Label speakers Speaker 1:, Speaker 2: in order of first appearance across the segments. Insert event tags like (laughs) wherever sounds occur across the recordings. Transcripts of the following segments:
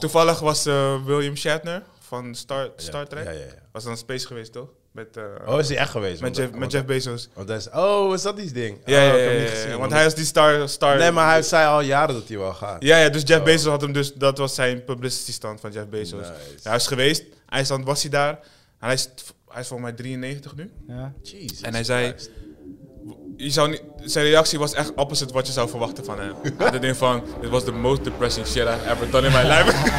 Speaker 1: Toevallig was eh, William Shatner van Star, Star Trek.
Speaker 2: Ja, ja, ja.
Speaker 1: Was dan Space geweest, toch? Met, eh,
Speaker 2: Oh, is hij echt geweest?
Speaker 1: met,
Speaker 2: Want-
Speaker 1: Jeff, met
Speaker 2: want-
Speaker 1: Jeff Bezos.
Speaker 2: want hij is- oh, is dat die ding?
Speaker 1: Ja,
Speaker 2: Oh,
Speaker 1: ja,
Speaker 2: ik
Speaker 1: ja,
Speaker 2: heb hem
Speaker 1: ja,
Speaker 2: niet
Speaker 1: ja,
Speaker 2: gezien.
Speaker 1: want hij is die star... star
Speaker 2: Nee, maar Oh. hij zei al jaren dat hij wel gaat.
Speaker 1: Ja, ja, dus Jeff Bezos had hem dus... Dat was zijn publicity stand van Jeff Bezos.
Speaker 2: Nice.
Speaker 1: Ja, hij is geweest. IJsland was hij daar. En hij is, hij is volgens mij 93 nu.
Speaker 3: Ja.
Speaker 2: Jezus
Speaker 1: En hij zei-
Speaker 2: Christ.
Speaker 1: Je zou niet, zijn reactie was echt opposite wat je zou verwachten van
Speaker 2: (laughs)
Speaker 1: hem. Hij had ding van, it was the most depressing shit I've ever done in my
Speaker 2: (laughs)
Speaker 1: life.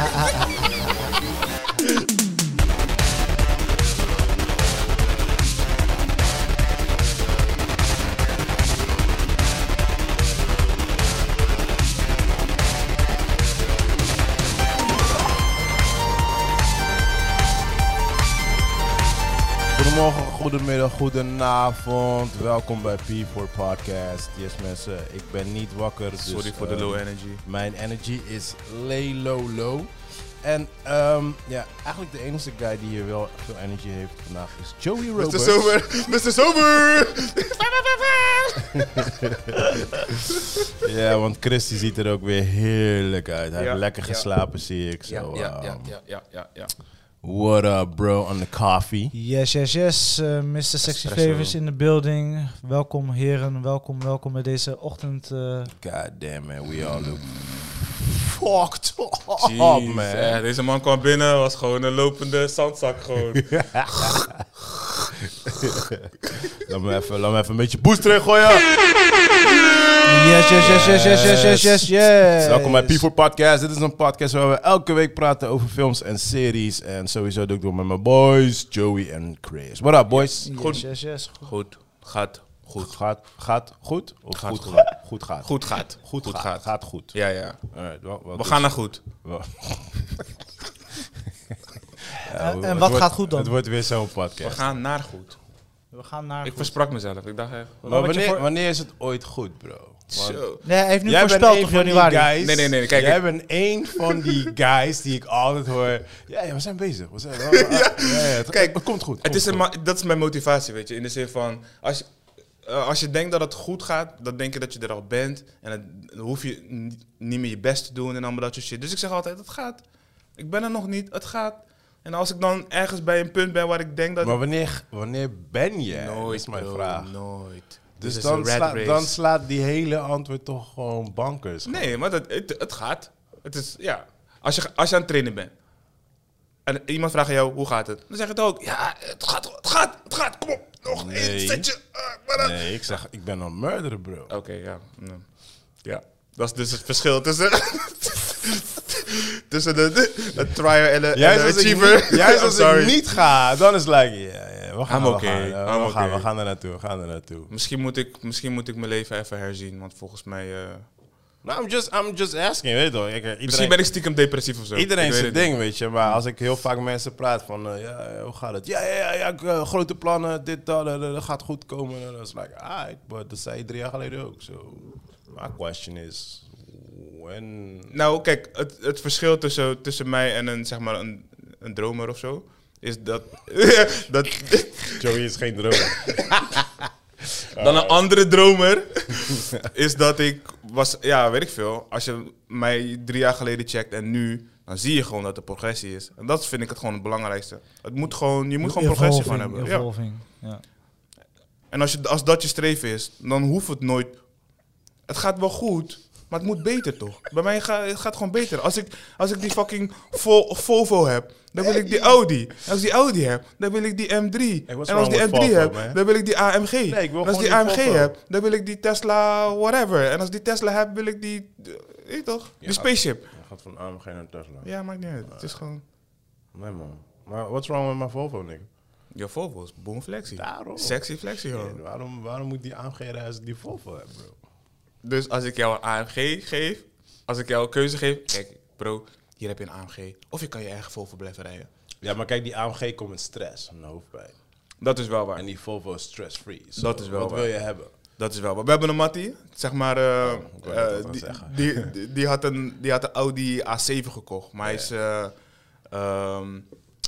Speaker 2: Goedemorgen, goedemiddag, goedenavond. Welkom bij P4 Podcast. Yes mensen, ik ben niet wakker. dus,
Speaker 1: Sorry voor de
Speaker 2: eh,
Speaker 1: low energy.
Speaker 2: Mijn energy is lay low low. En ehm, ja, eigenlijk de enige guy die hier wel veel energy heeft vandaag is Joey Roberts.
Speaker 1: Mr. Sober, Mr. Sober!
Speaker 2: Ja, want Chris die ziet er ook weer heerlijk uit. Hij
Speaker 1: Ja,
Speaker 2: heeft lekker
Speaker 1: ja.
Speaker 2: geslapen, zie ik. Zo,
Speaker 1: ja, ja,
Speaker 2: ehm,
Speaker 1: (laughs) ja, ja, ja, ja.
Speaker 2: What up bro, on the coffee.
Speaker 3: Yes, yes, yes. eh, Mr. Sexy
Speaker 1: Espresso.
Speaker 3: Favors in de building. Welkom heren, welkom, welkom bij deze ochtend. eh,
Speaker 2: God damn man, we all look fucked
Speaker 1: Jeez,
Speaker 2: up man.
Speaker 1: eh, deze man kwam binnen, was gewoon een lopende zandzak gewoon.
Speaker 2: Laat me even, laat me even een beetje boost erin gooien.
Speaker 3: Yes, yes, yes, yes, yes, yes, yes, yes, yes.
Speaker 2: Welkom bij P4 Podcast. Dit is een podcast waar we elke week praten over films en series. En sowieso doe ik door met mijn boys, Joey en Chris. What up boys?
Speaker 3: Yes, yes, yes.
Speaker 1: (laughs) Goed, gaat, goed.
Speaker 2: Gaat, gaat goed? Of goed,
Speaker 1: goed.
Speaker 2: gaat? Goed gaat.
Speaker 1: Goed gaat,
Speaker 2: Goed gaat. Gaat goed.
Speaker 1: Ja, ja.
Speaker 2: Alright, wel- wel
Speaker 1: We
Speaker 2: goed.
Speaker 1: gaan naar goed.
Speaker 2: Wel-
Speaker 3: Eh, En-
Speaker 2: het
Speaker 3: en wat
Speaker 2: wordt-
Speaker 3: gaat goed dan?
Speaker 2: Het wordt weer zo'n
Speaker 1: We
Speaker 2: podcast.
Speaker 1: gaan naar goed.
Speaker 3: We gaan naar...
Speaker 1: Ik versprak mezelf, ik dacht echt...
Speaker 2: Maar
Speaker 3: Wat je
Speaker 2: wanneer,
Speaker 3: voor-
Speaker 2: wanneer is het ooit goed, bro? Want-
Speaker 1: Zo.
Speaker 3: Nee, hij heeft nu
Speaker 2: Jij bent
Speaker 3: voorspeld
Speaker 2: een
Speaker 3: toch
Speaker 2: van die
Speaker 3: januari?
Speaker 2: guys.
Speaker 1: Nee, nee, nee, kijk,
Speaker 2: Jij
Speaker 1: ik-
Speaker 2: bent een
Speaker 1: (laughs)
Speaker 2: van die guys die ik altijd hoor. Ja, ja we zijn bezig. We
Speaker 1: (laughs)
Speaker 2: zijn, ja, ja, het,
Speaker 1: Kijk,
Speaker 2: het komt goed.
Speaker 1: Het
Speaker 2: komt
Speaker 1: is een
Speaker 2: goed.
Speaker 1: ma- dat is mijn motivatie, weet je. In de zin van, als je, eh, als je denkt dat het goed gaat, dan denk je dat je er al bent. En het- dan hoef je n- niet meer je best te doen en allemaal dat soort shit. Dus ik zeg altijd, het gaat. Ik ben er nog niet, het gaat. En als ik dan ergens bij een punt ben waar ik denk dat...
Speaker 2: Maar wanneer, wanneer ben je? dat is mijn
Speaker 1: bro,
Speaker 2: vraag.
Speaker 1: Nooit.
Speaker 2: Dus
Speaker 1: Dit is
Speaker 2: dan,
Speaker 1: een rat
Speaker 2: sla-
Speaker 1: race.
Speaker 2: dan slaat die hele antwoord toch gewoon bankers.
Speaker 1: Nee, maar dat, het, het gaat. Het is, ja. Als je, als je aan het trainen bent. En iemand vraagt aan jou, hoe gaat het? Dan zeg je het ook. Ja, het gaat, het gaat, het gaat. Kom op, nog
Speaker 2: Nee.
Speaker 1: één setje. eh, maar dan-
Speaker 2: Nee, ik zeg, ik ben een murderer, bro.
Speaker 1: Oké, ja. Ja. Ja. Dat is dus het verschil tussen. (laughs) tussen de, de, een trier en een en
Speaker 2: Juist
Speaker 1: een
Speaker 2: als, ik
Speaker 1: achiever.
Speaker 2: niet, juist
Speaker 1: (laughs) I'm
Speaker 2: als
Speaker 1: sorry.
Speaker 2: ik niet ga, dan is het like, ja, ja, we gaan,
Speaker 1: I'm
Speaker 2: we
Speaker 1: okay,
Speaker 2: gaan, eh, we,
Speaker 1: I'm
Speaker 2: gaan we
Speaker 1: okay.
Speaker 2: gaan er naartoe, we gaan er naartoe.
Speaker 1: Misschien moet, ik, misschien moet ik mijn leven even herzien, want volgens mij. eh,
Speaker 2: Nou, I'm just, I'm just asking, weet je toch? Ik- Iedereen,
Speaker 1: misschien ben ik stiekem depressief of zo. Ik
Speaker 2: Iedereen
Speaker 1: weet
Speaker 2: zijn
Speaker 1: het
Speaker 2: ding, weet je. Maar als ik heel vaak mensen praat van, eh, ja, eh, hoe gaat het? Ja, ja, ja, ja ik, eh, grote plannen, dit, dat, dat, dat, dat gaat goed komen. En dan is het like, alright, but dat zei je drie jaar geleden ook. So, my question is, when... (laughs)
Speaker 1: niet. Nou, kijk, het, het verschil tussen, tussen mij en een, zeg maar, een, een dromer of zo. Is dat. (laughs) dat
Speaker 2: Joey is geen droom.
Speaker 1: dan een andere dromer. (laughs) is dat ik was. Ja, weet ik veel. Als je mij drie jaar geleden checkt en nu. dan zie je gewoon dat er progressie is. En dat vind ik het gewoon het belangrijkste. Het moet gewoon, je moet gewoon progressie van hebben. Ja.
Speaker 3: Evolving, ja.
Speaker 1: En als, je, als dat je streven is, dan hoeft het nooit. Het gaat wel goed, maar het moet beter toch? Bij mij ga, het gaat gewoon beter. Als ik, als ik die fucking Vol- Volvo heb, dan wil ik die Audi. En als ik die Audi heb, dan wil ik die M3.
Speaker 2: Hey, what's
Speaker 1: en als ik die M3
Speaker 2: wrong with Volvo,
Speaker 1: heb,
Speaker 2: man?
Speaker 1: dan wil ik die AMG.
Speaker 2: ik wil
Speaker 1: en als ik die
Speaker 2: gewoon
Speaker 1: AMG
Speaker 2: die Volvo.
Speaker 1: heb, dan wil ik die Tesla whatever. En als ik die Tesla heb, wil ik die. eh, weet je toch?
Speaker 2: Ja.
Speaker 1: Die spaceship.
Speaker 2: Je gaat van AMG naar Tesla.
Speaker 1: Ja, maakt niet uit. Het is gewoon.
Speaker 2: Nee, man. Maar what's wrong with my Volvo, nigga?
Speaker 1: Je Volvo is boomflexie.
Speaker 2: Daarom.
Speaker 1: Sexy flexie, hoor.
Speaker 2: Nee, waarom, waarom moet die AMG reizen die Volvo hebben, bro?
Speaker 1: Dus als ik jou een AMG geef, als ik jou een keuze geef, kijk bro, hier heb je een AMG. Of je kan je eigen Volvo blijven rijden.
Speaker 2: Ja, maar kijk, die AMG komt met stress en hoofdpijn.
Speaker 1: Dat is wel waar.
Speaker 2: En die Volvo is stress-free. So,
Speaker 1: Dat is wel
Speaker 2: Wat
Speaker 1: waar.
Speaker 2: wil je hebben?
Speaker 1: Dat is wel waar. We hebben een Mattie, zeg maar, eh,
Speaker 2: wou net
Speaker 1: eh,
Speaker 2: wat
Speaker 1: die,
Speaker 2: zeggen.
Speaker 1: die, die, die had een, die had een Audi A7 gekocht. Maar hij is, eh, ehm,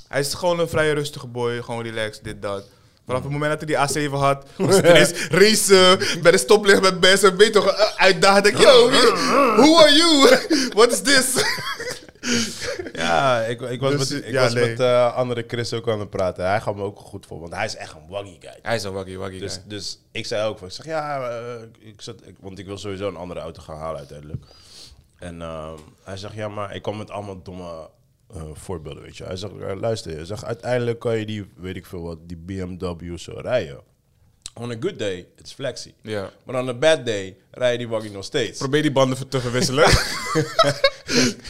Speaker 1: hij is gewoon een vrij rustige boy, gewoon relaxed, dit, dat. Vanaf het moment dat hij die A7 had, was (laughs) het ineens racen, bij de stoplicht met mensen, weet je toch, (laughs) eh, uitdagen. Denk, yo, wie- who are you? What is this?
Speaker 2: Ja, ik, ik was,
Speaker 1: Dus,
Speaker 2: met, ik
Speaker 1: ja,
Speaker 2: was
Speaker 1: nee.
Speaker 2: met eh, andere Chris ook aan het praten. Hij gaf me ook goed voor, want hij is echt een waggy guy.
Speaker 1: Hij is een waggy waggy
Speaker 2: Dus,
Speaker 1: guy.
Speaker 2: dus ik zei ook, van, ik zeg ja, eh, ik zat, ik, want ik wil sowieso een andere auto gaan halen uiteindelijk. En ehm, hij zegt ja, maar ik kwam met allemaal domme eh, voorbeelden, weet je. Hij zegt, eh, luister, hij zegt, uiteindelijk kan je die, weet ik veel wat, die BMW zo rijden. On a good day, it's flexie.
Speaker 1: Ja.
Speaker 2: Maar on a bad day, rij je die waggie nog steeds.
Speaker 1: Probeer die banden te (laughs) verwisselen. Ik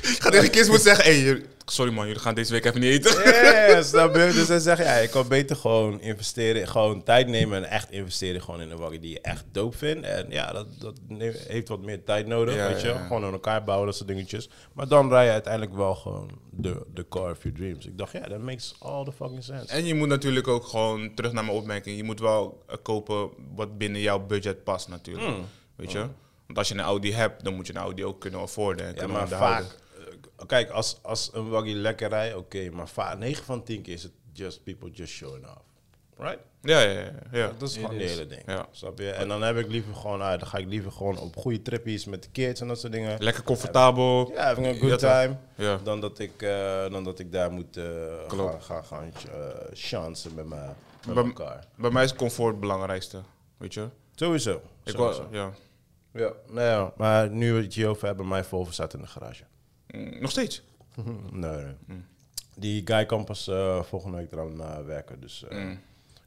Speaker 1: ga tegen Chris moeten zeggen, hey, jullie- sorry man, jullie gaan deze week even niet eten.
Speaker 2: Ja, snap je? Dus hij zegt, ja, je kan beter gewoon investeren, gewoon tijd nemen en echt investeren gewoon in een waggie die je echt dope vindt. En ja, dat, dat neem- heeft wat meer tijd nodig,
Speaker 1: Ja,
Speaker 2: weet je.
Speaker 1: ja, ja.
Speaker 2: Gewoon aan elkaar bouwen, dat soort dingetjes. Maar dan rij je uiteindelijk wel gewoon de, de car of your dreams. Ik dacht, ja, that makes all the fucking sense.
Speaker 1: En je moet natuurlijk ook gewoon, terug naar mijn opmerking, je moet wel eh, kopen wat binnen jouw budget past natuurlijk. Weet je? Want als je een Audi hebt, dan moet je een Audi ook kunnen afforden. En
Speaker 2: Ja,
Speaker 1: kunnen
Speaker 2: maar vaak...
Speaker 1: onderhouden.
Speaker 2: eh, Kijk, als, als een waggie lekker rijdt, oké. maar vaak, 9 van 10 keer is het just people just showing off. Right?
Speaker 1: Ja, ja, ja. ja.
Speaker 2: Dat is gewoon het hele ding.
Speaker 1: Ja.
Speaker 2: Snap je? En dan heb ik liever gewoon, ah, dan ga ik liever gewoon op goede trippies met de kids en dat soort dingen.
Speaker 1: Lekker comfortabel.
Speaker 2: Ja, having a
Speaker 1: Ja,
Speaker 2: good
Speaker 1: toch?
Speaker 2: time.
Speaker 1: Ja.
Speaker 2: Dan, dat ik, eh, dan dat ik daar moet eh,
Speaker 1: Klopt.
Speaker 2: gaan, gaan, gaan eh, chansen met, mijn- met
Speaker 1: Bij-
Speaker 2: elkaar.
Speaker 1: Bij mij is comfort het belangrijkste. Weet je?
Speaker 2: Sowieso.
Speaker 1: Ik
Speaker 2: Sowieso.
Speaker 1: wou, ja.
Speaker 2: ja, nou ja, maar nu we het hierover hebben, mijn Volvo staat in de garage. (laughs)
Speaker 1: Mm, Nog steeds.
Speaker 2: nee, nee.
Speaker 1: Mm.
Speaker 2: Die guy kan pas eh, volgende week eraan eh, werken. Dus eh, ik,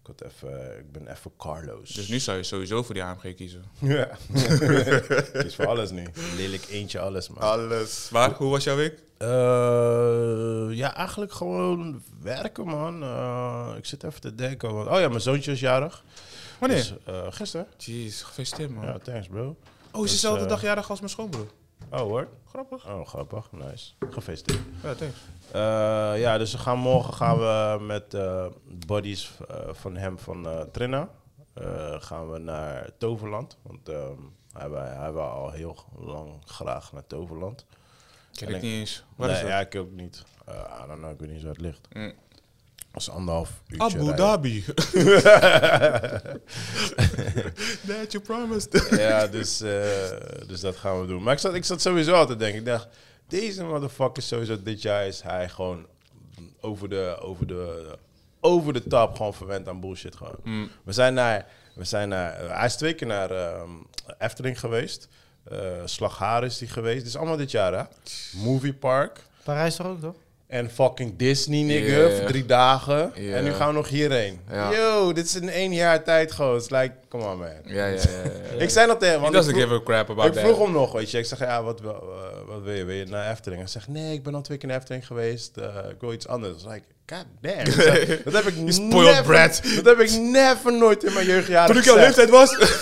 Speaker 2: had even, ik ben even Carlos.
Speaker 1: Mm. Dus nu zou je sowieso voor die AMG kiezen. (laughs)
Speaker 2: (laughs) Ja. Het is voor alles nu. Lelijk eentje alles, man.
Speaker 1: Alles. Maar, hoe was jouw week?
Speaker 2: Eh, ja, eigenlijk gewoon werken, man. Eh, ik zit even te denken. Want, oh ja, mijn zoontje is jarig.
Speaker 1: Wanneer?
Speaker 2: Dus, eh, gisteren.
Speaker 1: Jeez, gefeliciteerd man.
Speaker 2: Ja, thanks, bro.
Speaker 1: Oh, is
Speaker 2: Dus,
Speaker 1: dezelfde
Speaker 2: eh,
Speaker 1: dag jarig als mijn schoonbroer.
Speaker 2: Oh, hoor.
Speaker 1: Grappig.
Speaker 2: Oh, grappig. Nice. Gefeliciteerd.
Speaker 1: Ja, thanks.
Speaker 2: Eh, ja, dus we gaan morgen gaan we met eh buddies eh, van hem van eh Trina. eh, gaan we naar Toverland. Want ehm, hij, wou- hij wou al heel lang graag naar Toverland.
Speaker 1: Ken
Speaker 2: En
Speaker 1: ik
Speaker 2: ik-
Speaker 1: niet eens. Waar
Speaker 2: nee,
Speaker 1: is dat?
Speaker 2: ja, ik ook niet. Eh I don't know, ik weet niet waar het ligt.
Speaker 1: Mm.
Speaker 2: Dat is anderhalf uurtje
Speaker 1: Abu
Speaker 2: rijden.
Speaker 1: Dhabi. (laughs) That you promised.
Speaker 2: (laughs) Ja, dus, eh, dus dat gaan we doen. Maar ik zat, ik zat sowieso altijd denken. Ik dacht, deze motherfucker sowieso dit jaar is hij gewoon over de, over de, over de top gewoon verwend aan bullshit gewoon. We zijn naar, we zijn naar, eh, hij is twee keer naar ehm, Efteling geweest. Eh Slaghaar is die geweest. Dit is allemaal dit jaar hè. Movie Park.
Speaker 3: Parijs toch ook, toch?
Speaker 2: En fucking Disney, nigga,
Speaker 1: Yeah.
Speaker 2: voor drie dagen.
Speaker 1: Yeah.
Speaker 2: En nu gaan we nog hierheen.
Speaker 1: Ja.
Speaker 2: Yo, dit is in één jaar tijd gewoon. It's like, come on man.
Speaker 1: Ja, ja, ja. (laughs) ja.
Speaker 2: Ik zei dat tegen hem.
Speaker 1: He
Speaker 2: want
Speaker 1: doesn't
Speaker 2: vroeg-
Speaker 1: give a crap about
Speaker 2: ik
Speaker 1: that.
Speaker 2: vroeg hem nog, weet je. Ik zeg, ja, wat, wil- eh, wat wil je? Wil je naar Efteling? Hij zegt, nee, ik ben al twee keer naar Efteling geweest. eh, ik wil iets anders. Dus ik, god damn.
Speaker 1: (laughs)
Speaker 2: Ik zeg, dat heb ik
Speaker 1: You spoiled
Speaker 2: never,
Speaker 1: brat.
Speaker 2: Dat heb ik never nooit in mijn jeugdjaren
Speaker 1: Toen ik jouw
Speaker 2: gezegd.
Speaker 1: leeftijd (laughs) was.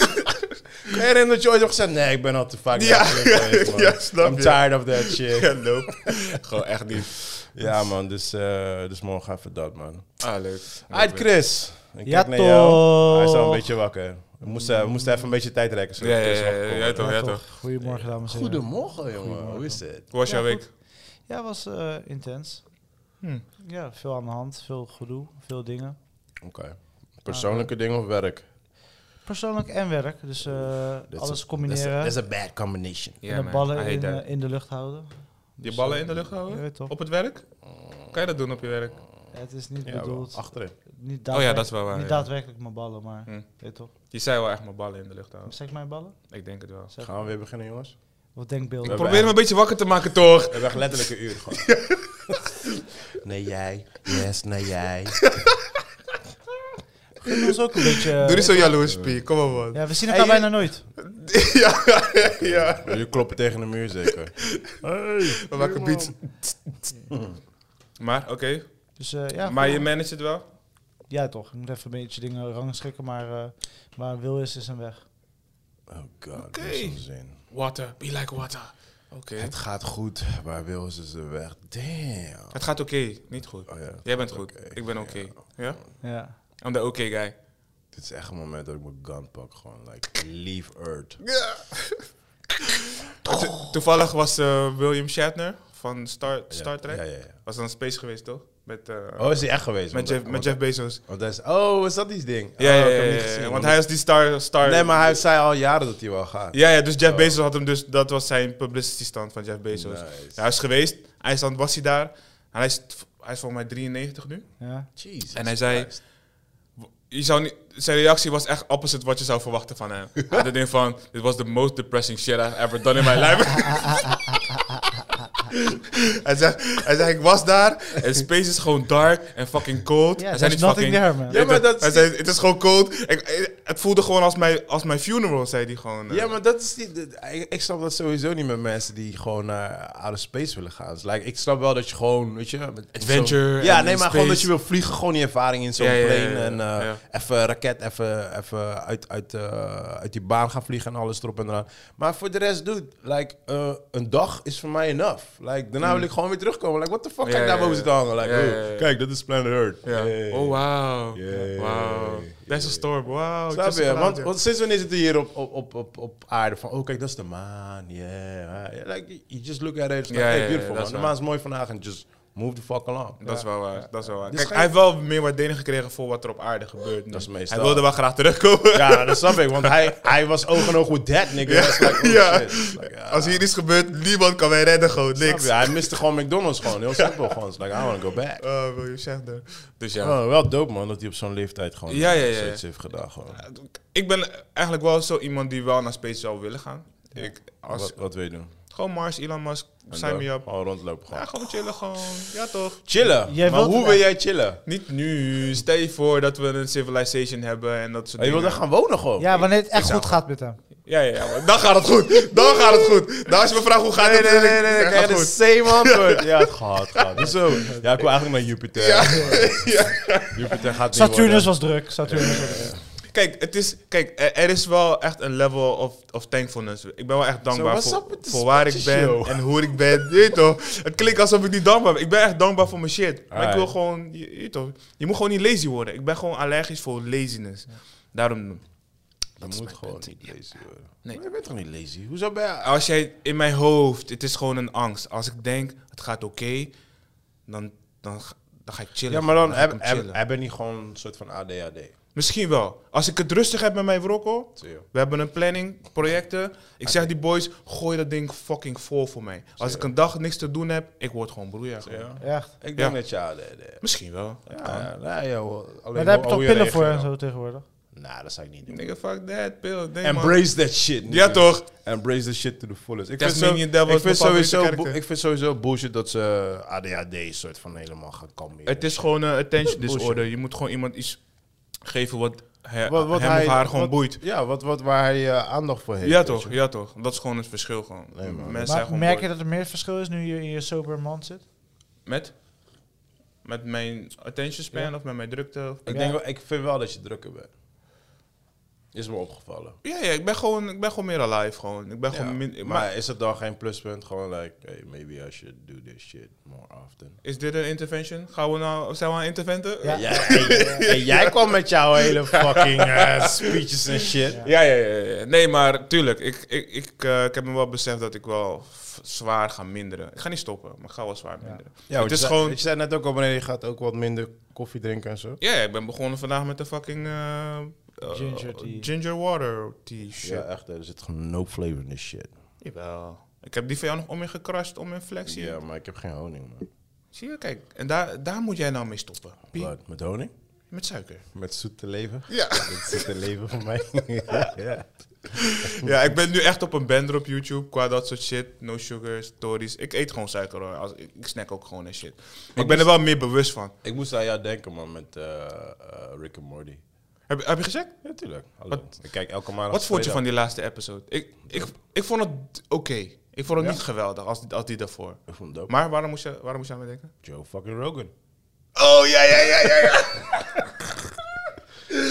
Speaker 2: Ik herinner dat je ooit nog gezegd, nee, ik ben al te
Speaker 1: (laughs)
Speaker 2: vaak
Speaker 1: Ja,
Speaker 2: naar Efteling geweest, man.
Speaker 1: ja, snap
Speaker 2: I'm
Speaker 1: je.
Speaker 2: tired of that
Speaker 1: (laughs)
Speaker 2: shit.
Speaker 1: nope. Gewoon echt niet.
Speaker 2: ja, man, dus, eh, dus morgen even dat, man.
Speaker 1: Ah, leuk.
Speaker 2: Uit Chris. Ik
Speaker 3: Ja,
Speaker 2: kijk naar jou. Hij is al een
Speaker 3: toch.
Speaker 2: beetje wakker. We moesten, we moesten even een beetje tijd rekken. zodat
Speaker 1: Ja, ja,
Speaker 2: Chris
Speaker 1: ja,
Speaker 2: wakker
Speaker 1: ja,
Speaker 2: kon
Speaker 1: ja,
Speaker 2: worden.
Speaker 1: toch, ja, toch.
Speaker 3: toch. Goedemorgen, dames en heren.
Speaker 2: Goedemorgen, jongen. Hoe is het?
Speaker 1: Hoe was
Speaker 3: Ja,
Speaker 1: jouw
Speaker 3: goed.
Speaker 1: week?
Speaker 3: Ja, was eh, intens.
Speaker 1: Hm.
Speaker 3: Ja, veel aan de hand, veel gedoe, veel dingen.
Speaker 2: Oké. Persoonlijke dingen of werk?
Speaker 3: Persoonlijk en werk, dus eh, alles combineren.
Speaker 2: Dat is een bad combination.
Speaker 1: Ja,
Speaker 3: en de
Speaker 1: man, Ah, I
Speaker 3: ballen
Speaker 1: hate
Speaker 3: in,
Speaker 1: that.
Speaker 3: eh, in de lucht houden.
Speaker 1: Je ballen in de lucht houden?
Speaker 3: Ja, toch.
Speaker 1: Op het werk? Kan je dat doen op je werk?
Speaker 3: Het is niet
Speaker 2: Ja, wel.
Speaker 3: bedoeld.
Speaker 2: achterin.
Speaker 3: Niet
Speaker 1: Oh ja,
Speaker 3: daadwerkelijk-
Speaker 1: dat is wel waar,
Speaker 3: Niet
Speaker 1: ja.
Speaker 3: daadwerkelijk mijn ballen, maar.
Speaker 1: Hm.
Speaker 3: Weet toch?
Speaker 1: Je zei wel echt mijn ballen in de lucht houden.
Speaker 3: Zeg mijn ballen?
Speaker 1: Ik denk het wel.
Speaker 3: Zeg,
Speaker 2: Gaan we weer beginnen, jongens?
Speaker 3: Of
Speaker 1: Ik
Speaker 3: denkbeelden.
Speaker 2: Ja.
Speaker 1: probeer hem een beetje wakker te maken, toch?
Speaker 2: We hebben echt letterlijk een uur gewoon. (laughs) nee, jij. Yes, nee, (laughs) jij.
Speaker 3: Gun ons
Speaker 1: (laughs)
Speaker 3: ook een beetje. eh,
Speaker 1: Doe niet zo jaloers, P. Kom op, man.
Speaker 3: ja, we zien elkaar
Speaker 1: Hey, je-
Speaker 3: bijna nooit.
Speaker 1: ja, ja.
Speaker 2: Je kloppen tegen de muur zeker. Hey,
Speaker 1: We maken beats. Maar, oké.
Speaker 3: Dus eh, ja.
Speaker 1: maar
Speaker 3: goed.
Speaker 1: je manage het wel?
Speaker 3: Ja, toch. Ik moet even een beetje dingen rangschikken, maar eh, waar wil is, is een weg.
Speaker 2: Oh god,
Speaker 1: Oké.
Speaker 2: wat zo'n zin.
Speaker 1: Water. Be like water. Oké.
Speaker 2: Het gaat goed, maar wil ze ze weg? Damn.
Speaker 1: Het gaat oké. Niet goed.
Speaker 2: Oh ja,
Speaker 1: Jij bent goed.
Speaker 2: Oké.
Speaker 1: Ik ben oké. Ja?
Speaker 3: Ja.
Speaker 1: I'm the oké guy.
Speaker 2: Dit is echt een moment dat ik mijn gun pak. Gewoon, like, leave earth.
Speaker 1: To- toevallig was eh, William Shatner van Star, Star Trek.
Speaker 2: Ja, ja, ja.
Speaker 1: Was dan Space geweest, toch? Met, eh,
Speaker 2: Oh, is hij echt geweest?
Speaker 1: met, Jeff, met Jeff Bezos.
Speaker 2: Want hij is- oh, is dat die ding?
Speaker 1: Ja,
Speaker 2: oh,
Speaker 1: ja,
Speaker 2: ik
Speaker 1: ja,
Speaker 2: heb hem
Speaker 1: ja,
Speaker 2: niet gezien.
Speaker 1: ja, Want hij was die star... star
Speaker 2: Nee, maar hij zei al jaren dat hij wel gaat.
Speaker 1: Ja, ja, dus Jeff Bezos had hem dus... Dat was zijn publicity stand van Jeff Bezos.
Speaker 2: Nice.
Speaker 1: Ja, hij is geweest. IJsland was hij daar. En hij is, hij is volgens mij 93 nu.
Speaker 3: Ja.
Speaker 2: Jezus.
Speaker 1: En hij zei-
Speaker 2: Christ.
Speaker 1: Je zou niet, zijn reactie was echt opposite wat je zou verwachten van
Speaker 2: (laughs)
Speaker 1: hem. Hij had het ding van, dit was the most depressing shit I've ever done in my
Speaker 2: (laughs)
Speaker 1: life. hij, zegt, hij zegt, ik was daar en space is gewoon dark en fucking cold.
Speaker 3: Yeah,
Speaker 1: hij zei
Speaker 3: there's
Speaker 1: niet
Speaker 3: nothing
Speaker 1: fucking...
Speaker 3: there,
Speaker 2: Ja,
Speaker 3: man.
Speaker 2: maar dat
Speaker 1: hij
Speaker 2: is-
Speaker 1: zei, het is gewoon cold. Ik, het voelde gewoon als mijn, als mijn funeral, zei hij gewoon. eh.
Speaker 2: Ja, maar dat is niet. dat- Ik, ik snap dat sowieso niet met mensen die gewoon naar outer space willen gaan. Dus, like, ik snap wel dat je gewoon, weet je, met
Speaker 1: Adventure
Speaker 2: zo- ja,
Speaker 1: en
Speaker 2: nee,
Speaker 1: in
Speaker 2: maar gewoon dat
Speaker 1: space.
Speaker 2: je wil vliegen, gewoon die ervaring in zo'n
Speaker 1: Ja, ja, ja,
Speaker 2: plane
Speaker 1: ja, ja.
Speaker 2: en eh,
Speaker 1: Ja.
Speaker 2: even raket, even, even uit, uit, eh, uit die baan gaan vliegen en alles erop en eraan. Maar voor de rest, dude, like, eh, een dag is voor mij enough. Like, daarna wil ik gewoon weer terugkomen. Like, what the fuck
Speaker 1: Hmm. Ja,
Speaker 2: ga ik
Speaker 1: ja,
Speaker 2: daar
Speaker 1: ja.
Speaker 2: boven zitten hangen? Like,
Speaker 1: Ja,
Speaker 2: oh,
Speaker 1: ja, ja.
Speaker 2: kijk, dat is Planet Earth.
Speaker 1: Ja.
Speaker 2: Hey.
Speaker 1: Oh, wow.
Speaker 2: Yeah.
Speaker 1: Wow. That's a storm. Wow.
Speaker 2: Snap
Speaker 1: just
Speaker 2: je?
Speaker 1: a cloud,
Speaker 2: Want,
Speaker 1: ja.
Speaker 2: want sinds wanneer zitten we hier op, op, op, op, op aarde van, oh kijk, dat is de maan, yeah. Yeah, Like, you just look at it, it's like,
Speaker 1: Ja,
Speaker 2: hey,
Speaker 1: ja, ja,
Speaker 2: beautiful,
Speaker 1: dat
Speaker 2: man.
Speaker 1: is
Speaker 2: De
Speaker 1: waar.
Speaker 2: maan is mooi vandaag en just move the fuck along.
Speaker 1: Dat is
Speaker 2: Ja.
Speaker 1: wel waar. Dat is wel waar.
Speaker 2: Dus
Speaker 1: Kijk,
Speaker 2: ga
Speaker 1: hij heeft wel meer waardering gekregen voor wat er op aarde gebeurt. nu.
Speaker 2: Dat is meestal.
Speaker 1: Hij wilde wel graag terugkomen.
Speaker 2: (laughs) Ja, dat snap ik, want hij, hij was oog en oog with that, nigga.
Speaker 1: Ja,
Speaker 2: Dat is like, oh,
Speaker 1: ja.
Speaker 2: shit. It's like, ja,
Speaker 1: Als hier iets gebeurt, niemand kan mij redden, gewoon
Speaker 2: snap
Speaker 1: niks.
Speaker 2: je? Hij miste gewoon McDonald's gewoon, heel simpel gewoon. It's like, I wanna go back.
Speaker 1: Oh, wil je zeggen. Dus ja.
Speaker 2: Oh, wel dope, man, dat hij op zo'n leeftijd gewoon
Speaker 1: Ja, ja, ja, ja.
Speaker 2: zoiets heeft gedaan. Gewoon.
Speaker 1: Ik ben eigenlijk wel zo iemand die wel naar space zou willen gaan. Ik, als,
Speaker 2: Wat, wat wil je doen?
Speaker 1: gewoon Mars, Elon Musk,
Speaker 2: En
Speaker 1: sign
Speaker 2: dan
Speaker 1: me up.
Speaker 2: Gewoon rondlopen gewoon.
Speaker 1: Ja, gewoon chillen, gewoon. Ja, toch?
Speaker 2: Chillen?
Speaker 3: Jij
Speaker 2: maar
Speaker 3: wilt
Speaker 2: hoe
Speaker 3: het
Speaker 2: wil
Speaker 3: echt.
Speaker 2: jij chillen?
Speaker 1: Niet nu. Oh, Stel je voor dat we een civilization hebben en dat soort
Speaker 2: Je wil
Speaker 1: dingen.
Speaker 2: daar gaan wonen gewoon?
Speaker 3: Ja, wanneer het echt
Speaker 1: zou-
Speaker 3: goed gaat met hem.
Speaker 1: Ja, ja, ja. maar Dan gaat het (laughs) goed. Dan gaat het goed. Dan als je me vraagt hoe gaat het, dan zeg ik,
Speaker 2: Ik
Speaker 1: ja,
Speaker 2: krijg
Speaker 1: gaat
Speaker 2: je de
Speaker 1: goed.
Speaker 2: same antwoord. Ja, het gaat, het gaat. (laughs) Hoezo? Ja, ik wil eigenlijk naar Jupiter. (laughs) Jupiter gaat niet
Speaker 3: Saturnus
Speaker 2: worden.
Speaker 3: was druk. Saturnus was druk.
Speaker 1: Kijk, het is, kijk, er, er is wel echt een level of, of thankfulness. Ik ben wel echt dankbaar
Speaker 2: what's up
Speaker 1: voor,
Speaker 2: with this
Speaker 1: voor waar ik
Speaker 2: bitches,
Speaker 1: ben (laughs)
Speaker 2: yo?
Speaker 1: en hoe ik ben. Je weet toch? Het klinkt alsof ik niet dankbaar ben. Ik ben echt dankbaar voor mijn shit. Maar ik wil
Speaker 2: Alright.
Speaker 1: gewoon, je, je weet toch? Je moet gewoon niet lazy worden. Ik ben gewoon allergisch voor laziness. Daarom,
Speaker 2: Je moet
Speaker 1: mijn
Speaker 2: gewoon
Speaker 1: punt.
Speaker 2: niet lazy worden.
Speaker 1: Nee.
Speaker 2: Maar je bent toch niet lazy? Hoezo ben je...
Speaker 1: als jij in mijn hoofd, het is gewoon een angst. Als ik denk, het gaat oké, dan, dan, ga- dan ga ik chillen.
Speaker 2: Ja, maar dan
Speaker 1: ga ik
Speaker 2: heb,
Speaker 1: hem chillen.
Speaker 2: heb, heb je niet gewoon een soort van ADHD.
Speaker 1: Misschien wel. Als ik het rustig heb met mijn wrokkel,
Speaker 2: Zie je.
Speaker 1: We hebben een planning, projecten. Ik zeg die boys, gooi dat ding fucking vol voor mij. Als ik een dag niks te doen heb, ik word gewoon broeier.
Speaker 2: Zie je?
Speaker 3: Echt.
Speaker 2: Ik
Speaker 1: Ja.
Speaker 2: denk dat je ADHD hebt.
Speaker 1: Misschien wel.
Speaker 2: Ja, nou, ja, hoor. Alleen oh,
Speaker 3: Maar daar heb je
Speaker 2: hoe-
Speaker 3: toch
Speaker 2: hoe
Speaker 3: pillen voor en
Speaker 2: reageert
Speaker 3: zo tegenwoordig?
Speaker 2: dan. Nou, dat zou ik niet doen.
Speaker 1: Nigga, fuck that, pil. Nee, man.
Speaker 2: Embrace that shit. nigga.
Speaker 1: Ja, toch?
Speaker 2: Embrace the shit to the fullest. Ik vind,
Speaker 1: Tasmanian
Speaker 2: zo-
Speaker 1: Devil
Speaker 2: ik
Speaker 1: is
Speaker 2: vind,
Speaker 1: mijn favoriete
Speaker 2: sowieso,
Speaker 1: karakter.
Speaker 2: bu- ik vind sowieso bullshit dat ze ADHD soort van helemaal gaan kalmeren.
Speaker 1: Het is gewoon een attention
Speaker 2: Bullshit.
Speaker 1: disorder. Je moet gewoon iemand iets geven wat, he-
Speaker 2: Wat- wat
Speaker 1: hem
Speaker 2: hij-
Speaker 1: of haar gewoon
Speaker 2: wat-
Speaker 1: boeit.
Speaker 2: Ja, wat, wat, waar hij eh, aandacht voor heeft.
Speaker 1: Ja
Speaker 2: weet
Speaker 1: toch,
Speaker 2: je.
Speaker 1: ja toch. Dat is gewoon het verschil gewoon.
Speaker 2: Nee, man.
Speaker 1: Mensen
Speaker 2: Maar
Speaker 1: zijn
Speaker 3: Maar
Speaker 1: gewoon
Speaker 3: merk
Speaker 1: boy.
Speaker 3: je dat er meer verschil is nu je in je sober man zit?
Speaker 1: Met? Met mijn attention span of met mijn drukte? Of
Speaker 2: Ik,
Speaker 3: Ja.
Speaker 2: Denk, wel- ik vind wel dat je drukker bent. Is me opgevallen.
Speaker 1: Ja, ja ik, ben gewoon, ik ben gewoon meer alive gewoon. Ik ben gewoon
Speaker 2: Ja.
Speaker 1: min, maar,
Speaker 2: maar, is het dan geen pluspunt? Gewoon like, hey, maybe I should do this shit more often.
Speaker 1: Is dit een intervention? Gaan we nou, zijn we aan het interventen?
Speaker 3: Ja.
Speaker 2: Jij,
Speaker 1: (laughs)
Speaker 2: en jij kwam met jouw (laughs) hele fucking eh, speeches en shit.
Speaker 1: Ja, ja, ja, ja. Nee, maar tuurlijk. Ik, ik, ik, eh, ik heb me wel beseft dat ik wel f- zwaar ga minderen. Ik ga niet stoppen, maar ik ga wel zwaar minderen.
Speaker 2: Ja,
Speaker 1: het is
Speaker 2: Je
Speaker 1: gewoon...
Speaker 2: zei net ook al, meneer, je gaat ook wat minder koffie drinken en zo.
Speaker 1: Ja, ik ben begonnen vandaag met de fucking... eh, eh,
Speaker 3: Ginger tea.
Speaker 1: Ginger water tea shit.
Speaker 2: Ja, echt, er zit gewoon no flavor in this shit.
Speaker 1: Jawel. Ik heb die van jou nog om in gecrashed, om in flexie.
Speaker 2: Ja, maar ik heb geen honing, man.
Speaker 1: Zie je, kijk. En daar, daar moet jij nou mee stoppen. Piep.
Speaker 2: Wat, met honing?
Speaker 1: Met suiker.
Speaker 2: Met zoete leven?
Speaker 1: Ja.
Speaker 2: (laughs) Met zoete leven voor (laughs) mij. ja.
Speaker 1: (laughs) Ja, ik ben nu echt op een bender op YouTube qua dat soort shit. No sugar, stories. Ik eet gewoon suiker hoor. Als, ik ik snack ook gewoon en shit. Maar ik ben er wel meer bewust van.
Speaker 2: Ik moest aan jou denken, man, met eh, eh, Rick en Morty.
Speaker 1: Heb, heb je gezegd?
Speaker 2: Ja, tuurlijk. Hallo. Ik kijk elke maandag.
Speaker 1: Wat vond je van die laatste episode? Ik, ik, ik vond het oké. Ik vond het
Speaker 2: Ja?
Speaker 1: niet geweldig als, als die daarvoor.
Speaker 2: Ik vond het ook.
Speaker 1: Maar waarom moest je, waarom moest je aan me denken?
Speaker 2: Joe fucking Rogan.
Speaker 1: Oh, ja, ja, ja, ja, ja.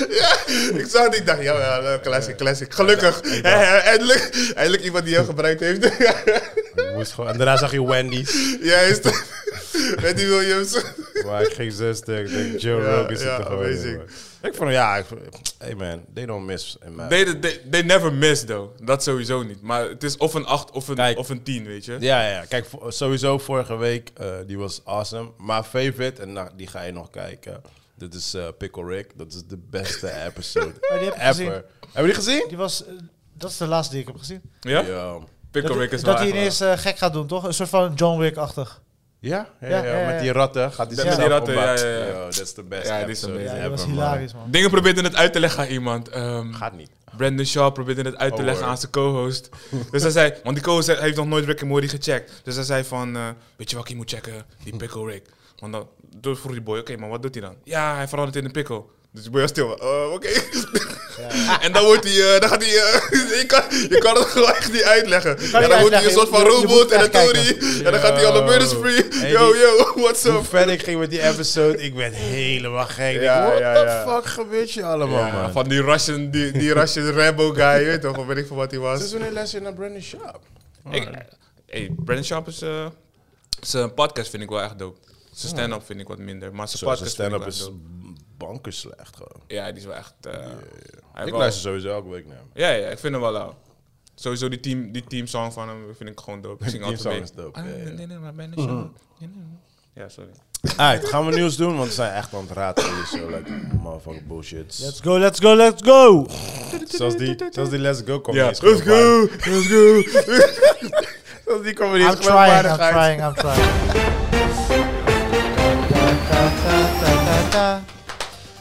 Speaker 1: Ja, ik zag het, ik dacht, ja, ja, classic, classic. Gelukkig. Eindelijk, eindelijk iemand die hem gebruikt heeft. (laughs)
Speaker 2: Ik moest gewoon, en daarna zag je (laughs) Wendy's.
Speaker 1: ja, is het. (laughs) Wendy Williams.
Speaker 2: Maar ik ging zo stuk. Ik denk, Joe
Speaker 1: Ja,
Speaker 2: Rogan zit
Speaker 1: ja,
Speaker 2: er gewoon in,
Speaker 1: amazing.
Speaker 2: man. Ik vond, ja, ik vond- hey man, they don't miss. in my-
Speaker 1: They, they, they never miss, though. Dat sowieso niet. Maar het is of een 8 of een,
Speaker 2: Kijk.
Speaker 1: of een 10, weet je.
Speaker 2: Ja, ja, ja. kijk, vo- sowieso vorige week, eh, die was awesome. Maar favorite, en nou, die ga je nog kijken. Dit is eh, Pickle Rick. Dat is de beste episode
Speaker 3: die heb ik
Speaker 2: ever.
Speaker 3: gezien.
Speaker 2: Hebben jullie gezien?
Speaker 3: Die was, eh, dat is de laatste die ik heb gezien.
Speaker 1: Ja?
Speaker 2: Ja.
Speaker 1: Pickle
Speaker 3: dat
Speaker 1: Rick is
Speaker 3: dat
Speaker 1: waar.
Speaker 3: hij ineens eh, gek gaat doen, toch? Een soort van John Wick-achtig.
Speaker 2: Ja, ja,
Speaker 3: Ja,
Speaker 2: ja,
Speaker 3: ja, ja.
Speaker 2: met die ratten gaat hij
Speaker 1: Ja.
Speaker 2: zichzelf
Speaker 1: Met die ratten,
Speaker 2: opbouwen.
Speaker 1: ja, ja, ja.
Speaker 2: Yo, Dat is de beste
Speaker 1: Ja, die is
Speaker 2: episode
Speaker 1: amazing.
Speaker 3: Ja,
Speaker 2: ever,
Speaker 3: dat was
Speaker 2: man.
Speaker 3: hilarisch, man.
Speaker 1: Dingen probeerde het uit te leggen aan iemand. ehm,
Speaker 2: Gaat niet.
Speaker 1: Brandon Shaw probeerde het uit te
Speaker 2: Oh,
Speaker 1: leggen
Speaker 2: hoor.
Speaker 1: aan zijn co-host. Dus hij zei, want die co-host heeft nog nooit Rick en Morty gecheckt. Dus hij zei van, eh, weet je wat ik moet checken?
Speaker 3: (laughs)
Speaker 1: Die pickle Rick. Want dan toen vroeg die boy, oké, maar wat doet hij dan? Ja, hij verandert in een pickle. Dus die boy was stil. Eh, oké. (laughs) en dan wordt hij, eh, dan gaat hij, eh, (laughs) je, kan, je kan het gewoon echt niet uitleggen.
Speaker 3: niet
Speaker 1: ja, dan wordt hij
Speaker 3: uitleggen.
Speaker 1: een soort van
Speaker 3: Je- je moet
Speaker 1: robot en een
Speaker 3: echt kijken.
Speaker 1: Tory. En dan gaat hij alle murders free.
Speaker 2: Hey,
Speaker 1: Yo,
Speaker 2: die-
Speaker 1: yo, (laughs) what's
Speaker 2: Hoe
Speaker 1: up?
Speaker 2: verder ik ging met die episode, ik werd helemaal gek. Ik
Speaker 1: Ja,
Speaker 2: denk, What
Speaker 1: ja,
Speaker 2: the
Speaker 1: ja.
Speaker 2: fuck gebeurt je allemaal,
Speaker 1: Ja,
Speaker 2: man?
Speaker 1: van die Russian, die, die Russian Rambo guy, je weet toch? Of weet ik van wat hij was.
Speaker 2: Ze is een lesje naar Brandon Sharp.
Speaker 1: Ik, Oh, hey, Brandon Sharp is... eh, zijn podcast vind ik wel echt dope. Zijn stand-up vind ik wat minder. Maar zijn
Speaker 2: Zo, zijn
Speaker 1: podcast vind ik
Speaker 2: stand-up
Speaker 1: wel echt
Speaker 2: is
Speaker 1: dope.
Speaker 2: banken slecht gewoon.
Speaker 1: Ja, die is wel echt... eh, hij heeft
Speaker 2: Ik
Speaker 1: wel-
Speaker 2: luister sowieso elke week naar hem.
Speaker 1: Ja, ja, ik vind hem wel lauw. Sowieso die, team, die teamsong van hem vind ik gewoon dope. Ik (laughs) zing altijd
Speaker 2: Teamsong
Speaker 1: mee.
Speaker 2: is dope,
Speaker 1: Ah,
Speaker 2: ja, ja.
Speaker 1: nee, nee, maar Brandon Sharp. Nee, nee, nee. Ja, sorry.
Speaker 2: Alright, gaan we nieuws doen? Want we zijn echt aan het raten. Dus zo, like, motherfucking bullshit.
Speaker 3: Let's go, let's go, let's go!
Speaker 2: Zoals die, zoals die Let's Go komt.
Speaker 1: Ja, let's go, let's go. (laughs)
Speaker 2: Zoals die komt
Speaker 3: I'm trying, I'm trying, I'm trying.
Speaker 1: (laughs)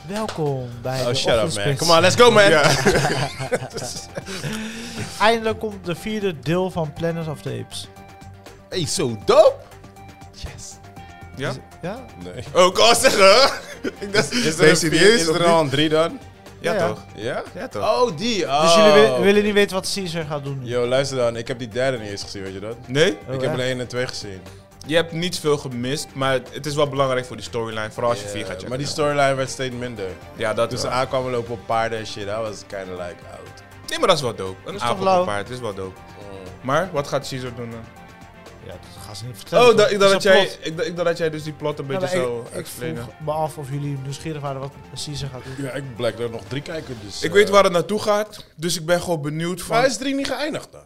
Speaker 3: Welkom bij
Speaker 2: Oh,
Speaker 3: de
Speaker 2: shut up, man.
Speaker 3: Ochtendspits.
Speaker 2: Come on, let's go, man.
Speaker 3: Eindelijk komt de vierde deel van Planet of the Apes.
Speaker 2: Hey, zo dope. Yes.
Speaker 1: Ja?
Speaker 3: Ja?
Speaker 2: Nee.
Speaker 1: Oh, kan zeggen. (laughs) Ik dacht,
Speaker 2: Is
Speaker 1: ben je
Speaker 2: er, serieus? Is
Speaker 1: of
Speaker 2: er
Speaker 1: niet?
Speaker 2: al een drie dan?
Speaker 1: Ja,
Speaker 3: Ja, ja.
Speaker 1: toch?
Speaker 2: Ja?
Speaker 1: Ja, toch?
Speaker 2: Oh, die. Oh.
Speaker 3: Dus jullie wi- willen niet weten wat Caesar gaat doen? nu?
Speaker 2: Yo, luister dan. Ik heb die derde niet eens gezien, weet je dat?
Speaker 1: Nee?
Speaker 3: Oh,
Speaker 2: ik heb
Speaker 3: echt?
Speaker 2: er één en twee gezien.
Speaker 1: Je hebt niet veel gemist, maar het- het is wel belangrijk voor die storyline. Vooral als je
Speaker 2: Ja,
Speaker 1: vier gaat checken.
Speaker 2: Eh, Maar die storyline werd steeds minder.
Speaker 1: Ja, dat
Speaker 2: Toen
Speaker 1: is
Speaker 2: ze aankwamen lopen op paarden en shit, I was kind of like out.
Speaker 1: Nee, maar dat is wel dope. Een
Speaker 3: is toch
Speaker 1: avond
Speaker 3: lauw?
Speaker 1: op paard is wel dope. Maar wat gaat Caesar doen dan?
Speaker 3: Ja, dat gaan ze niet vertellen.
Speaker 1: Oh,
Speaker 3: toch?
Speaker 1: dat, ik, dacht dat
Speaker 3: is een
Speaker 1: jij,
Speaker 3: plot.
Speaker 1: ik, dacht- ik dacht dat jij dus die plot een
Speaker 3: Ja,
Speaker 1: beetje
Speaker 3: maar
Speaker 1: zo
Speaker 3: ik, ik
Speaker 1: explainen.
Speaker 3: vroeg me af of jullie nieuwsgierig waren wat Caesar gaat doen.
Speaker 2: Ja, ik blijf er nog drie kijken, dus...
Speaker 1: Ik
Speaker 2: eh,
Speaker 1: weet waar het naartoe gaat, dus ik ben gewoon benieuwd
Speaker 2: Maar
Speaker 1: van...
Speaker 2: is drie niet geëindigd dan?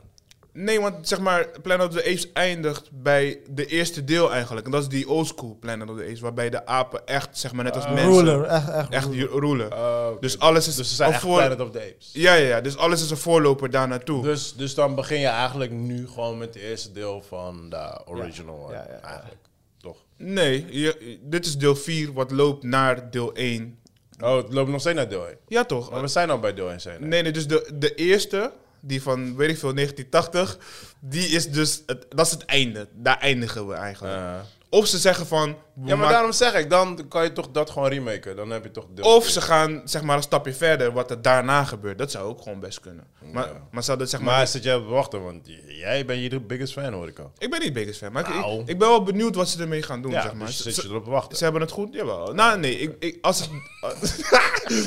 Speaker 1: Nee, want zeg maar, Planet of the Apes eindigt bij de eerste deel eigenlijk. En dat is die oldschool Planet of the Apes, waarbij de apen echt, zeg maar, net als mensen...
Speaker 3: Ruler, echt, echt,
Speaker 1: Echt
Speaker 3: ruler.
Speaker 1: die roelen.
Speaker 2: Eh, Oh, oké.
Speaker 1: Dus alles is
Speaker 2: Dus ze zijn
Speaker 1: al
Speaker 2: echt
Speaker 1: voor-
Speaker 2: Planet of the Apes.
Speaker 1: Ja, ja, ja. Dus alles is een voorloper daar naartoe.
Speaker 2: Dus, dus dan begin je eigenlijk nu gewoon met het eerste deel van de original one,
Speaker 3: Ja, ja, ja.
Speaker 2: eigenlijk. Toch?
Speaker 1: Nee, je- dit is deel 4, wat loopt naar deel 1.
Speaker 2: Oh, het loopt nog steeds naar deel 1.
Speaker 1: Ja, toch?
Speaker 2: Maar we zijn al bij deel 1, zijn we?
Speaker 1: Nee, nee, dus de, de eerste, die van weet ik veel, 1980, die is dus, het, dat is het einde. Daar eindigen we eigenlijk.
Speaker 2: Eh.
Speaker 1: Of ze zeggen van. we
Speaker 2: Ja, maar
Speaker 1: maken-
Speaker 2: daarom zeg ik, dan kan je toch dat gewoon remaken. Dan heb je toch deel
Speaker 1: Of
Speaker 2: vier.
Speaker 1: ze gaan zeg maar een stapje verder, wat er daarna gebeurt. Dat zou ook gewoon best kunnen. Maar, maar ze hadden zeg maar.
Speaker 2: Maar zit jij op te wachten, want jij bent je biggest fan, hoor ik al.
Speaker 1: ik ben niet biggest fan, maar ik-
Speaker 2: Nou.
Speaker 1: ik, ik ben wel benieuwd wat ze ermee gaan doen.
Speaker 2: Ja,
Speaker 1: zeg maar.
Speaker 2: dus
Speaker 1: Ze-
Speaker 2: zit
Speaker 1: ze-
Speaker 2: je erop te wachten.
Speaker 1: Ze hebben het goed? Jawel. Nou, nee. Ik, ik, als, het,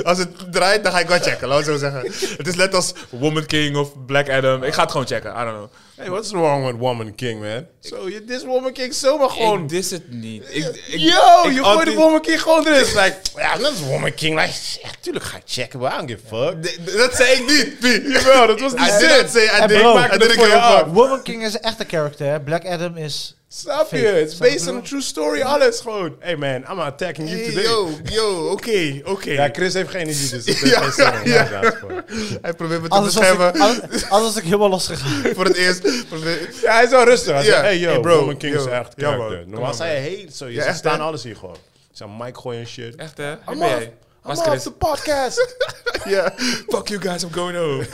Speaker 1: als het draait, dan ga ik wel checken. Laten we zo zeggen. Het is net als Woman (laughs) King of Black Adam. Ik ga het gewoon checken. I don't know.
Speaker 2: Hey, what's wrong with Woman King, man? So, you- this Woman King zomaar gewoon...
Speaker 1: Ik dis het niet. Ik, ik, ik
Speaker 2: Yo, je gooit de
Speaker 1: anti-
Speaker 2: Woman King gewoon (laughs) erin. It's Like, ja, dat is Woman King. Like, shit, tuurlijk ga ik checken, maar I don't give a fuck.
Speaker 1: D- d- Dat zei ik (laughs) niet. Pie.
Speaker 2: Jawel, dat was die
Speaker 1: I
Speaker 2: zin.
Speaker 1: didn't say I
Speaker 3: En
Speaker 1: did.
Speaker 3: bro,
Speaker 1: I
Speaker 2: ik
Speaker 1: didn't
Speaker 2: het voor
Speaker 1: give
Speaker 2: je
Speaker 1: a
Speaker 2: af.
Speaker 1: fuck.
Speaker 3: Woman King is een echte karakter, hè? Black Adam is...
Speaker 2: Snap je?
Speaker 3: Fake.
Speaker 2: It's
Speaker 3: Snap
Speaker 2: based
Speaker 3: je?
Speaker 2: on a true story, alles gewoon. Hey man, I'm attacking you
Speaker 1: Hey,
Speaker 2: today.
Speaker 1: yo, yo,
Speaker 2: (laughs)
Speaker 1: oké, oké.
Speaker 2: Ja, Chris heeft geen energie, dus (laughs) dat is
Speaker 1: Ja,
Speaker 2: geen zin om
Speaker 1: ja.
Speaker 2: daar voor.
Speaker 1: Hij probeert me te
Speaker 3: Anders was, ik,
Speaker 1: beschermen
Speaker 3: anders, anders was ik helemaal losgegaan.
Speaker 1: voor het eerst. Probeer-
Speaker 2: (laughs) Ja, hij is wel rustig. Hij
Speaker 1: Ja.
Speaker 2: zegt, hey yo,
Speaker 1: Hey, bro.
Speaker 2: Woman King is
Speaker 1: Yo.
Speaker 2: echt
Speaker 1: Ja, man.
Speaker 2: character.
Speaker 1: Come
Speaker 2: Normaal
Speaker 1: on,
Speaker 2: zei hij heet zo,
Speaker 1: Ja,
Speaker 2: ze
Speaker 1: echt,
Speaker 2: staan
Speaker 1: hè?
Speaker 2: alles hier gewoon. Ze zijn mic gooien en shit.
Speaker 1: Echt hè? Waar
Speaker 2: I'm
Speaker 1: ben
Speaker 2: off,
Speaker 1: jij?
Speaker 2: I'm
Speaker 1: Waar is
Speaker 2: off
Speaker 1: Chris?
Speaker 2: the podcast.
Speaker 1: Ja. Fuck you guys, I'm going home.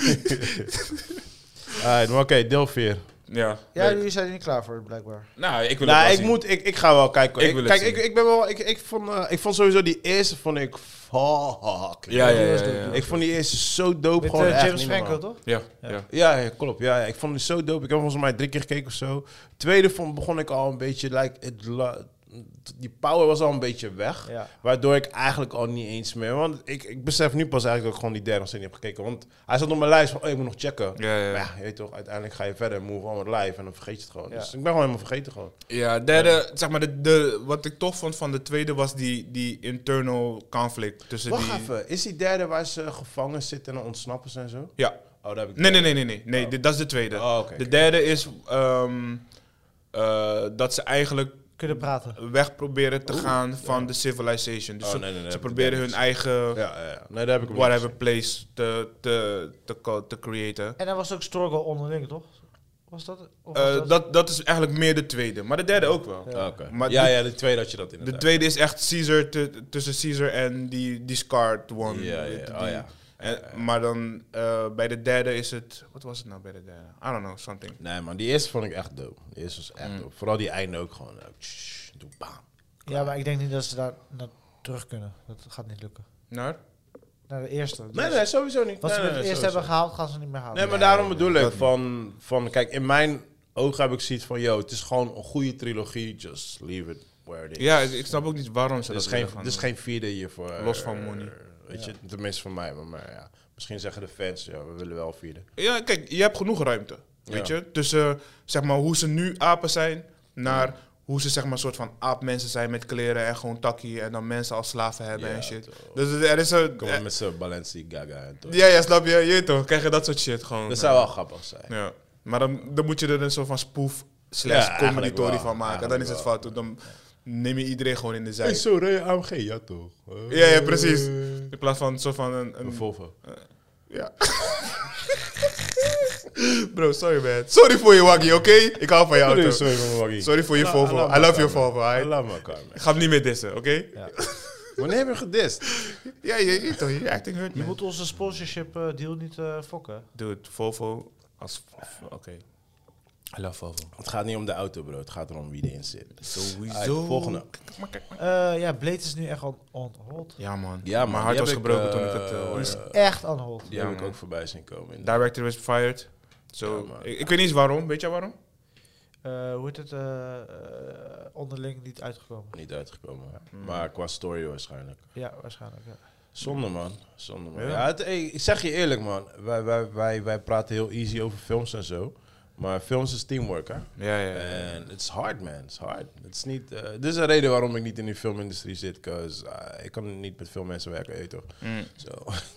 Speaker 2: Alright, maar oké, deel 4.
Speaker 1: Ja.
Speaker 3: Ja,
Speaker 1: leuk.
Speaker 3: jullie zijn er niet klaar voor, blijkbaar.
Speaker 1: Nou, ik wil het
Speaker 2: Nou,
Speaker 1: wel
Speaker 2: ik,
Speaker 1: zien.
Speaker 2: moet, ik, ik ga wel kijken.
Speaker 1: Ik
Speaker 2: Ik
Speaker 1: wil het
Speaker 2: kijk,
Speaker 1: zien.
Speaker 2: ik, ik ben wel. Ik, ik, vond, eh, ik vond sowieso die eerste vond ik fuck.
Speaker 1: Ja, ja, ja. ja, ja.
Speaker 2: Ik vond die eerste zo dope.
Speaker 3: Met
Speaker 2: gewoon
Speaker 3: eh,
Speaker 2: echt
Speaker 3: James
Speaker 2: niet
Speaker 3: Franco,
Speaker 2: normaal.
Speaker 3: toch?
Speaker 1: Ja, ja.
Speaker 2: Ja, ja, klopt. Ja, ja, ik vond die zo dope. Ik heb volgens mij drie keer gekeken of zo. Tweede vond, begon ik al een beetje. Like, het la- die power was al een beetje weg.
Speaker 3: Ja.
Speaker 2: Waardoor ik eigenlijk al niet eens meer. Want ik, ik besef nu pas eigenlijk dat ik gewoon die derde nog steeds niet heb gekeken. Want hij zat op mijn lijst van. Oh, ik moet nog checken.
Speaker 1: Ja, ja, ja.
Speaker 2: Maar je weet toch, uiteindelijk ga je verder. en Move on met live. En dan vergeet je het gewoon.
Speaker 3: Ja.
Speaker 2: Dus ik ben gewoon helemaal vergeten gewoon.
Speaker 1: Ja, derde, zeg maar, de, de, wat ik tof vond van de tweede was die, die internal conflict tussen
Speaker 2: Wacht
Speaker 1: die...
Speaker 2: even, is die derde waar ze gevangen zitten en dan ontsnappen ze en zo?
Speaker 1: Ja.
Speaker 2: Oh, daar heb ik
Speaker 1: Nee, nee, nee, nee, nee. nee dit, dat is de tweede.
Speaker 2: Oh, oké,
Speaker 1: de
Speaker 2: oké.
Speaker 1: derde is ehm, eh, dat ze eigenlijk
Speaker 3: Kunnen praten.
Speaker 1: weg proberen te gaan van de civilization. Dus
Speaker 2: Oh,
Speaker 1: ze,
Speaker 2: nee, nee, nee,
Speaker 1: ze
Speaker 2: dat
Speaker 1: proberen
Speaker 2: heb
Speaker 1: hun
Speaker 2: ik
Speaker 1: eigen
Speaker 2: Ja, ja, ja. Nee, daar heb ik hem
Speaker 1: whatever
Speaker 2: niet
Speaker 1: place te, te, te, co- te creëren.
Speaker 3: En er was ook struggle onderling, toch? Was dat? Of was
Speaker 1: Eh, dat, dat is eigenlijk meer de tweede, maar de derde ook wel.
Speaker 2: Ah, oké.
Speaker 1: Maar
Speaker 2: Ja,
Speaker 1: de-
Speaker 2: ja, de tweede had je dat
Speaker 1: De
Speaker 2: inderdaad.
Speaker 1: tweede is echt Caesar t- tussen Caesar en die, die Scarred One.
Speaker 2: Ja, ja,
Speaker 1: Die-
Speaker 2: oh ja.
Speaker 1: en- maar dan eh, bij de derde is het. Wat was het nou bij de derde? I don't know, something.
Speaker 2: Nee, man, die eerste vond ik echt dope. Die eerste was echt dope. Vooral die einde ook gewoon. eh, tss, doe bam.
Speaker 3: Ja, maar ik denk niet dat ze daar naar terug kunnen. Dat gaat niet lukken.
Speaker 1: Nou,
Speaker 3: Naar de eerste. Dus
Speaker 2: Nee, nee, sowieso niet. nee,
Speaker 3: Wat ze
Speaker 2: nee,
Speaker 3: met het
Speaker 2: nee,
Speaker 3: eerst
Speaker 2: sowieso.
Speaker 3: hebben gehaald, gaan ze niet meer halen.
Speaker 2: Nee, maar daarom bedoel ik van, van, kijk, in mijn ogen heb ik zoiets van, yo, het is gewoon een goede trilogie, just leave it where it is.
Speaker 1: ja, ik, ik snap ook niet waarom ze
Speaker 2: Er
Speaker 1: dat
Speaker 2: is geen,
Speaker 1: willen gaan
Speaker 2: er is
Speaker 1: doen.
Speaker 2: geen vierde hiervoor.
Speaker 1: eh,
Speaker 2: eh,
Speaker 1: Los van money.
Speaker 2: Weet je, tenminste van mij, maar, maar ja. Misschien zeggen de fans, ja, we willen wel vierde.
Speaker 1: Ja, kijk, je hebt genoeg ruimte. Weet
Speaker 2: Ja.
Speaker 1: je? Tussen zeg maar, hoe ze nu apen zijn, naar hoe ze zeg maar, soort van aapmensen zijn met kleren en gewoon takkie en dan mensen als slaven hebben
Speaker 2: Ja,
Speaker 1: en shit.
Speaker 2: toch.
Speaker 1: Dus er is een.
Speaker 2: Kom maar met z'n Balenciaga en toch.
Speaker 1: Ja, ja, snap je? Je weet toch? Krijg je dat soort shit gewoon.
Speaker 2: Dat zou wel grappig zijn.
Speaker 1: Ja, maar dan, dan moet je er een soort van spoef slash
Speaker 2: Ja, eigenlijk
Speaker 1: combinatory
Speaker 2: wel.
Speaker 1: van maken. Dan is het
Speaker 2: Eigenlijk
Speaker 1: fout. Dan neem je iedereen gewoon in de zij.
Speaker 2: Hey, zo rij AMG, ja Oh, toch? Eh,
Speaker 1: Ja, ja, precies. In plaats van een soort van een...
Speaker 2: Een
Speaker 1: een
Speaker 2: Volvo.
Speaker 1: ja. Bro, sorry man. Sorry voor je waggie, oké? Ik hou van jou.
Speaker 2: Sorry,
Speaker 1: auto.
Speaker 2: sorry, man, Waggy.
Speaker 1: Sorry voor je
Speaker 2: I
Speaker 1: Volvo. I love your
Speaker 2: my car,
Speaker 1: Volvo.
Speaker 2: man. I
Speaker 1: alright?
Speaker 2: love my car, man.
Speaker 1: Ik ga hem niet meer dissen, oké?
Speaker 2: (laughs) Wanneer heb je gedist?
Speaker 1: Ja, je je weet toch, je acting hurt
Speaker 3: Je
Speaker 1: man.
Speaker 3: moet onze sponsorship eh, deal niet eh, fokken.
Speaker 1: Dude, Volvo als... Oké. I love Volvo.
Speaker 2: Het gaat niet om de auto, bro. Het gaat erom wie erin zit.
Speaker 1: Sowieso.
Speaker 2: Alright, volgende.
Speaker 3: Eh, ja, Blade is nu echt on, on hold.
Speaker 1: Ja man.
Speaker 2: Ja, man,
Speaker 1: Mijn hart
Speaker 2: die
Speaker 1: was
Speaker 2: heb ik,
Speaker 1: gebroken
Speaker 2: eh,
Speaker 1: toen ik het eh,
Speaker 2: die
Speaker 1: hoorde.
Speaker 2: is
Speaker 3: Echt on hold.
Speaker 2: Die
Speaker 1: Ja,
Speaker 2: heb ik
Speaker 1: man.
Speaker 2: ook voorbij zien komen.
Speaker 1: Director was fired. Zo,
Speaker 2: Ja, man.
Speaker 1: ik, ik weet niet eens waarom. Weet jij waarom?
Speaker 3: Eh, hoe heet het? eh, eh, onderling niet uitgekomen.
Speaker 2: Niet uitgekomen. hè.
Speaker 1: Mm.
Speaker 2: Maar qua story waarschijnlijk.
Speaker 3: Ja, waarschijnlijk. Ja.
Speaker 2: Zonde, man. Zonde, man.
Speaker 1: Ja.
Speaker 2: Ja. het- hey, ik zeg je eerlijk, man. Wij, wij, wij, wij praten heel easy over films en zo. Maar films is teamwork, hè?
Speaker 1: Ja, ja. (laughs)
Speaker 2: En it's hard, man. It's hard. It's niet, eh, dit is een reden waarom ik niet in die filmindustrie zit. Cause, eh, ik kan niet met veel mensen werken, weet je toch?
Speaker 1: Mm.
Speaker 2: Zo.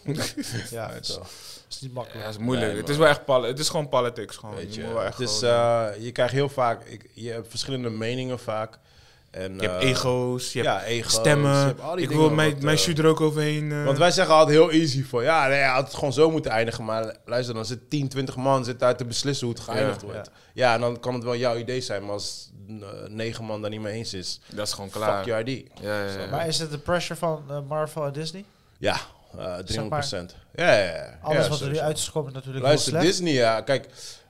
Speaker 3: (laughs) Ja,
Speaker 2: (laughs) Weet
Speaker 3: het
Speaker 2: je wel.
Speaker 3: is niet makkelijk.
Speaker 1: dat is moeilijk.
Speaker 2: Nee,
Speaker 1: het is wel echt pal Het is gewoon politics gewoon.
Speaker 2: Weet
Speaker 1: oh, je,
Speaker 2: je,
Speaker 1: moet wel echt
Speaker 2: het is,
Speaker 1: gewoon-
Speaker 2: eh, je krijgt heel vaak, ik, je hebt verschillende meningen vaak. En,
Speaker 1: je hebt
Speaker 2: eh,
Speaker 1: ego's, je hebt
Speaker 2: ja, ego's, je
Speaker 1: stemmen.
Speaker 2: hebt al die
Speaker 1: Ik
Speaker 2: dingen
Speaker 1: wil mijn,
Speaker 2: wat,
Speaker 1: mijn
Speaker 2: eh,
Speaker 1: shoot er ook overheen. eh.
Speaker 2: Want wij zeggen altijd heel easy van, ja, nee, hij had het gewoon zo moeten eindigen. Maar luister, dan zit 10, 20 man zit daar te beslissen hoe het geëindigd
Speaker 1: Ja,
Speaker 2: wordt. Ja. en dan kan het wel jouw idee zijn, maar als eh, negen man daar niet mee eens is,
Speaker 1: dat is gewoon klaar.
Speaker 2: fuck your idee.
Speaker 1: Ja, ja, ja.
Speaker 3: Maar is het de pressure van eh, Marvel en Disney?
Speaker 2: Ja, eh 300%.
Speaker 3: Zeg maar,
Speaker 2: ja, ja, ja.
Speaker 3: Alles
Speaker 2: Ja,
Speaker 3: wat er nu
Speaker 2: sowieso.
Speaker 3: uit is gekomen is natuurlijk
Speaker 2: Luister,
Speaker 3: heel slecht.
Speaker 2: Disney, ja, kijk,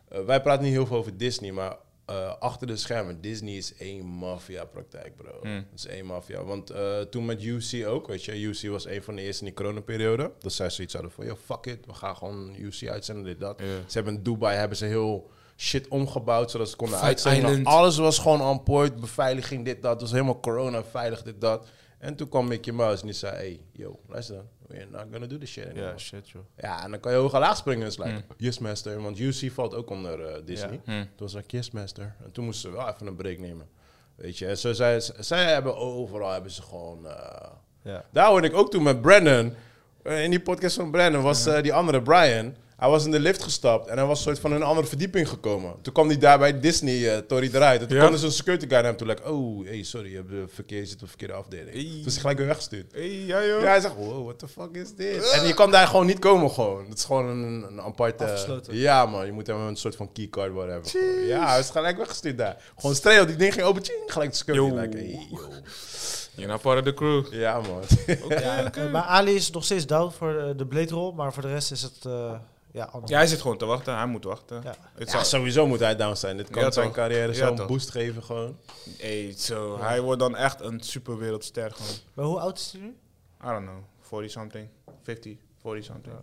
Speaker 2: eh, wij praten niet heel veel over Disney, maar eh, achter de schermen, Disney is één maffia-praktijk, bro.
Speaker 1: Hmm.
Speaker 2: Dat is één maffia. Want eh, toen met UC ook, weet je, UC was een van de eerste in die coronaperiode. Dat zij zoiets hadden van, yo, fuck it, we gaan gewoon UC uitzenden, dit, dat.
Speaker 1: Ja.
Speaker 2: Ze hebben in Dubai, hebben ze heel shit omgebouwd, zodat ze konden
Speaker 1: Fight
Speaker 2: uitzenden.
Speaker 1: Island.
Speaker 2: Alles was gewoon on point, beveiliging, dit, dat. Het was helemaal corona-veilig, dit, dat. En toen kwam Mickey Mouse en die zei, hey, yo, luister dan, we're not gonna do this shit anymore.
Speaker 3: Ah,
Speaker 1: Ja, shit joh.
Speaker 2: Ja, en dan kan je hoog en laag springen. Dus like, yes master, want UC valt ook onder eh, Disney.
Speaker 1: Hmm. Ja. Hmm.
Speaker 2: Toen was ik yes master. En toen moesten ze wel even een break nemen. Weet je, en zo zij, zij hebben overal hebben ze gewoon... eh,
Speaker 3: Ja.
Speaker 2: Daar hoorde ik ook toen met Brandon. eh, in die podcast van Brandon was eh, die andere Brian. Hij was in de lift gestapt en hij was soort van in een andere verdieping gekomen. Toen kwam hij daar bij Disney, eh, Tory eruit. En toen
Speaker 1: Ja.
Speaker 2: kwam dus een security guy naar hem toe. Like, oh, hey, sorry, je, hebt de verkeer, je zit op de verkeerde afdeling.
Speaker 1: Hey.
Speaker 2: Toen is hij gelijk weer weggestuurd.
Speaker 1: Hey, ja joh.
Speaker 2: Ja, hij zegt, wow, what the fuck is dit? En je kan daar gewoon niet komen gewoon. Het is gewoon een, een aparte...
Speaker 3: Afgesloten.
Speaker 2: Ja man, je moet hem een soort van keycard whatever. hebben. Ja, hij is gelijk weggestuurd daar. Gewoon streel, die ding ging open, tjing, gelijk de security.
Speaker 1: Yo.
Speaker 2: Like, hey, yo.
Speaker 1: You're not part of the crew.
Speaker 2: Ja man. (laughs)
Speaker 3: Ja, eh, maar Ali is nog steeds down voor eh, de Blade rol, maar voor de rest is het eh ja, on hold.
Speaker 1: Ja, hij zit gewoon te wachten. Hij moet wachten.
Speaker 3: Ja.
Speaker 1: Het
Speaker 2: Ja,
Speaker 1: zou-
Speaker 2: sowieso moet hij down zijn. Dit kan
Speaker 1: Ja,
Speaker 2: zijn
Speaker 1: toch.
Speaker 2: carrière
Speaker 1: Ja,
Speaker 2: zo'n
Speaker 1: toch.
Speaker 2: boost geven gewoon.
Speaker 1: Hey, zo, Hij wordt dan echt een superwereldster gewoon.
Speaker 3: Maar hoe oud is hij nu?
Speaker 1: I don't know. 40 something. 50. 40 something.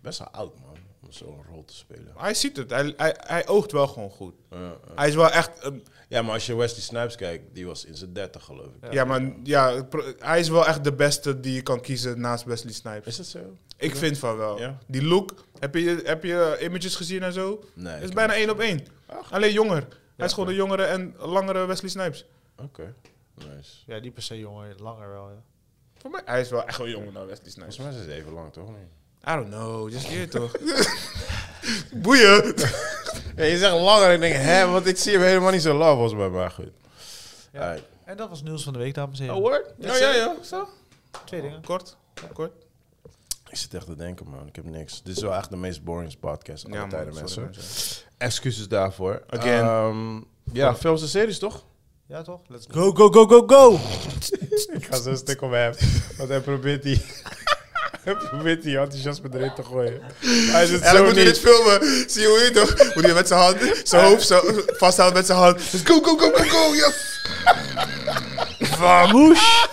Speaker 2: Best wel oud man, om zo'n rol te spelen.
Speaker 1: Hij ziet het. Hij, hij, hij oogt wel gewoon goed.
Speaker 2: Ja, ja.
Speaker 1: Hij is wel echt een
Speaker 2: Ja, maar als je Wesley Snipes kijkt, die was in zijn 30 geloof ik.
Speaker 1: Ja, maar ja, pro- hij is wel echt de beste die je kan kiezen naast Wesley Snipes.
Speaker 2: Is dat zo?
Speaker 1: ik vind van wel.
Speaker 2: Ja.
Speaker 1: Die look, heb je, heb je images gezien en zo?
Speaker 2: Nee.
Speaker 1: Het
Speaker 2: ik
Speaker 1: is
Speaker 2: heb-
Speaker 1: bijna één op één. Alleen jonger. hij is gewoon
Speaker 2: oké.
Speaker 1: een jongere en langere Wesley Snipes.
Speaker 2: Oké, nice.
Speaker 3: Ja, niet per se jonger, langer wel. Ja.
Speaker 1: Voor mij, hij is wel echt wel jonger dan Wesley Snipes.
Speaker 2: Volgens mij is het even lang toch? niet?
Speaker 1: I don't know, just je (laughs) toch. Boeien.
Speaker 2: (laughs) Ja, je zegt langer. Ik denk, hè, want ik zie hem helemaal niet zo lang volgens mij. Maar goed.
Speaker 3: Ja.
Speaker 2: Alright.
Speaker 3: En Oh, dat was nieuws van de week, dames en heren. Oh.
Speaker 1: word? Ja, ja, ja. Zo.
Speaker 3: Twee dingen.
Speaker 1: Kort, kort.
Speaker 2: Ik zit echt te denken, man. Ik heb niks. Dit is wel echt de meest boringste podcast aller
Speaker 1: man,
Speaker 2: tijden,
Speaker 1: sorry,
Speaker 2: mensen.
Speaker 1: mensen.
Speaker 2: Excuses daarvoor.
Speaker 1: Again.
Speaker 2: Ehm, ja, films en series, toch?
Speaker 3: Ja, toch? Let's go, go, go, go, go!
Speaker 2: Ik ga zo stuk om hem. Want hij probeert die... (laughs) hij probeert die enthousiasme erin te gooien. Hij zit
Speaker 1: En dan
Speaker 2: zo
Speaker 1: moeten we dit
Speaker 2: niet.
Speaker 1: filmen. Zie je hoe je toch? Moet je met zijn hand, zijn hoofd zo vasthouden met zijn hand. Dus go, go, go, go, go, yes!
Speaker 3: Vamouche!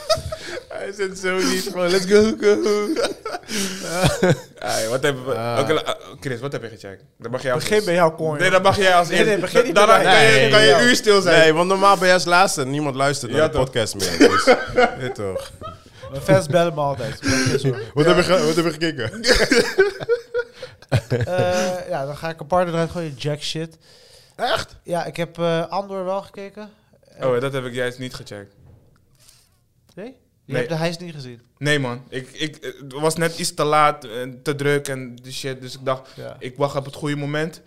Speaker 2: Hij zit zo niet. Gewoon, let's go, go.
Speaker 1: Ai, wat hebben we...
Speaker 2: Ah.
Speaker 1: Oké, la- ah, Chris, wat heb je gecheckt? Dat mag jij als
Speaker 3: Begin bij
Speaker 1: eerst.
Speaker 3: jouw coin.
Speaker 1: Nee, dat mag jij als
Speaker 3: Nee,
Speaker 1: eerst.
Speaker 3: nee, begin niet
Speaker 1: Daarna
Speaker 3: bij
Speaker 1: kan
Speaker 3: mij.
Speaker 1: je,
Speaker 2: Nee,
Speaker 1: kan je
Speaker 3: ja.
Speaker 1: een uur stil zijn.
Speaker 2: Nee, want normaal ben jij als laatste. Niemand luistert naar
Speaker 1: Ja,
Speaker 2: de
Speaker 1: toch?
Speaker 2: podcast meer.
Speaker 1: (laughs)
Speaker 2: Dus, weet toch.
Speaker 3: Fans bellen me altijd.
Speaker 2: Wat, hebben we ge- wat hebben we gekeken?
Speaker 3: Eh, ja, dan ga ik een partner eruit gooien. Jack shit.
Speaker 2: Echt?
Speaker 3: Ja, ik heb eh, Andor wel gekeken.
Speaker 1: Oh, dat heb ik juist niet gecheckt.
Speaker 3: Nee? Je
Speaker 1: Nee.
Speaker 3: hebt de hijs niet gezien.
Speaker 1: Nee, man. Ik, ik eh, was net iets te laat, eh, te druk en die shit. Dus ik dacht,
Speaker 3: Ja.
Speaker 1: ik wacht op het goede moment.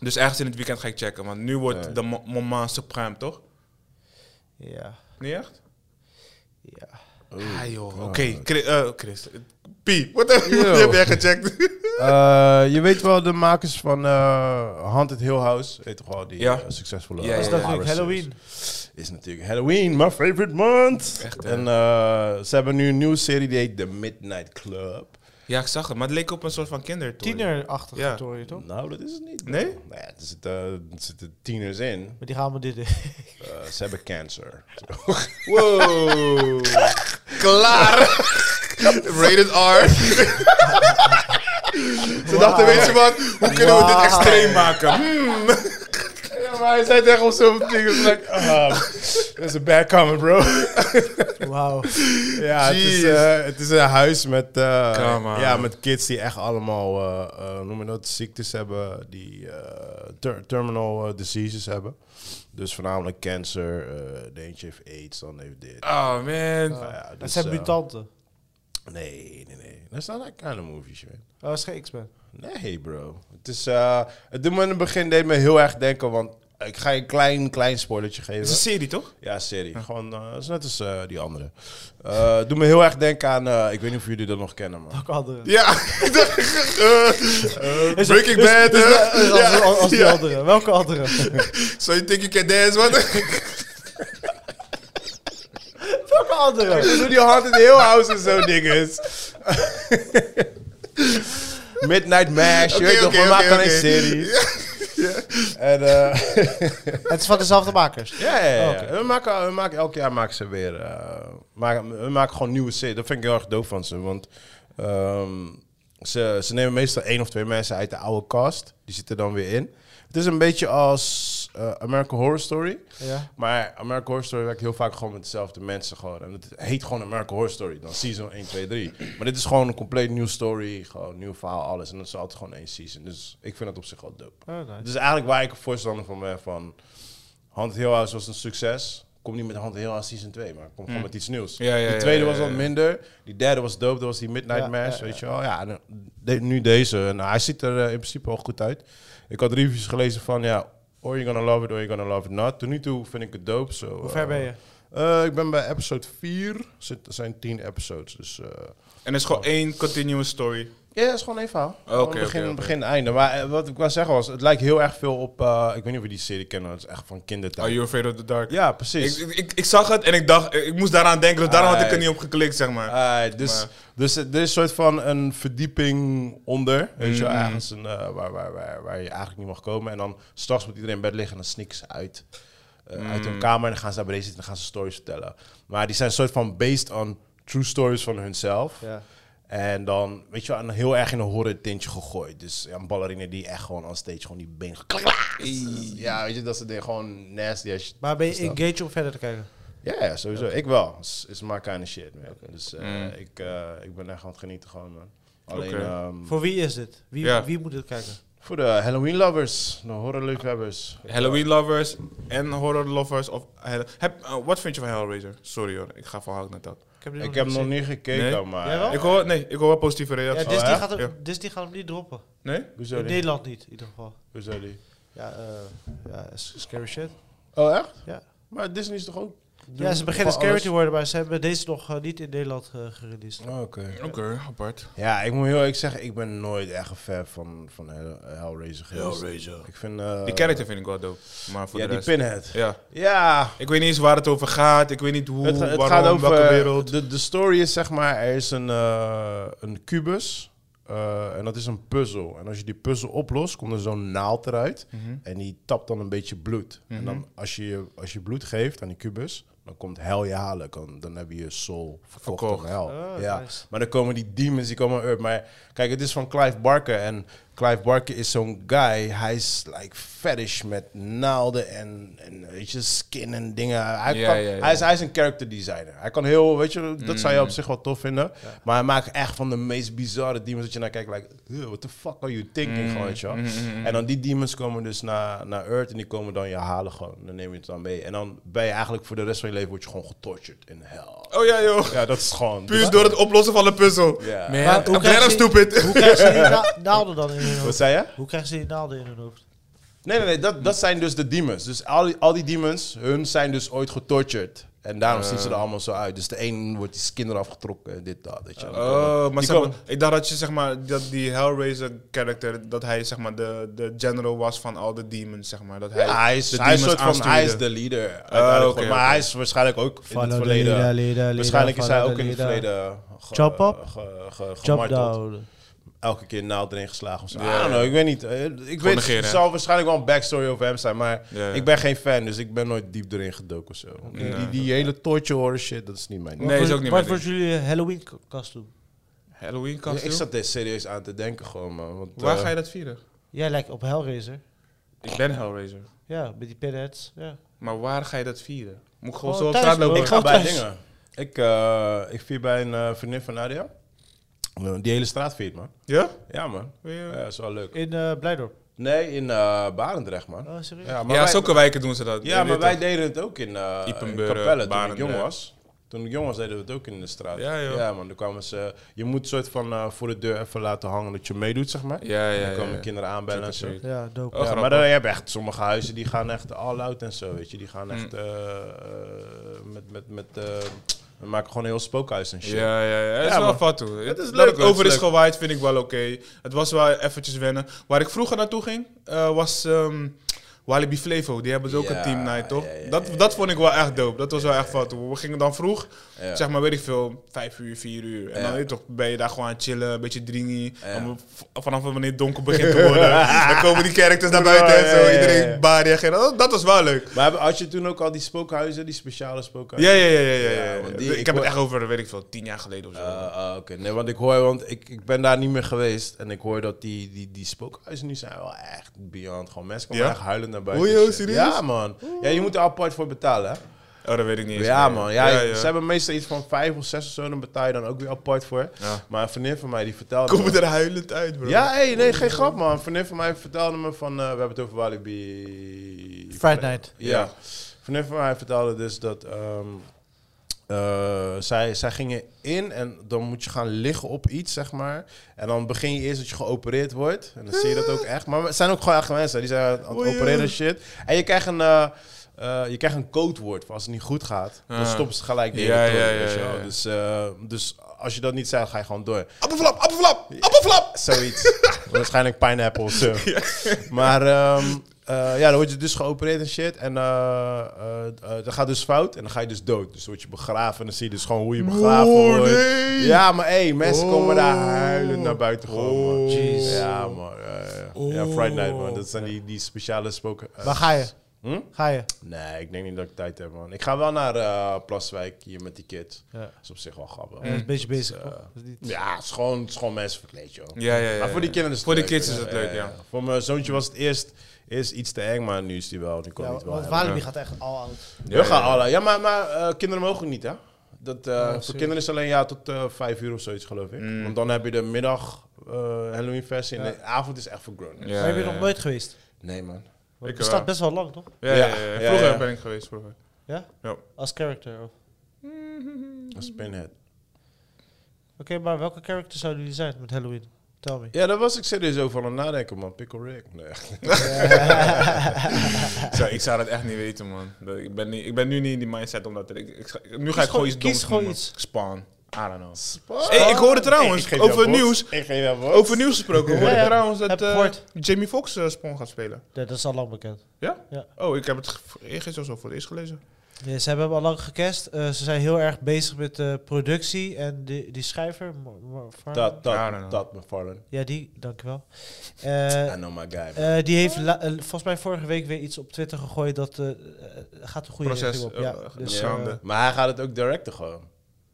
Speaker 1: Dus ergens in het weekend ga ik checken. Want nu wordt
Speaker 2: Nee.
Speaker 1: de mo- moment supreme, toch?
Speaker 3: Ja.
Speaker 1: Niet echt?
Speaker 3: ja.
Speaker 1: Ah, joh. Oké, Chris. eh, Chris. Piep, wat heb, (laughs)
Speaker 2: Yo.
Speaker 1: wat heb jij gecheckt?
Speaker 2: Eh, je weet wel de makers van eh Haunted Hill House. Weet toch wel die
Speaker 1: Ja.
Speaker 2: eh, succesvolle...
Speaker 1: Ja,
Speaker 2: eh,
Speaker 3: Dat is
Speaker 1: ja,
Speaker 3: natuurlijk
Speaker 2: horror series.
Speaker 3: Halloween.
Speaker 2: Is natuurlijk Halloween, my favorite month.
Speaker 1: Echt, hè?
Speaker 2: en eh, ze hebben nu een nieuwe serie die heet The Midnight Club.
Speaker 1: Ja, ik zag het. Maar het leek op een soort van kindertoy.
Speaker 3: Tienerachtige
Speaker 1: Ja.
Speaker 3: ja. toch?
Speaker 2: Nou, dat is het niet.
Speaker 1: Nee?
Speaker 2: Nou ja, er zitten, er zitten tieners in.
Speaker 3: Maar die gaan we dit doen.
Speaker 2: Eh, ze hebben cancer. (laughs)
Speaker 1: Wow. Klaar. Rated R. Ze dachten, weet je wat? Hoe kunnen we dit
Speaker 3: Wauw.
Speaker 1: extreem maken? Hmm.
Speaker 2: Ja, maar hij zei tegen ons zo'n ding. Dat is like, (laughs) ah, that's a bad comment, bro.
Speaker 3: (laughs) Wauw.
Speaker 2: ja, het is,
Speaker 1: Jeez.
Speaker 2: eh, het is een huis met, eh,
Speaker 1: Come on.
Speaker 2: ja, met kids die echt allemaal, eh, eh, noem je dat, ziektes hebben. Die eh, ter- terminal eh, diseases hebben. Dus voornamelijk cancer. eh de eentje heeft aids, dan heeft dit.
Speaker 1: Oh, man.
Speaker 2: Nou ja,
Speaker 3: dat
Speaker 2: dus,
Speaker 3: zijn
Speaker 2: eh,
Speaker 3: mutanten.
Speaker 2: Nee, nee, nee. That's not that kind of movies, man.
Speaker 3: Oh, dat is geen X-Men.
Speaker 2: Nee, bro. Het is, eh, het doet me in het begin deed me heel erg denken, want ik ga je een klein, klein spoilertje geven.
Speaker 1: (laughs) Het is een serie, toch?
Speaker 2: Ja, serie. Gewoon, eh, is net als eh, die andere. Eh doe me heel erg denken aan, eh, ik weet niet of jullie dat nog kennen,
Speaker 1: (laughs)
Speaker 2: man.
Speaker 3: Ook andere.
Speaker 1: Ja. ik dacht, eh, eh,
Speaker 3: Is-
Speaker 1: Breaking
Speaker 3: is-
Speaker 1: Bad.
Speaker 2: Dus-
Speaker 3: is-
Speaker 1: eh.
Speaker 3: is- als-
Speaker 1: Ja,
Speaker 3: als, als die
Speaker 1: ja.
Speaker 3: andere. Welke andere?
Speaker 1: So you think you can dance, man?
Speaker 3: Welke andere?
Speaker 2: Doe dus- die Haunted Hill House en zo dinges. (laughs) Midnight Mash, je
Speaker 1: Oké,
Speaker 2: weet toch,
Speaker 1: oké,
Speaker 2: we maken
Speaker 1: oké,
Speaker 2: een
Speaker 1: oké.
Speaker 2: serie.
Speaker 1: (laughs)
Speaker 2: En, eh,
Speaker 3: Het is van dezelfde makers.
Speaker 2: Ja, ja, ja.
Speaker 3: Oh, oké.
Speaker 2: We, maken, we maken elk jaar maken ze weer. eh, maken, we maken gewoon nieuwe series. Dat vind ik heel erg doof van ze. Want ehm, ze, ze nemen meestal één of twee mensen uit de oude cast. Die zitten dan weer in. Het is een beetje als eh, American Horror Story.
Speaker 3: Ja.
Speaker 2: Maar American Horror Story werkt heel vaak gewoon met dezelfde mensen. Gewoon. En het heet gewoon American Horror Story. Dan season 1, 2, 3. Maar dit is gewoon een compleet nieuw story. Gewoon nieuw verhaal, alles. En dat is altijd gewoon één season. Dus ik vind dat op zich wel dope.
Speaker 3: Oh, nice.
Speaker 2: Dus eigenlijk waar ik een voorstander van ben van... Hand Hill House was een succes. Kom niet met Hand Hill House Season 2, maar kom gewoon met iets nieuws.
Speaker 1: Ja, ja,
Speaker 2: die
Speaker 1: ja,
Speaker 2: tweede
Speaker 1: ja,
Speaker 2: was
Speaker 1: ja,
Speaker 2: wat
Speaker 1: ja.
Speaker 2: minder. Die derde was dope, dat was die Midnight
Speaker 3: Ja,
Speaker 2: Mass,
Speaker 3: ja,
Speaker 2: weet je wel. Ja, en, de- nu deze. En hij ziet er eh, in principe wel goed uit. Ik had reviews gelezen van, ja, or you're gonna love it or you're gonna love it not. Tot nu toe vind ik het dope. zo eh,
Speaker 3: Hoe ver ben je?
Speaker 2: ik ben bij episode 4. Zit- Er zijn 10 episodes, dus... eh,
Speaker 1: En het is gewoon één continuous story.
Speaker 2: ja, dat is gewoon één verhaal.
Speaker 1: Oh, Oké,
Speaker 2: Gewoon
Speaker 1: oké,
Speaker 2: begin,
Speaker 1: oké.
Speaker 2: begin, einde. Maar eh, wat ik wou zeggen was, het lijkt heel erg veel op... eh, ik weet niet of jullie die serie kennen, dat is echt van
Speaker 1: Are
Speaker 2: kindertijd.
Speaker 1: you afraid of the dark?
Speaker 2: ja,
Speaker 1: Oh, Ik,
Speaker 2: precies.
Speaker 1: ik, ik, ik zag het en ik dacht, ik moest daaraan denken, dus daarom had ik er
Speaker 2: Ah,
Speaker 1: niet op geklikt, zeg maar.
Speaker 2: Ah, dus,
Speaker 1: Maar-
Speaker 2: dus eh, er is een soort van een verdieping onder, weet je wel,
Speaker 1: Mm.
Speaker 2: ergens een, eh, waar, waar, waar, waar je eigenlijk niet mag komen. En dan straks moet iedereen in bed liggen en dan sneaken ze uit, eh, uit
Speaker 1: Mm.
Speaker 2: hun kamer en dan gaan ze naar beneden zitten en dan gaan ze stories vertellen. Maar die zijn een soort van based on true stories van hunzelf.
Speaker 3: Ja.
Speaker 2: En dan, weet je wel, een- heel erg in een horror tintje gegooid. Dus ja, een ballerine die echt gewoon on stage gewoon die been... Ja, weet je, dat is het ding. Gewoon nasty as shit.
Speaker 3: Maar ben je engaged om verder te kijken?
Speaker 2: Ja, ja, sowieso. Ik wel. It's, it's my kind of shit, man. Dus eh, ik, eh, ik ben echt aan het genieten gewoon, man. Alleen
Speaker 1: Mm. Oké.
Speaker 2: ehm,
Speaker 3: Voor wie is dit? Wie,
Speaker 1: Ja.
Speaker 3: wie moet dit kijken?
Speaker 2: voor de Halloween-lovers, de horrorliefhebbers.
Speaker 1: Halloween lovers en horror lovers. Of, Hel- heb, eh, wat vind je van Hellraiser? Sorry hoor, ik ga verhaal net dat.
Speaker 3: heb, dit
Speaker 2: Ik heb
Speaker 3: niet
Speaker 2: nog
Speaker 3: gezien.
Speaker 2: niet gekeken,
Speaker 1: Nee?
Speaker 2: maar...
Speaker 3: Jij wel?
Speaker 1: Ik hoor, nee, ik hoor wel positieve reacties.
Speaker 3: Ja, Disney,
Speaker 2: hè?
Speaker 3: gaat hem,
Speaker 1: Ja.
Speaker 3: Disney gaat hem niet droppen.
Speaker 1: Nee?
Speaker 2: Hoezo
Speaker 3: In
Speaker 2: niet?
Speaker 3: Nederland niet, in ieder geval.
Speaker 2: Hoezo niet?
Speaker 3: Ja, eh, ja, is scary shit.
Speaker 2: Oh, echt?
Speaker 3: Ja.
Speaker 2: Maar Disney is toch ook
Speaker 3: Ja, ze beginnen
Speaker 2: Van
Speaker 3: scary
Speaker 2: alles. Oh,
Speaker 3: te worden, maar ze hebben deze nog eh, niet in Nederland eh, gereleased.
Speaker 2: Oké.
Speaker 1: Oké, apart.
Speaker 2: Ja, ik moet heel eerlijk zeggen, ik ben nooit echt een fan van, van Hell- Hellraiser geweest. Ik vind... eh,
Speaker 1: Die character vind ik wel dope. Maar voor
Speaker 2: Ja,
Speaker 1: de
Speaker 2: die
Speaker 1: rest...
Speaker 2: Pinhead.
Speaker 1: ja.
Speaker 2: Ja,
Speaker 1: Ik weet niet eens waar het over gaat. Ik weet niet hoe,
Speaker 2: het, het
Speaker 1: waarom,
Speaker 2: gaat
Speaker 1: welke
Speaker 2: over...
Speaker 1: wereld.
Speaker 2: De, de story is zeg maar, er is een, eh, een kubus. eh, en dat is een puzzel. En als je die puzzel oplost, komt er zo'n naald eruit.
Speaker 1: Mhm.
Speaker 2: En die tapt dan een beetje bloed. En dan als je, als je bloed geeft aan die kubus, dan komt hel je halen. Dan, dan heb je je soul verkocht,
Speaker 1: Verkocht. Ah,
Speaker 2: aan hel.
Speaker 3: Oh,
Speaker 2: ja.
Speaker 3: nice.
Speaker 2: Maar dan komen die demons, die komen uit. Maar kijk, het is van Clive Barker. En Clive Barker is zo'n guy. Hij is like fetish met naalden en, en weet je, skin en dingen. Hij,
Speaker 1: Ja,
Speaker 2: kan,
Speaker 1: ja, Mm. ja.
Speaker 2: Hij, is, hij is een character designer. Hij kan heel, weet je, dat zou je op zich wel tof vinden. Maar hij maakt echt van de meest bizarre demons dat je naar kijkt. Like, "Ew, what the fuck are you thinking?
Speaker 1: Mm.
Speaker 2: Gewoon, weet je wel. En dan die demons komen dus naar, naar Earth en die komen dan je halen gewoon. Dan neem je het dan mee. En dan ben je eigenlijk voor de rest van je leven word je gewoon getortured in hell.
Speaker 1: Oh ja, joh.
Speaker 2: Ja, dat is gewoon...
Speaker 1: Puur door het oplossen van de puzzel.
Speaker 2: Ja.
Speaker 1: Man,
Speaker 3: Maar hoe
Speaker 1: I'm
Speaker 3: krijg
Speaker 1: glad I'm
Speaker 3: je-
Speaker 1: stupid.
Speaker 3: Hoe krijgen ze die na- naalden dan in hun
Speaker 2: Wat
Speaker 3: hoofd?
Speaker 2: zei je?
Speaker 3: Hoe krijgen ze die naalden in hun hoofd?
Speaker 2: Nee, nee, nee, dat, dat zijn dus de demons. Dus al die, al die demons, hun zijn dus ooit getortured. En daarom
Speaker 1: Eh.
Speaker 2: zien ze er allemaal zo uit. Dus de een wordt die skin eraf getrokken en dit, dat, weet je.
Speaker 1: Oh, maar
Speaker 2: Die
Speaker 1: zeg maar,
Speaker 2: komen-
Speaker 1: ik dacht dat je zeg maar dat die Hellraiser character dat hij zeg maar de, de general was van al de demons zeg maar dat hij,
Speaker 2: Ja, hij is,
Speaker 1: de
Speaker 2: hij is,
Speaker 1: demons
Speaker 2: soort van, hij is
Speaker 1: aanstuurde.
Speaker 2: de leader. uiteindelijk.
Speaker 1: oké,
Speaker 2: maar
Speaker 1: oké.
Speaker 2: hij is waarschijnlijk ook in
Speaker 3: Follow
Speaker 2: het
Speaker 3: the
Speaker 2: verleden.
Speaker 3: leader, leader,
Speaker 2: waarschijnlijk is
Speaker 3: leader,
Speaker 2: hij ook
Speaker 3: follow
Speaker 2: in het
Speaker 3: the leader.
Speaker 2: verleden ge,
Speaker 3: Chop up?
Speaker 2: ge- ge-
Speaker 3: Jump
Speaker 2: gemarteld.
Speaker 3: down.
Speaker 2: Elke keer naald erin geslagen of zo.
Speaker 1: Ja.
Speaker 2: I don't know, ik weet niet. Eh, Ik weet,
Speaker 1: negeren,
Speaker 2: er
Speaker 1: hè?
Speaker 2: zal waarschijnlijk wel een backstory over hem zijn, maar
Speaker 1: Ja.
Speaker 2: ik ben geen fan, dus ik ben nooit diep erin gedoken of zo. Die, die, die hele torture horror shit, dat is niet mijn
Speaker 1: Nee, is ook niet
Speaker 3: Wat
Speaker 1: mijn
Speaker 3: wordt jullie eh, Halloween k- kostuum?
Speaker 1: Halloween
Speaker 2: Ja, ik
Speaker 1: costume.
Speaker 2: zat er serieus aan te denken gewoon, man. Want,
Speaker 1: Waar
Speaker 2: eh,
Speaker 1: ga je dat vieren?
Speaker 3: Jij lijkt op Hellraiser.
Speaker 1: Ik ben Hellraiser.
Speaker 3: Ja, met die pinheads. Ja.
Speaker 1: maar waar ga je dat vieren? Moet ik gewoon
Speaker 3: Oh,
Speaker 1: zo op
Speaker 3: thuis,
Speaker 1: straat
Speaker 3: bro.
Speaker 1: lopen?
Speaker 2: Ik ga
Speaker 3: Oh,
Speaker 2: bij
Speaker 3: thuis.
Speaker 2: dingen. Ik, eh, ik vier bij een eh, vriendin van Nadia. Eh, Die hele straat viert, man.
Speaker 1: Ja?
Speaker 2: Ja, man. Ja,
Speaker 1: Ja,
Speaker 2: dat is wel leuk.
Speaker 3: In eh Blijdorp.
Speaker 2: Nee, in eh Barendrecht, man.
Speaker 3: Oh, serieus?
Speaker 2: Ja, maar
Speaker 1: ja
Speaker 2: wij,
Speaker 1: zulke wijken doen ze dat.
Speaker 2: ja,
Speaker 1: Je
Speaker 2: maar
Speaker 1: weet
Speaker 2: wij
Speaker 1: toch?
Speaker 2: deden het ook in, eh in
Speaker 1: Ippenburg,
Speaker 2: Capelle toen ik
Speaker 1: Barendrecht.
Speaker 2: jong was. Toen ik jong was, deden we het ook in de straat.
Speaker 1: Ja, joh.
Speaker 2: man. Dan kwamen ze... Je moet soort van eh, voor de deur even laten hangen dat je meedoet, zeg maar.
Speaker 1: Ja,
Speaker 2: En
Speaker 1: ja,
Speaker 2: dan
Speaker 1: ja.
Speaker 2: komen
Speaker 1: ja.
Speaker 2: kinderen aanbellen en zo.
Speaker 1: Trick or treat.
Speaker 3: Ja, dope.
Speaker 1: Oh,
Speaker 2: ja,
Speaker 1: grappig.
Speaker 2: maar dan heb je echt sommige huizen die gaan echt all out en zo, weet je. Die gaan
Speaker 1: Hmm.
Speaker 2: echt eh, eh, met, met, met eh, we maken gewoon een heel spookhuis en shit.
Speaker 1: Ja, ja, ja. Het is
Speaker 2: Ja,
Speaker 1: wel
Speaker 2: man.
Speaker 1: fat toe.
Speaker 2: Het is
Speaker 1: dat
Speaker 2: leuk,
Speaker 1: het
Speaker 2: hoor. Het
Speaker 1: over
Speaker 2: is
Speaker 1: is
Speaker 2: leuk.
Speaker 1: gewaaid vind ik wel oké. Het was wel eventjes wennen. Waar ik vroeger naartoe ging, eh, was ehm, Walibi Flevo. Die hebben ze ook
Speaker 2: Ja,
Speaker 1: een team night, toch?
Speaker 2: ja, ja,
Speaker 1: dat,
Speaker 2: ja,
Speaker 1: dat vond ik wel echt dope. Dat was wel echt fat toe. We gingen dan vroeg,
Speaker 2: Ja.
Speaker 1: zeg maar weet ik veel, vijf uur, vier uur. En
Speaker 2: Ja.
Speaker 1: dan weet je toch, ben je daar gewoon aan het chillen, een beetje dringy.
Speaker 2: Ja.
Speaker 1: Dan v- Vanaf wanneer het donker begint te worden,
Speaker 2: (laughs)
Speaker 1: dan komen die characters naar buiten en
Speaker 2: Ja,
Speaker 1: zo.
Speaker 2: ja, ja, ja.
Speaker 1: Iedereen baarde en dat, dat was wel leuk.
Speaker 2: Maar had je toen ook al die spookhuizen, die speciale spookhuizen?
Speaker 1: Ja, ja, ja, ja. ja, ja.
Speaker 2: Ja, want die-
Speaker 1: ik,
Speaker 2: ik
Speaker 1: heb het
Speaker 2: hoor-
Speaker 1: echt over, weet ik veel, tien jaar geleden of zo.
Speaker 2: Eh, ah, Oké, nee, want ik hoor, want ik, ik ben daar niet meer geweest en ik hoor dat die, die, die spookhuizen nu zijn wel echt beyond. Gewoon mensen komen
Speaker 1: Ja?
Speaker 2: echt huilend naar buiten.
Speaker 1: Oei,
Speaker 2: en
Speaker 1: oh,
Speaker 2: shit.
Speaker 1: serieus?
Speaker 2: Ja, man. Ja, je moet er apart voor betalen, hè?
Speaker 1: oh, dat weet ik niet eens
Speaker 2: Ja,
Speaker 1: meer.
Speaker 2: man. Ja, Ze hebben meestal iets van vijf of zes of zo, dan betaal je dan ook weer apart voor.
Speaker 1: Ja.
Speaker 2: Maar een vriendin van mij die vertelde. me-
Speaker 1: Komen er huilend uit, bro.
Speaker 2: Ja, hey, nee, geen grap, man. Een vriendin van mij vertelde me van... eh, we hebben het over Walibi...
Speaker 3: Friday night.
Speaker 2: Ja. Een Vriendin van mij vertelde dus dat... ehm, eh, zij, zij gingen in en dan moet je gaan liggen op iets, zeg maar. En dan begin je eerst dat je geopereerd wordt. En dan zie je dat ook echt. Maar het zijn ook gewoon echt mensen. Die zijn aan het
Speaker 1: Oei,
Speaker 2: opereren en
Speaker 1: oei.
Speaker 2: shit. En je krijgt een... eh, eh, je krijgt een codewoord voor als het niet goed gaat. Dan
Speaker 1: Ah.
Speaker 2: stoppen ze gelijk de
Speaker 1: Ja,
Speaker 2: hele code,
Speaker 1: ja, ja,
Speaker 2: weet je wel.
Speaker 1: ja, ja.
Speaker 2: Dus, eh, dus als je dat niet zegt, ga je gewoon door.
Speaker 1: Appelflap, appelflap, appelflap!
Speaker 2: Zoiets. (laughs) Waarschijnlijk pineapple of
Speaker 1: (laughs)
Speaker 2: zo. Maar ehm, eh, ja, dan word je dus geopereerd en shit. En eh, eh, eh, dat gaat dus fout en dan ga je dus dood. Dus dan word je begraven en dan zie je dus gewoon hoe je begraven
Speaker 1: Oh,
Speaker 2: wordt.
Speaker 1: nee.
Speaker 2: Ja, maar hé, mensen
Speaker 1: Oh.
Speaker 2: komen daar huilend naar buiten gewoon, man.
Speaker 1: Oh. Jeez. Oh.
Speaker 2: Ja, man. ja, ja. Ja, Friday Night, man. Dat zijn die, die speciale spoken... eh,
Speaker 3: Waar ga je?
Speaker 2: Hm?
Speaker 3: Ga je?
Speaker 2: Nee, ik denk niet dat ik tijd heb, man. Ik ga wel naar eh, Plaswijk hier met die kids.
Speaker 3: Ja.
Speaker 2: Dat is op zich wel grappig.
Speaker 3: Een beetje bezig.
Speaker 2: eh,
Speaker 3: hoor. Dat is niet-
Speaker 2: Ja, het is gewoon, het is gewoon mensen verkleed, joh.
Speaker 1: Ja, ja, ja.
Speaker 2: Maar voor die kinderen is het
Speaker 1: Voor de
Speaker 2: leuk,
Speaker 1: kids
Speaker 2: hè?
Speaker 1: is het leuk, ja.
Speaker 2: Voor mijn zoontje was het eerst, eerst iets te eng, maar nu is die wel. Die kon
Speaker 3: Ja,
Speaker 2: niet wel
Speaker 3: want
Speaker 2: hebben.
Speaker 3: Walibi gaat echt al oud.
Speaker 2: We gaan alle. Ja, maar, maar eh, kinderen mogen niet, hè? Dat, eh, voor
Speaker 3: serieus.
Speaker 2: kinderen is alleen ja tot eh, vijf uur of zoiets, geloof ik.
Speaker 1: Mm.
Speaker 2: Want dan heb je de middag eh, Halloween versie en de avond is echt voor grown
Speaker 1: Ja,
Speaker 3: maar heb je
Speaker 1: ja,
Speaker 3: nog
Speaker 1: ja.
Speaker 3: nooit geweest?
Speaker 2: Nee, man.
Speaker 3: Want
Speaker 1: Ik
Speaker 3: het bestaat
Speaker 2: eh,
Speaker 1: wel.
Speaker 3: best wel lang, toch?
Speaker 1: Ja, ja, ja,
Speaker 2: Ja,
Speaker 1: ja.
Speaker 2: ja,
Speaker 1: Vroeger
Speaker 2: ja.
Speaker 1: ben ik geweest, vroeger.
Speaker 3: Ja?
Speaker 1: Ja.
Speaker 3: Als character. oh. of- Oké,
Speaker 2: Dat is Pinhead.
Speaker 3: maar welke character zouden jullie zijn met Halloween? Tell me.
Speaker 2: Ja, daar was ik serieus over aan het nadenken, man. Pickle Rick. Nee, echt.
Speaker 1: Zo, (laughs) ik zou dat echt niet weten, man. Dat- Ik ben, niet, ik ben nu niet in die mindset omdat dat ik, ik, ik- nu ga ik
Speaker 3: gewoon-
Speaker 1: gewoon iets
Speaker 3: kies
Speaker 1: doms
Speaker 3: gewoon
Speaker 1: noemen.
Speaker 3: iets.
Speaker 1: Spawn. I don't know. (laughs) Hey, ik hoorde trouwens
Speaker 2: Ik geef jou
Speaker 1: over het
Speaker 2: box.
Speaker 1: nieuws.
Speaker 2: Ik geef jou box.
Speaker 1: Over nieuws gesproken. Ik hoorde
Speaker 3: Ja, ja.
Speaker 1: trouwens
Speaker 3: Heb
Speaker 1: dat
Speaker 3: ik
Speaker 1: eh,
Speaker 3: gehoord.
Speaker 1: Jamie Foxx eh, Spawn gaat spelen.
Speaker 3: Ja, dat is al lang bekend.
Speaker 1: Ja?
Speaker 3: Ja.
Speaker 1: Oh, ik heb het ge- gisteren of zo voor het eerst gelezen.
Speaker 3: Ja, ze hebben hem al lang gecast. Eh, ze zijn heel erg bezig met de productie en die, die schrijver. Mo- Mo- Farmer?
Speaker 2: Dat,
Speaker 1: I don't know.
Speaker 2: dat, dat, McFarlane.
Speaker 3: Ja, die, dankjewel. Eh
Speaker 2: I know my guy. man.
Speaker 3: eh, die heeft la- eh, volgens mij vorige week weer iets op Twitter gegooid dat eh, eh, gaat de goede
Speaker 1: Proces,
Speaker 3: richting op.
Speaker 1: eh,
Speaker 3: Ja,
Speaker 1: eh,
Speaker 3: dus,
Speaker 1: gaande.
Speaker 3: eh,
Speaker 2: Maar hij gaat het ook directen gewoon.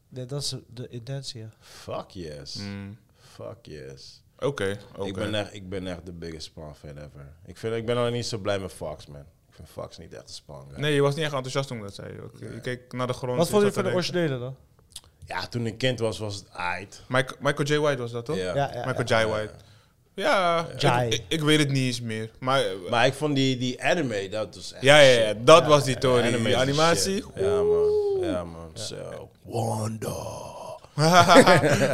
Speaker 3: nee, dat is de intentie. ja.
Speaker 2: Fuck yes.
Speaker 1: Mm,
Speaker 2: Fuck yes.
Speaker 1: Oké, oké.
Speaker 2: Ik, ben echt, ik ben echt de biggest Spawn fan ever. Ik, vind, ik ben alleen niet zo blij met Fox, man. Ik vind Fox niet echt een Spawn guy.
Speaker 1: Nee, je was niet echt enthousiast toen ik dat zei. Ook, Je keek naar de grond.
Speaker 3: Wat vond je
Speaker 1: zat
Speaker 3: van de
Speaker 1: te denken.
Speaker 3: originele dan?
Speaker 2: Ja, toen ik kind was, was het aight.
Speaker 1: Michael, Michael J. White was dat, toch?
Speaker 2: Ja.
Speaker 3: Ja, ja,
Speaker 1: Michael J. White. Ja,
Speaker 3: Jai.
Speaker 1: Ik, ik, ik weet het niet eens meer. Maar, eh,
Speaker 2: Maar ik vond die, die anime, dat was echt
Speaker 1: ja, ja, ja,
Speaker 2: shit.
Speaker 1: dat was die Tony.
Speaker 2: Anime is
Speaker 1: die
Speaker 2: de
Speaker 1: animatie.
Speaker 2: shit. Ja, man. Ja, man. Zo. Wanda.
Speaker 1: (laughs)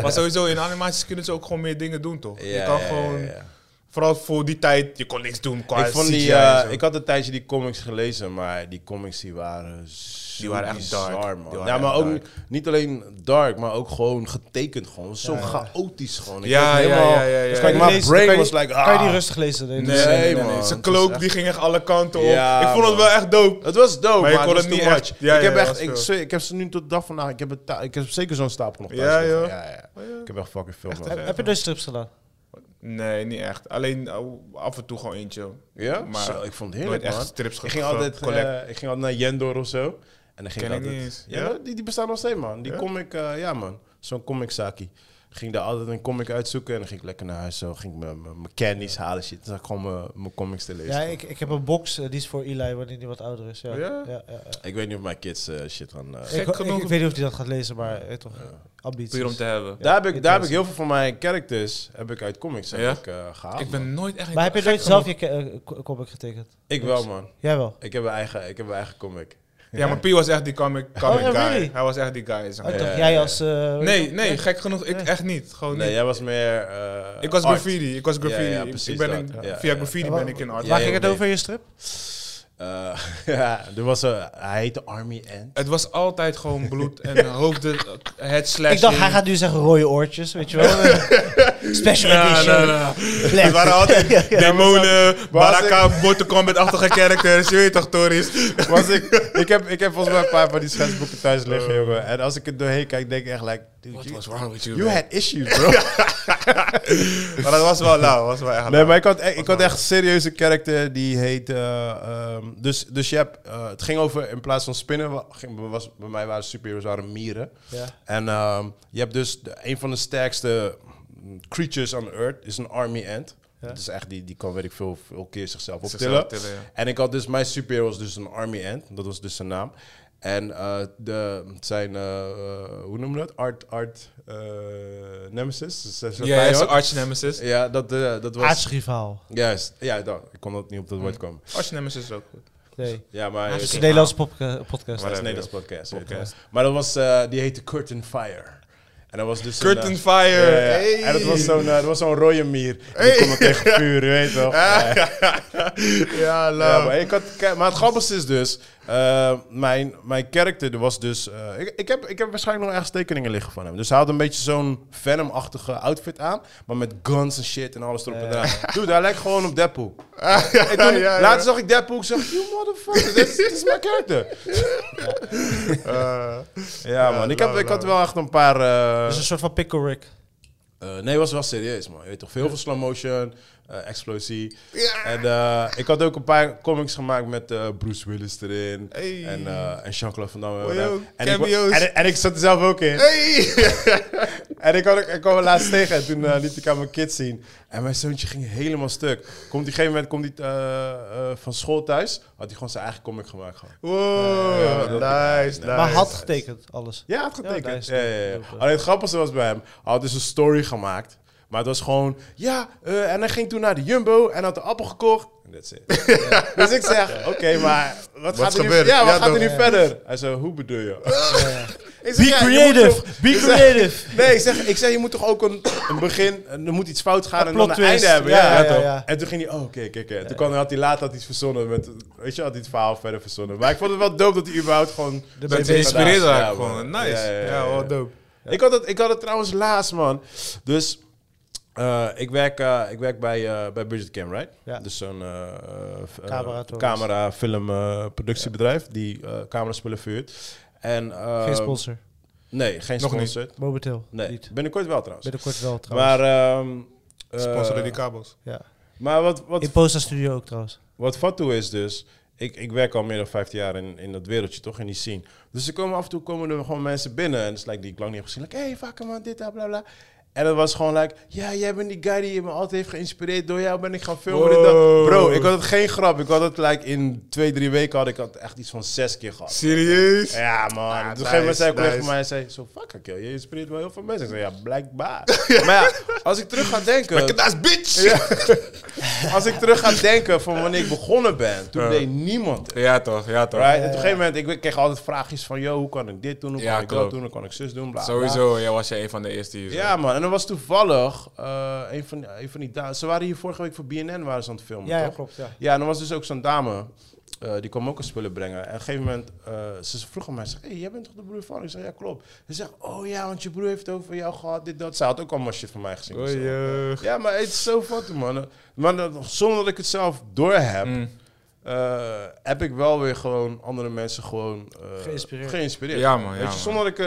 Speaker 1: maar sowieso, in animaties kunnen ze ook gewoon meer dingen doen, toch? je
Speaker 2: Ja,
Speaker 1: kan
Speaker 2: ja,
Speaker 1: gewoon...
Speaker 2: ja, ja.
Speaker 1: Vooral voor die tijd, je kon niks doen qua
Speaker 2: Ik, vond
Speaker 1: CGI
Speaker 2: die,
Speaker 1: en
Speaker 2: eh,
Speaker 1: zo.
Speaker 2: ik had een tijdje die comics gelezen, maar die comics die waren zo
Speaker 1: Die waren echt
Speaker 2: bizar,
Speaker 1: dark.
Speaker 2: man.
Speaker 1: Die waren
Speaker 2: ja, maar
Speaker 1: echt
Speaker 2: ook
Speaker 1: dark.
Speaker 2: niet- niet alleen dark, maar ook gewoon getekend gewoon. Zo chaotisch gewoon. Ik
Speaker 1: Ja,
Speaker 2: was
Speaker 1: ja,
Speaker 2: helemaal,
Speaker 1: ja, ja, ja,
Speaker 2: Dus
Speaker 1: ja.
Speaker 2: kijk,
Speaker 1: Kan
Speaker 3: je
Speaker 2: mijn
Speaker 3: lezen?
Speaker 2: brain
Speaker 3: Kan je
Speaker 2: was
Speaker 3: die-
Speaker 2: like,
Speaker 3: Kan je
Speaker 2: ah.
Speaker 3: die rustig lezen? Nee,
Speaker 2: Nee.
Speaker 3: dus-
Speaker 2: man,
Speaker 1: Zijn
Speaker 2: het
Speaker 1: cloak
Speaker 2: is echt-
Speaker 1: die ging echt alle kanten op.
Speaker 2: Ja,
Speaker 1: ik vond het
Speaker 2: man.
Speaker 1: wel echt dope.
Speaker 2: Het was
Speaker 1: Maar
Speaker 2: dope, maar,
Speaker 1: je kon
Speaker 2: het was
Speaker 1: het niet
Speaker 2: too much.
Speaker 1: echt- ja,
Speaker 2: ik,
Speaker 1: ja,
Speaker 2: heb
Speaker 1: ja,
Speaker 2: echt
Speaker 1: dat is
Speaker 2: ik,
Speaker 1: veel.
Speaker 2: zweer- ik heb ze nu tot de dag vandaag. Ik heb, het thu- ik heb zeker zo'n stapel nog thuis.
Speaker 1: Ja,
Speaker 2: liggen.
Speaker 1: joh.
Speaker 2: Ja, Oh, ja. Ik heb echt fucking veel. man.
Speaker 3: Heb, heb je dus strips gedaan?
Speaker 1: Nee, niet echt. Alleen oh, af en toe gewoon eentje.
Speaker 2: Ja,
Speaker 1: Maar
Speaker 2: maar ik vond het
Speaker 1: nooit
Speaker 2: heerlijk,
Speaker 1: echt
Speaker 2: man.
Speaker 1: strips ge-
Speaker 2: ik, ging
Speaker 1: ge-
Speaker 2: altijd,
Speaker 1: collect.
Speaker 2: eh, ik ging altijd naar Jendor of zo. En dan ging
Speaker 1: Ken
Speaker 2: ik
Speaker 1: ik
Speaker 2: altijd...
Speaker 1: niet eens.
Speaker 2: Ja,
Speaker 1: Ja?
Speaker 2: maar Die, die bestaan nog steeds, man. Die
Speaker 1: Ja?
Speaker 2: comic, eh, ja man. Zo'n comiczakie. Ging daar altijd een comic uitzoeken en dan ging ik lekker naar huis. Zo ging ik mijn- mijn mijn candies halen, shit. Dan zat ik gewoon mijn- mijn comics te lezen.
Speaker 3: Ja,
Speaker 2: ik,
Speaker 3: ik, ik heb een box, eh, die is voor Eli wanneer die wat ouder is. Ja,
Speaker 1: Oh Ja?
Speaker 3: ja, ja, ja.
Speaker 2: weet niet of mijn kids eh, shit gaan... eh,
Speaker 1: Gek
Speaker 3: Ik, ik,
Speaker 1: genoeg-
Speaker 3: ik weet niet of hij dat gaat lezen, maar eh, toch, ambities.
Speaker 1: Puur om te hebben.
Speaker 2: daar, heb ik, daar heb ik heel veel van mijn characters heb ik uit comics heb
Speaker 1: Ja?
Speaker 2: ik, eh, gehaald.
Speaker 1: Ik ben nooit echt...
Speaker 3: Maar heb je
Speaker 1: gek
Speaker 3: nooit
Speaker 1: genoeg-
Speaker 3: zelf je ke- eh, co- comic getekend?
Speaker 2: Ik wel, man.
Speaker 3: Jij wel?
Speaker 2: Ik heb een eigen, ik heb een eigen comic.
Speaker 1: Ja, maar P was echt die comic, comic
Speaker 3: Oh,
Speaker 1: guy.
Speaker 3: really?
Speaker 1: Hij was echt die guy. zeg
Speaker 3: Oh,
Speaker 1: maar.
Speaker 3: toch,
Speaker 2: ja,
Speaker 3: jij
Speaker 2: ja.
Speaker 3: als... eh,
Speaker 1: Nee, nee, gek genoeg. Ik echt niet. Gewoon
Speaker 2: Nee,
Speaker 1: niet.
Speaker 2: jij was meer... eh,
Speaker 1: Ik was
Speaker 2: art.
Speaker 1: graffiti. Ik was graffiti.
Speaker 2: Ja, ja,
Speaker 1: Ik-
Speaker 2: precies
Speaker 1: ik ben
Speaker 2: dat.
Speaker 1: in-
Speaker 2: Ja,
Speaker 1: via
Speaker 2: ja.
Speaker 1: graffiti ben ik in art.
Speaker 2: Ja,
Speaker 3: Waar
Speaker 2: ja,
Speaker 3: ging het
Speaker 2: nee.
Speaker 3: over in je strip?
Speaker 2: Eh, (laughs) ja, er was een, hij heette Army Ant.
Speaker 1: Het was altijd gewoon bloed en
Speaker 3: (laughs)
Speaker 1: hoofden, het slash.
Speaker 3: Ik dacht, hij gaat nu zeggen rode oortjes, weet je
Speaker 1: (laughs)
Speaker 3: wel. Special edition. (laughs) Black.
Speaker 1: Het nou, waren altijd
Speaker 3: (laughs) Ja, ja.
Speaker 1: demonen,
Speaker 2: was
Speaker 1: baraka, Mortal Kombat-achtige characters. Je weet toch, Toris?
Speaker 2: Was ik, ik, heb, ik heb volgens mij een paar van die schetsboeken thuis liggen, jongen. En als ik er doorheen kijk, denk ik echt, like, dude, you,
Speaker 1: wrong with
Speaker 2: you had issues,
Speaker 1: (laughs)
Speaker 2: bro.
Speaker 1: Maar dat was wel lauw, was wel echt
Speaker 2: nee, maar ik had, e- ik had echt een serieuze character die heet. eh, ehm, dus, dus je hebt, eh, het ging over, in plaats van spinnen, wa- ging, was, bij mij waren superheroes waren mieren.
Speaker 3: Ja.
Speaker 2: En ehm, je hebt dus de- een van de sterkste mm, creatures on Earth, is een army ant. Dat is echt, die, die kan, weet ik veel, veel keer zichzelf
Speaker 1: Zichzelf
Speaker 2: optillen.
Speaker 1: tillen, ja.
Speaker 2: En ik had dus, mijn superhero was dus een army ant, dat was dus zijn naam. En eh, de, zijn, eh, hoe noemen we dat? Art, art eh, nemesis? Dus zijn
Speaker 1: Ja, ja,
Speaker 2: vijand.
Speaker 1: zijn arch nemesis.
Speaker 2: Ja, dat, eh, dat was...
Speaker 3: Aartsrivaal.
Speaker 2: Juist, ja, dan. ik kon dat niet op dat woord komen.
Speaker 1: Arch nemesis is ook goed.
Speaker 3: Nee.
Speaker 2: Ja, maar
Speaker 1: Dus
Speaker 3: Het is een
Speaker 2: dat
Speaker 3: Nederlandse popca- podcast.
Speaker 1: Maar- eh,
Speaker 2: is een Nederlands podcast. weet je.
Speaker 1: Podcast.
Speaker 2: Maar dat was, eh, die heette Curtain Fire. En dat was dus een,
Speaker 1: Curtain
Speaker 2: eh,
Speaker 1: Fire.
Speaker 2: ja, ja.
Speaker 1: Hey.
Speaker 2: En dat was zo'n eh, dat was zo'n rode mier. Die kon er tegen vuur, je weet
Speaker 1: (laughs)
Speaker 2: wel. Ja,
Speaker 1: Ja, lauw.
Speaker 2: ja, maar, ik had, kijk, maar het grappigste is dus, eh, mijn, mijn character was dus... eh, ik, ik, heb, ik heb waarschijnlijk nog ergens tekeningen liggen van hem. Dus hij had een beetje zo'n Venom-achtige outfit aan. Maar met guns en shit en alles erop en eraan. Dude, hij lijkt gewoon op Deadpool. Ik toen,
Speaker 1: (laughs) ja, ja.
Speaker 2: Later zag ik Deadpool, ik zeg, you motherfucker, dit is- dit is mijn character.
Speaker 1: Eh,
Speaker 2: Ja, man. Ik, heb,
Speaker 1: lauw,
Speaker 2: ik had
Speaker 1: lauw.
Speaker 2: wel echt een paar. eh,
Speaker 1: nou. Dus-
Speaker 3: Dat is een soort van pickle Rick.
Speaker 2: eh, nee, was wel serieus, man. Je weet toch, veel van slow motion, eh, explosie. En eh, ik had ook een paar comics gemaakt met eh, Bruce Willis erin.
Speaker 1: Hey.
Speaker 2: En, eh, en Jean-Claude Van Damme.
Speaker 1: Oh, yo,
Speaker 2: en, ik, wa-
Speaker 1: cameo's.
Speaker 2: en, en ik zat er zelf ook in.
Speaker 1: (laughs) Hey!
Speaker 2: En ik, had, ook- ik kwam hem laatst tegen en toen eh, liet ik aan mijn kids zien. En mijn zoontje ging helemaal stuk. Komt die een gegeven moment komt die, eh, eh, van school thuis, had hij gewoon zijn eigen comic gemaakt. Gewoon.
Speaker 1: Wow, nice, nice.
Speaker 3: Maar had getekend, alles.
Speaker 2: Ja, hij had
Speaker 3: Ja, daar is
Speaker 2: getekend. Ja,
Speaker 3: het.
Speaker 2: ja, ja.
Speaker 3: Dope,
Speaker 2: Alleen het grappigste was bij hem. Hij had dus een story gemaakt. Maar het was gewoon, ja, eh, en hij ging toen naar de Jumbo en had de appel gekocht. En that's it. Ja. (laughs) Dus ik zeg, oké, maar wat, gaat er nu,
Speaker 1: gebeurd?
Speaker 2: ja, wat
Speaker 1: Ja,
Speaker 2: gaat er nu
Speaker 1: toch?
Speaker 2: verder? Hij zo, hoe bedoel je? (laughs) Ik zeg,
Speaker 3: Be
Speaker 2: ja, je moet
Speaker 3: creative.
Speaker 2: toch-
Speaker 1: (laughs)
Speaker 3: Be creative.
Speaker 2: Nee, ik zeg, ik zeg, je moet toch ook een, een begin, eh, er moet iets fout gaan
Speaker 3: Een
Speaker 2: en
Speaker 3: plot
Speaker 2: dan een einde
Speaker 3: twist.
Speaker 2: hebben.
Speaker 3: Ja,
Speaker 2: Ja,
Speaker 3: ja,
Speaker 2: toch?
Speaker 3: ja.
Speaker 2: En toen ging hij, oh, oké, oké, oké. Toen kwam, had hij later had iets verzonnen, met, weet je, had hij het verhaal verder verzonnen. Maar ik vond het wel dope dat hij überhaupt gewoon...
Speaker 3: De
Speaker 1: Dat
Speaker 3: BB's.
Speaker 1: je inspireerd
Speaker 2: Ja,
Speaker 1: raakt
Speaker 2: man.
Speaker 1: gewoon. Nice.
Speaker 2: Ja, ja, ja,
Speaker 1: Ja,
Speaker 2: ja.
Speaker 1: wel dope.
Speaker 2: Ja. Ik, had het, ik had het trouwens laatst, man. Dus eh, ik werk, eh, ik werk bij, eh, bij Budget Cam, right?
Speaker 3: Ja.
Speaker 2: Dus zo'n eh, eh, f- eh,
Speaker 3: Camera, toch?
Speaker 2: camera, film, eh, productiebedrijf die eh cameraspullen vuurt. En, eh,
Speaker 1: Ehm,
Speaker 3: Geen sponsor.
Speaker 2: Nee, geen
Speaker 1: Nog niet.
Speaker 2: sponsor.
Speaker 3: Momenteel.
Speaker 2: Nee,
Speaker 3: Niet.
Speaker 2: binnenkort wel trouwens.
Speaker 3: Binnenkort wel trouwens.
Speaker 2: Maar, ehm eh,
Speaker 1: Sponsoren die kabels.
Speaker 3: ja.
Speaker 2: maar wat, wat,
Speaker 3: In Posta Studio ook trouwens.
Speaker 2: wat Fatou is dus... Ik, ik werk al meer dan 15 jaar in, in dat wereldje, toch? In die scene. Dus er komen af en toe komen er gewoon mensen binnen. En het is like, die ik lang niet heb gezien. Like, hey, vakken man, dit, dat, bla, bla. En dat was gewoon like... Ja, jij bent die guy die me altijd heeft geïnspireerd. Door jou ben ik gaan filmen. dit, dat."
Speaker 1: Wow.
Speaker 2: Bro, ik had het geen grap. Ik had het like in twee, drie weken had ik had echt iets van zes keer gehad.
Speaker 1: Serieus?
Speaker 2: Ja, man. Op een
Speaker 1: nice,
Speaker 2: gegeven moment zei een collega
Speaker 1: Ah, nice.
Speaker 2: van mij, hij zei, zo fuck ik, joh. je inspireert wel heel veel mensen. Ik zei, ja,
Speaker 1: (laughs)
Speaker 2: blijkbaar. maar ja, als ik terug ga denken,
Speaker 1: Kadaas bitch! Ja,
Speaker 2: Ja. als ik terug ga denken van wanneer ik begonnen ben, toen
Speaker 1: Ja.
Speaker 2: deed niemand het.
Speaker 1: toch, ja toch.
Speaker 2: Right? En op een gegeven moment, ik kreeg altijd vraagjes van, yo, hoe kan ik dit doen, hoe
Speaker 1: Ja,
Speaker 2: kan ik
Speaker 1: klopt.
Speaker 2: dat doen, hoe kan ik zus doen, bla, bla.
Speaker 1: Sowieso, jij was je een van de eerste hier. zo.
Speaker 2: Ja, man. En er was toevallig eh, een, van, een van die dames, ze waren hier vorige week voor BNN waren ze aan het filmen,
Speaker 3: Ja, ja,
Speaker 2: toch?
Speaker 3: klopt. Ja.
Speaker 2: Ja, en er was dus ook zo'n dame. eh, die kwam ook een spullen brengen. En op een gegeven moment, eh, ze vroeg aan mij, ze zegt, hey, jij bent toch de broer van? Ik zeg, ja, klopt. Ze zegt, oh ja, want je broer heeft het over jou gehad, dit, dat. Ze had ook allemaal shit van mij gezien.
Speaker 1: Oei,
Speaker 2: Zo.
Speaker 1: eh.
Speaker 2: Ja, maar het is zo fucking, man. Maar dat- zonder dat ik het zelf doorheb,
Speaker 1: Mm.
Speaker 2: eh, heb ik wel weer gewoon andere mensen gewoon... eh,
Speaker 3: Geïnspireerd.
Speaker 2: geïnspireerd.
Speaker 1: Ja, man, ja,
Speaker 2: Weet je,
Speaker 1: man.
Speaker 2: zonder dat ik...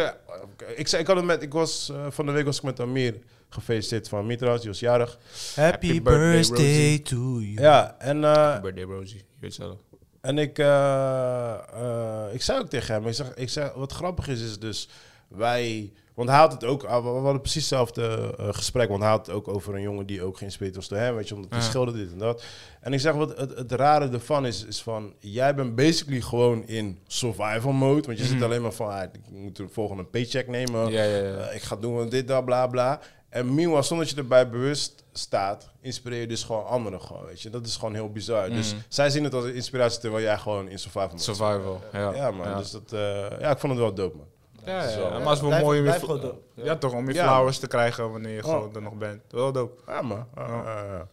Speaker 2: eh, ik, zei, ik had het met, ik was, eh, van de week was ik met Amir gefeliciteerd van Amir trouwens, die was jarig.
Speaker 3: Happy,
Speaker 1: Happy birthday,
Speaker 3: birthday,
Speaker 1: Rosie.
Speaker 3: to you.
Speaker 2: Ja, en... eh,
Speaker 1: Birthday Rosie, je weet zelf.
Speaker 2: En ik, eh, eh, ik zei ook tegen hem, ik zeg, ik zeg, wat grappig is, is dus wij, want hij had het ook, ah, we we hadden precies hetzelfde eh, gesprek, want hij had het ook over een jongen die ook geïnspireerd was door hem, weet je, omdat hij
Speaker 1: Ja.
Speaker 2: schilderde dit en dat. En ik zeg, wat het, het rare ervan is, is van, jij bent basically gewoon in survival mode, want je zit alleen maar van, ah, ik moet de volgende paycheck nemen,
Speaker 1: Ja, ja, ja.
Speaker 2: eh, ik ga doen dit, dat, bla, bla. En meanwhile, zonder dat je erbij bewust staat, inspireer je dus gewoon anderen gewoon, weet je. Dat is gewoon heel bizar.
Speaker 1: Mm.
Speaker 2: Dus zij zien het als een inspiratie, terwijl jij gewoon in survival mode zit.
Speaker 1: Survival, ja.
Speaker 2: Ja, man. Dus dat, eh, ja, ik vond het wel dope, man.
Speaker 1: Ja, ja,
Speaker 2: Zo.
Speaker 1: Maar het is wel
Speaker 3: Blijf-
Speaker 1: mooi om je,
Speaker 3: blijf
Speaker 1: fl-
Speaker 3: gewoon doen.
Speaker 1: ja. toch, om je
Speaker 2: Ja.
Speaker 1: flowers te krijgen wanneer je gewoon er nog bent. Wel dope.
Speaker 2: Ja, man. Ja, ja, ja.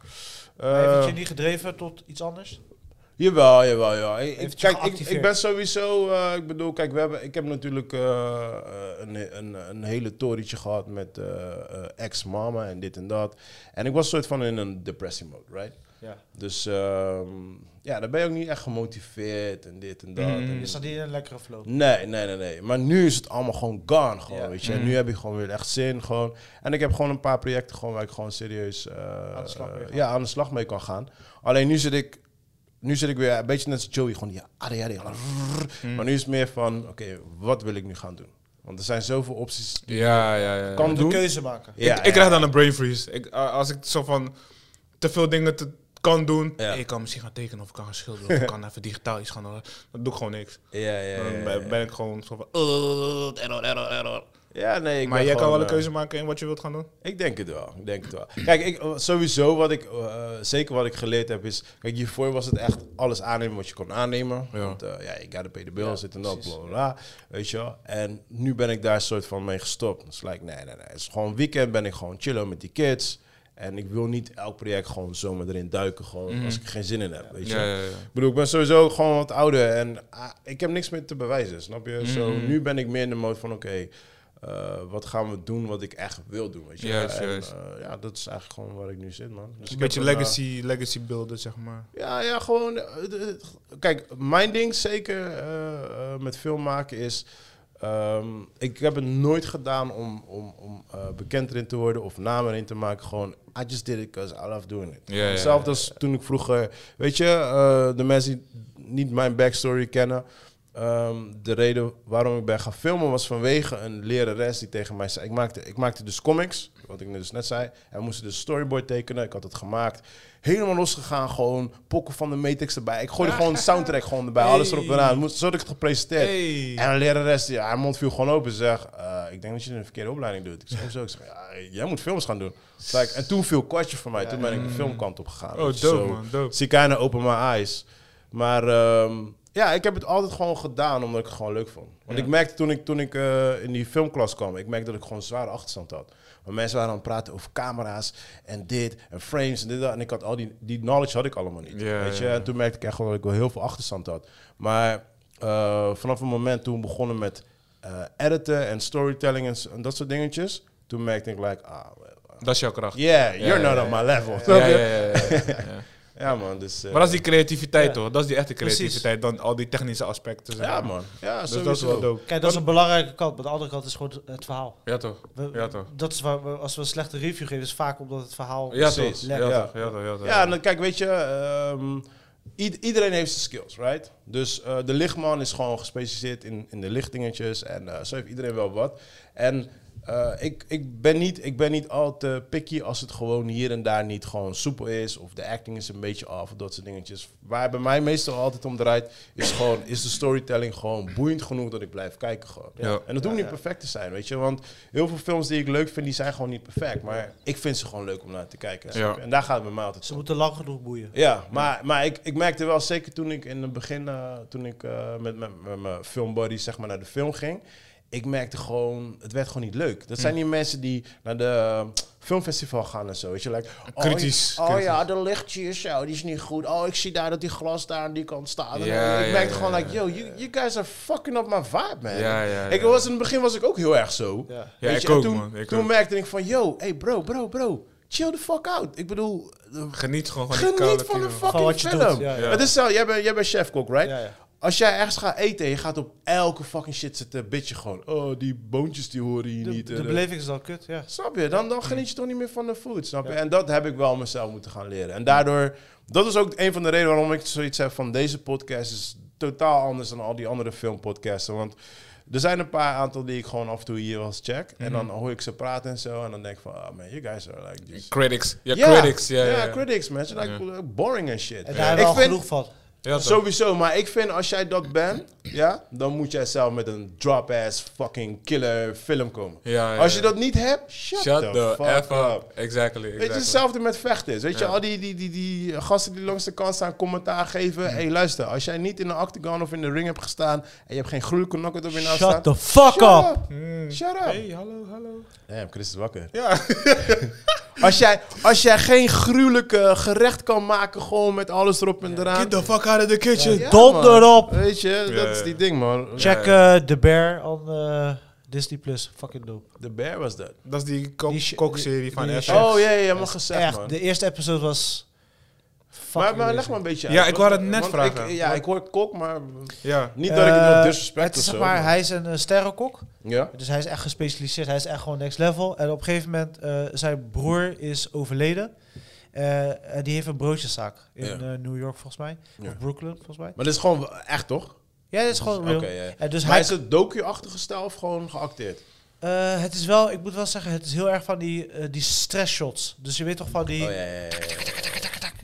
Speaker 3: Heeft het
Speaker 2: Eh,
Speaker 3: je niet gedreven tot iets anders?
Speaker 2: Jawel, jawel, jawel. Ik- ik-
Speaker 3: Heeft je
Speaker 2: kijk, ik,
Speaker 3: geactiveerd?
Speaker 2: ik ben sowieso... eh, ik bedoel, kijk, we hebben, ik heb natuurlijk eh, eh, een, een, een hele torentje gehad met eh, eh, ex-mama en dit en dat. En ik was soort van in een depressie mode, right?
Speaker 3: Ja.
Speaker 2: Dus ehm, ja, dan ben je ook niet echt gemotiveerd en dit en dat.
Speaker 1: Mm.
Speaker 2: En
Speaker 3: Je zat niet in een lekkere flow.
Speaker 2: Nee, nee, nee, nee. Maar nu is het allemaal gewoon gone, gewoon,
Speaker 3: Ja.
Speaker 2: weet
Speaker 1: Mm.
Speaker 2: je. En nu heb ik gewoon weer echt zin, gewoon. En ik heb gewoon een paar projecten gewoon waar ik gewoon serieus eh,
Speaker 3: de slag mee gaan.
Speaker 2: ja, aan de slag mee kan gaan. Alleen nu zit ik, nu zit ik weer een beetje net als Joey, gewoon ja, adi, adi, adi,
Speaker 1: Mm.
Speaker 2: Maar nu is het meer van, oké, wat wil ik nu gaan doen? Want er zijn zoveel opties die
Speaker 1: Ja, ja, ja.
Speaker 2: kan
Speaker 3: Moet
Speaker 2: doen.
Speaker 3: een keuze maken.
Speaker 2: Ja,
Speaker 1: ik,
Speaker 2: ja.
Speaker 1: ik krijg dan een brain freeze. Ik, a- als ik zo van te veel dingen te, kan doen.
Speaker 2: Ja.
Speaker 1: Ik kan misschien gaan tekenen of ik kan gaan schilderen. of ik
Speaker 2: (laughs)
Speaker 1: kan even digitaal iets gaan doen. Dan doe ik gewoon niks.
Speaker 2: Ja, ja, ja,
Speaker 1: Dan
Speaker 2: ja,
Speaker 1: ben, ben ik gewoon zo van... "Uh, error, error, error."
Speaker 2: Ja, nee. Ik
Speaker 1: maar
Speaker 2: ben
Speaker 1: jij kan
Speaker 2: gewoon,
Speaker 1: wel een
Speaker 2: eh,
Speaker 1: keuze maken in wat je wilt gaan doen?
Speaker 2: Ik denk het wel. Ik denk het wel. Kijk, ik, eh, sowieso wat ik, eh, zeker wat ik geleerd heb is, kijk hiervoor was het echt alles aannemen wat je kon aannemen.
Speaker 1: Ja.
Speaker 2: Want eh, ja, ik gotta pay the bills,
Speaker 3: Ja,
Speaker 2: dit en dat,
Speaker 3: precies.
Speaker 2: bla bla bla. Weet je wel. En nu ben ik daar soort van mee gestopt. Dus like, nee, nee, nee. Het is gewoon weekend, ben ik gewoon chillen met die kids. En ik wil niet elk project gewoon zomaar erin duiken, gewoon als ik er geen zin in heb, weet je. Dus
Speaker 1: Ja, ja, ja.
Speaker 2: Ik bedoel, ik ben sowieso gewoon wat ouder en ah, ik heb niks meer te bewijzen, snap je? Zo,
Speaker 1: Mhm.
Speaker 2: nu ben ik meer in de mode van, oké, eh, wat gaan we doen wat ik echt wil doen, weet je?
Speaker 1: Juist,
Speaker 2: En,
Speaker 1: juist.
Speaker 2: eh, ja, dat is eigenlijk gewoon waar ik nu zit, man. Dus
Speaker 1: Een
Speaker 2: ik
Speaker 1: beetje
Speaker 2: heb een,
Speaker 1: legacy, legacy builden, zeg maar.
Speaker 2: eh, ja, ja, gewoon... eh, het- het- kijk, mijn ding zeker eh, eh, met film maken is... ehm, ik heb het nooit gedaan om, om, om eh, bekend erin te worden of naam erin te maken. Gewoon, I just did it because I love doing it.
Speaker 1: Ja, ja, ja.
Speaker 2: Hetzelfde als toen ik vroeger... Weet je, eh, de mensen die niet mijn backstory kennen... ehm, de reden waarom ik ben gaan filmen was vanwege een lerares die tegen mij zei... Ik maakte, ik maakte dus comics, wat ik dus net zei. En we moesten dus storyboard tekenen. Ik had het gemaakt. Helemaal losgegaan, gewoon pokken van de Matrix erbij. Ik gooide gewoon soundtrack gewoon erbij, alles erop en aan. Moest- Zo had ik het gepresenteerd.
Speaker 1: Hey.
Speaker 2: En een lerares, die, haar mond viel gewoon open. Ze zegt, eh, ik denk dat je een verkeerde opleiding doet. Ik zeg, hoezo? Ik zeg, ja, jij moet films gaan doen. Like, en toen viel kwartje voor mij. Toen ben ik de filmkant op gegaan.
Speaker 1: Mm. Oh,
Speaker 2: Weet je,
Speaker 1: dope,
Speaker 2: zo.
Speaker 1: man, dope.
Speaker 2: Zie ik kind of open my eyes. Maar ehm, Ja, ik heb het altijd gewoon gedaan omdat ik het gewoon leuk vond. Want
Speaker 1: Ja.
Speaker 2: ik merkte toen ik, toen ik eh, in die filmklas kwam, ik merkte dat ik gewoon een zware achterstand had. Want mensen waren aan het praten over camera's en dit en frames en dit en dat. En ik had al die, die knowledge had ik allemaal niet.
Speaker 1: Ja,
Speaker 2: weet je?
Speaker 1: ja, ja.
Speaker 2: En toen merkte ik echt wel dat ik wel heel veel achterstand had. Maar eh, vanaf het moment toen we begonnen met eh, editen en storytelling en, s- en dat soort dingetjes, toen merkte ik like, ah, well,
Speaker 1: Dat is jouw kracht.
Speaker 2: yeah,
Speaker 1: Ja,
Speaker 2: you're
Speaker 1: ja,
Speaker 2: not
Speaker 1: ja.
Speaker 2: on my level.
Speaker 1: Ja,
Speaker 2: Snap
Speaker 1: ja,
Speaker 2: je?
Speaker 1: ja, ja, ja, ja.
Speaker 2: (laughs) Ja, man, dus... eh,
Speaker 1: Maar dat is die creativiteit,
Speaker 3: Ja.
Speaker 1: hoor. Dat is die echte
Speaker 3: Precies.
Speaker 1: creativiteit dan al die technische aspecten. zeg
Speaker 2: Ja,
Speaker 1: maar.
Speaker 2: man. Ja,
Speaker 1: Dus dat is wel dope.
Speaker 3: Kijk, dat is een belangrijke kant. Maar de andere kant is gewoon het verhaal.
Speaker 1: Ja, toch?
Speaker 3: We-
Speaker 1: Ja, toch?
Speaker 3: Dat is waar we- als we een slechte review geven, is vaak omdat het verhaal...
Speaker 1: Ja, toch?
Speaker 2: Precies.
Speaker 1: Ja,
Speaker 3: Lekker.
Speaker 1: toch? Ja, toch? Ja, toch?
Speaker 2: Ja, en dan, kijk, weet je, ehm, ied- iedereen heeft zijn skills, right? Dus eh, de lichtman is gewoon gespecialiseerd in, in de lichtingetjes en eh, zo heeft iedereen wel wat. En eh, ik, ik, ben niet, ik ben niet al te picky als het gewoon hier en daar niet gewoon soepel is of de acting is een beetje af of dat soort dingetjes. Waar bij mij meestal altijd om draait, is, gewoon, is de storytelling gewoon boeiend genoeg dat ik blijf kijken gewoon.
Speaker 1: Ja.
Speaker 2: En dat hoeft niet perfect te zijn, weet je. Want heel veel films die ik leuk vind, die zijn gewoon niet perfect. Maar ik vind ze gewoon leuk om naar te kijken.
Speaker 1: Ja.
Speaker 2: En daar gaat het bij mij altijd
Speaker 3: Ze
Speaker 2: om.
Speaker 3: moeten lang genoeg boeien.
Speaker 2: Ja, maar, maar ik, ik merkte wel zeker toen ik in het begin, eh, toen ik eh, met met- met mijn filmbody zeg maar, naar de film ging, ik merkte gewoon, het werd gewoon niet leuk. Dat
Speaker 1: Hm.
Speaker 2: zijn die mensen die naar de eh, filmfestival gaan en zo. Weet je, like, oh,
Speaker 1: Kritisch,
Speaker 2: Oh
Speaker 1: kritisch.
Speaker 2: ja, de lichtjes, zo, die is niet goed. Oh, ik zie daar dat die glas daar aan die kant staat. En
Speaker 1: Ja,
Speaker 2: ik
Speaker 1: ja,
Speaker 2: merkte
Speaker 1: ja,
Speaker 2: gewoon,
Speaker 1: ja,
Speaker 2: like, yo, you, you guys are fucking up my vibe, man.
Speaker 1: Ja, ja,
Speaker 2: Ik
Speaker 1: ja.
Speaker 2: was, in het begin was ik ook heel erg zo.
Speaker 3: Ja.
Speaker 1: Ja,
Speaker 2: Weet
Speaker 1: ik
Speaker 2: en
Speaker 1: ook,
Speaker 2: toen,
Speaker 1: man, ik
Speaker 2: toen
Speaker 1: ook.
Speaker 2: merkte ik van, yo, hey bro, bro, bro, chill the fuck out. Ik bedoel,
Speaker 1: Geniet gewoon van die
Speaker 2: Geniet
Speaker 1: koude
Speaker 2: van de
Speaker 1: kilo.
Speaker 2: fucking
Speaker 3: Van wat je
Speaker 2: film.
Speaker 3: doet, ja, ja.
Speaker 2: Het is zo, jij bent, jij bent chefkok, right?
Speaker 3: Ja, ja.
Speaker 2: Als jij ergens gaat eten en je gaat op elke fucking shit zitten bitchen gewoon. Oh, die boontjes die horen hier
Speaker 3: De,
Speaker 2: niet. eh,
Speaker 3: de beleving is dan kut, ja.
Speaker 2: Snap je? Dan, dan geniet je toch niet meer van de food, snap je? En dat heb ik wel mezelf moeten gaan leren. En daardoor, dat is ook een van de redenen waarom ik zoiets heb van deze podcast is totaal anders dan al die andere filmpodcasten. Want er zijn een paar aantal die ik gewoon af en toe hier wel eens check. En
Speaker 3: Mhm.
Speaker 2: dan hoor ik ze praten en zo. En dan denk ik van, ah man, you guys are like this.
Speaker 1: Critics. Ja,
Speaker 2: Ja,
Speaker 1: critics. Ja, ja, ja.
Speaker 2: critics, man. Ze like boring and shit.
Speaker 3: En daar hebben
Speaker 2: Ik
Speaker 3: we al
Speaker 2: vind-
Speaker 3: genoeg van.
Speaker 1: Ja, toch?
Speaker 2: Sowieso, maar ik vind als jij dat bent, ja, dan moet jij zelf met een drop-ass fucking killer film komen.
Speaker 1: Ja, ja,
Speaker 2: Als je
Speaker 1: ja.
Speaker 2: dat niet hebt, shut,
Speaker 1: Shut
Speaker 2: the,
Speaker 1: the
Speaker 2: fuck
Speaker 1: F
Speaker 2: up.
Speaker 1: up. Exactly.
Speaker 2: Weet je,
Speaker 1: exactly.
Speaker 2: hetzelfde met vechten. is. Weet je,
Speaker 1: Ja.
Speaker 2: al die, die, die, die gasten die langs de kant staan, commentaar
Speaker 1: Mm.
Speaker 2: geven. Hé, hey, luister, als jij niet in de octagon of in de ring hebt gestaan en je hebt geen gruwelijke knock-out op je naam staan...
Speaker 3: Shut the fuck up!
Speaker 1: Hmm.
Speaker 2: Shut up!
Speaker 1: Hey, hallo, hallo.
Speaker 2: Damn, Chris is wakker. (laughs) als, jij, als jij geen gruwelijke gerecht kan maken, gewoon met alles erop en eraan.
Speaker 1: the fuck out of the kitchen.
Speaker 2: Ja,
Speaker 3: Donder
Speaker 2: man.
Speaker 3: op!
Speaker 2: Weet je, dat
Speaker 1: ja,
Speaker 2: is
Speaker 1: ja.
Speaker 2: die ding, man.
Speaker 3: Check eh The Bear on eh, Disney+. Plus. Fucking dope.
Speaker 2: The Bear was dat.
Speaker 1: Dat is die
Speaker 3: Die sh-
Speaker 1: kok- kokserie
Speaker 3: die-
Speaker 1: van
Speaker 3: die
Speaker 1: Ash.
Speaker 3: shit.
Speaker 2: Oh, ja, ja, maar
Speaker 3: Echt,
Speaker 2: gezegd, man.
Speaker 3: de eerste episode was... fucking
Speaker 2: Maar, maar leg
Speaker 3: amazing.
Speaker 2: maar een beetje
Speaker 1: Ja,
Speaker 2: uit.
Speaker 1: ik
Speaker 2: want-
Speaker 1: wou het net
Speaker 2: want
Speaker 1: vragen.
Speaker 2: Ik, ja, ik hoor kok, maar
Speaker 1: Ja.
Speaker 2: niet dat ik het
Speaker 3: Eh,
Speaker 2: wil disrespect
Speaker 3: het is,
Speaker 2: of
Speaker 3: zeg
Speaker 2: zo,
Speaker 3: maar,
Speaker 2: maar-
Speaker 3: Hij is een eh, sterrenkok.
Speaker 2: Ja?
Speaker 3: Dus hij is echt gespecialiseerd. Hij is echt gewoon next level. En op een gegeven moment, eh, zijn broer is overleden. Eh, en die heeft een broodjeszaak in
Speaker 2: Ja.
Speaker 3: eh, New York, volgens mij.
Speaker 2: Ja.
Speaker 3: Of Brooklyn, volgens mij.
Speaker 2: Maar dit is gewoon echt, toch?
Speaker 3: Ja, dat is gewoon
Speaker 2: Oké,
Speaker 3: real.
Speaker 2: ja, ja.
Speaker 3: En dus
Speaker 2: maar
Speaker 3: hij,
Speaker 2: is het docu-achtige stijl of gewoon geacteerd?
Speaker 3: eh, het is wel, ik moet wel zeggen, het is heel erg van die, eh, die stress shots. Dus je weet toch van die...
Speaker 2: Oh, ja, ja, ja, ja.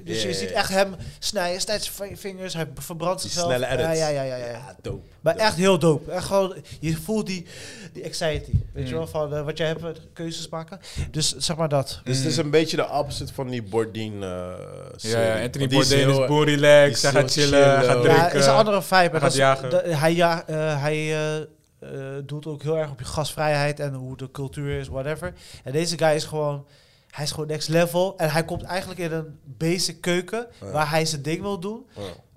Speaker 3: Dus
Speaker 2: Ja,
Speaker 3: je
Speaker 2: ja,
Speaker 3: ziet
Speaker 2: ja.
Speaker 3: echt hem snijden, snijdt zijn vi- vingers, hij verbrandt
Speaker 2: Die
Speaker 3: zichzelf.
Speaker 2: snelle edits.
Speaker 3: Ja, ja, ja, ja, ja.
Speaker 2: dope.
Speaker 3: Maar
Speaker 2: dope.
Speaker 3: echt heel dope. Echt gewoon, je voelt die, die anxiety. Weet je wel, van eh, wat jij hebt, eh, keuzes maken. Dus zeg maar dat.
Speaker 2: Dus het is een beetje de opposite van die Bourdain eh
Speaker 1: Ja,
Speaker 2: serie.
Speaker 1: ja, Anthony
Speaker 2: Want die
Speaker 1: Bourdain is
Speaker 2: heel-
Speaker 1: boer
Speaker 2: die is
Speaker 1: relaxed. Hij gaat
Speaker 2: heel
Speaker 1: chillen, hij
Speaker 2: chill,
Speaker 1: gaat
Speaker 2: hoor.
Speaker 1: drinken.
Speaker 3: Ja, het is een andere vibe. maar
Speaker 1: gaat
Speaker 3: dat is-
Speaker 1: jagen.
Speaker 3: dat- hij ja, eh, hij eh, eh, doet ook heel erg op je gastvrijheid en hoe de cultuur is, whatever. En deze guy is gewoon, hij is gewoon next level. En hij komt eigenlijk in een basic keuken
Speaker 2: Ja.
Speaker 3: waar hij zijn ding wil doen.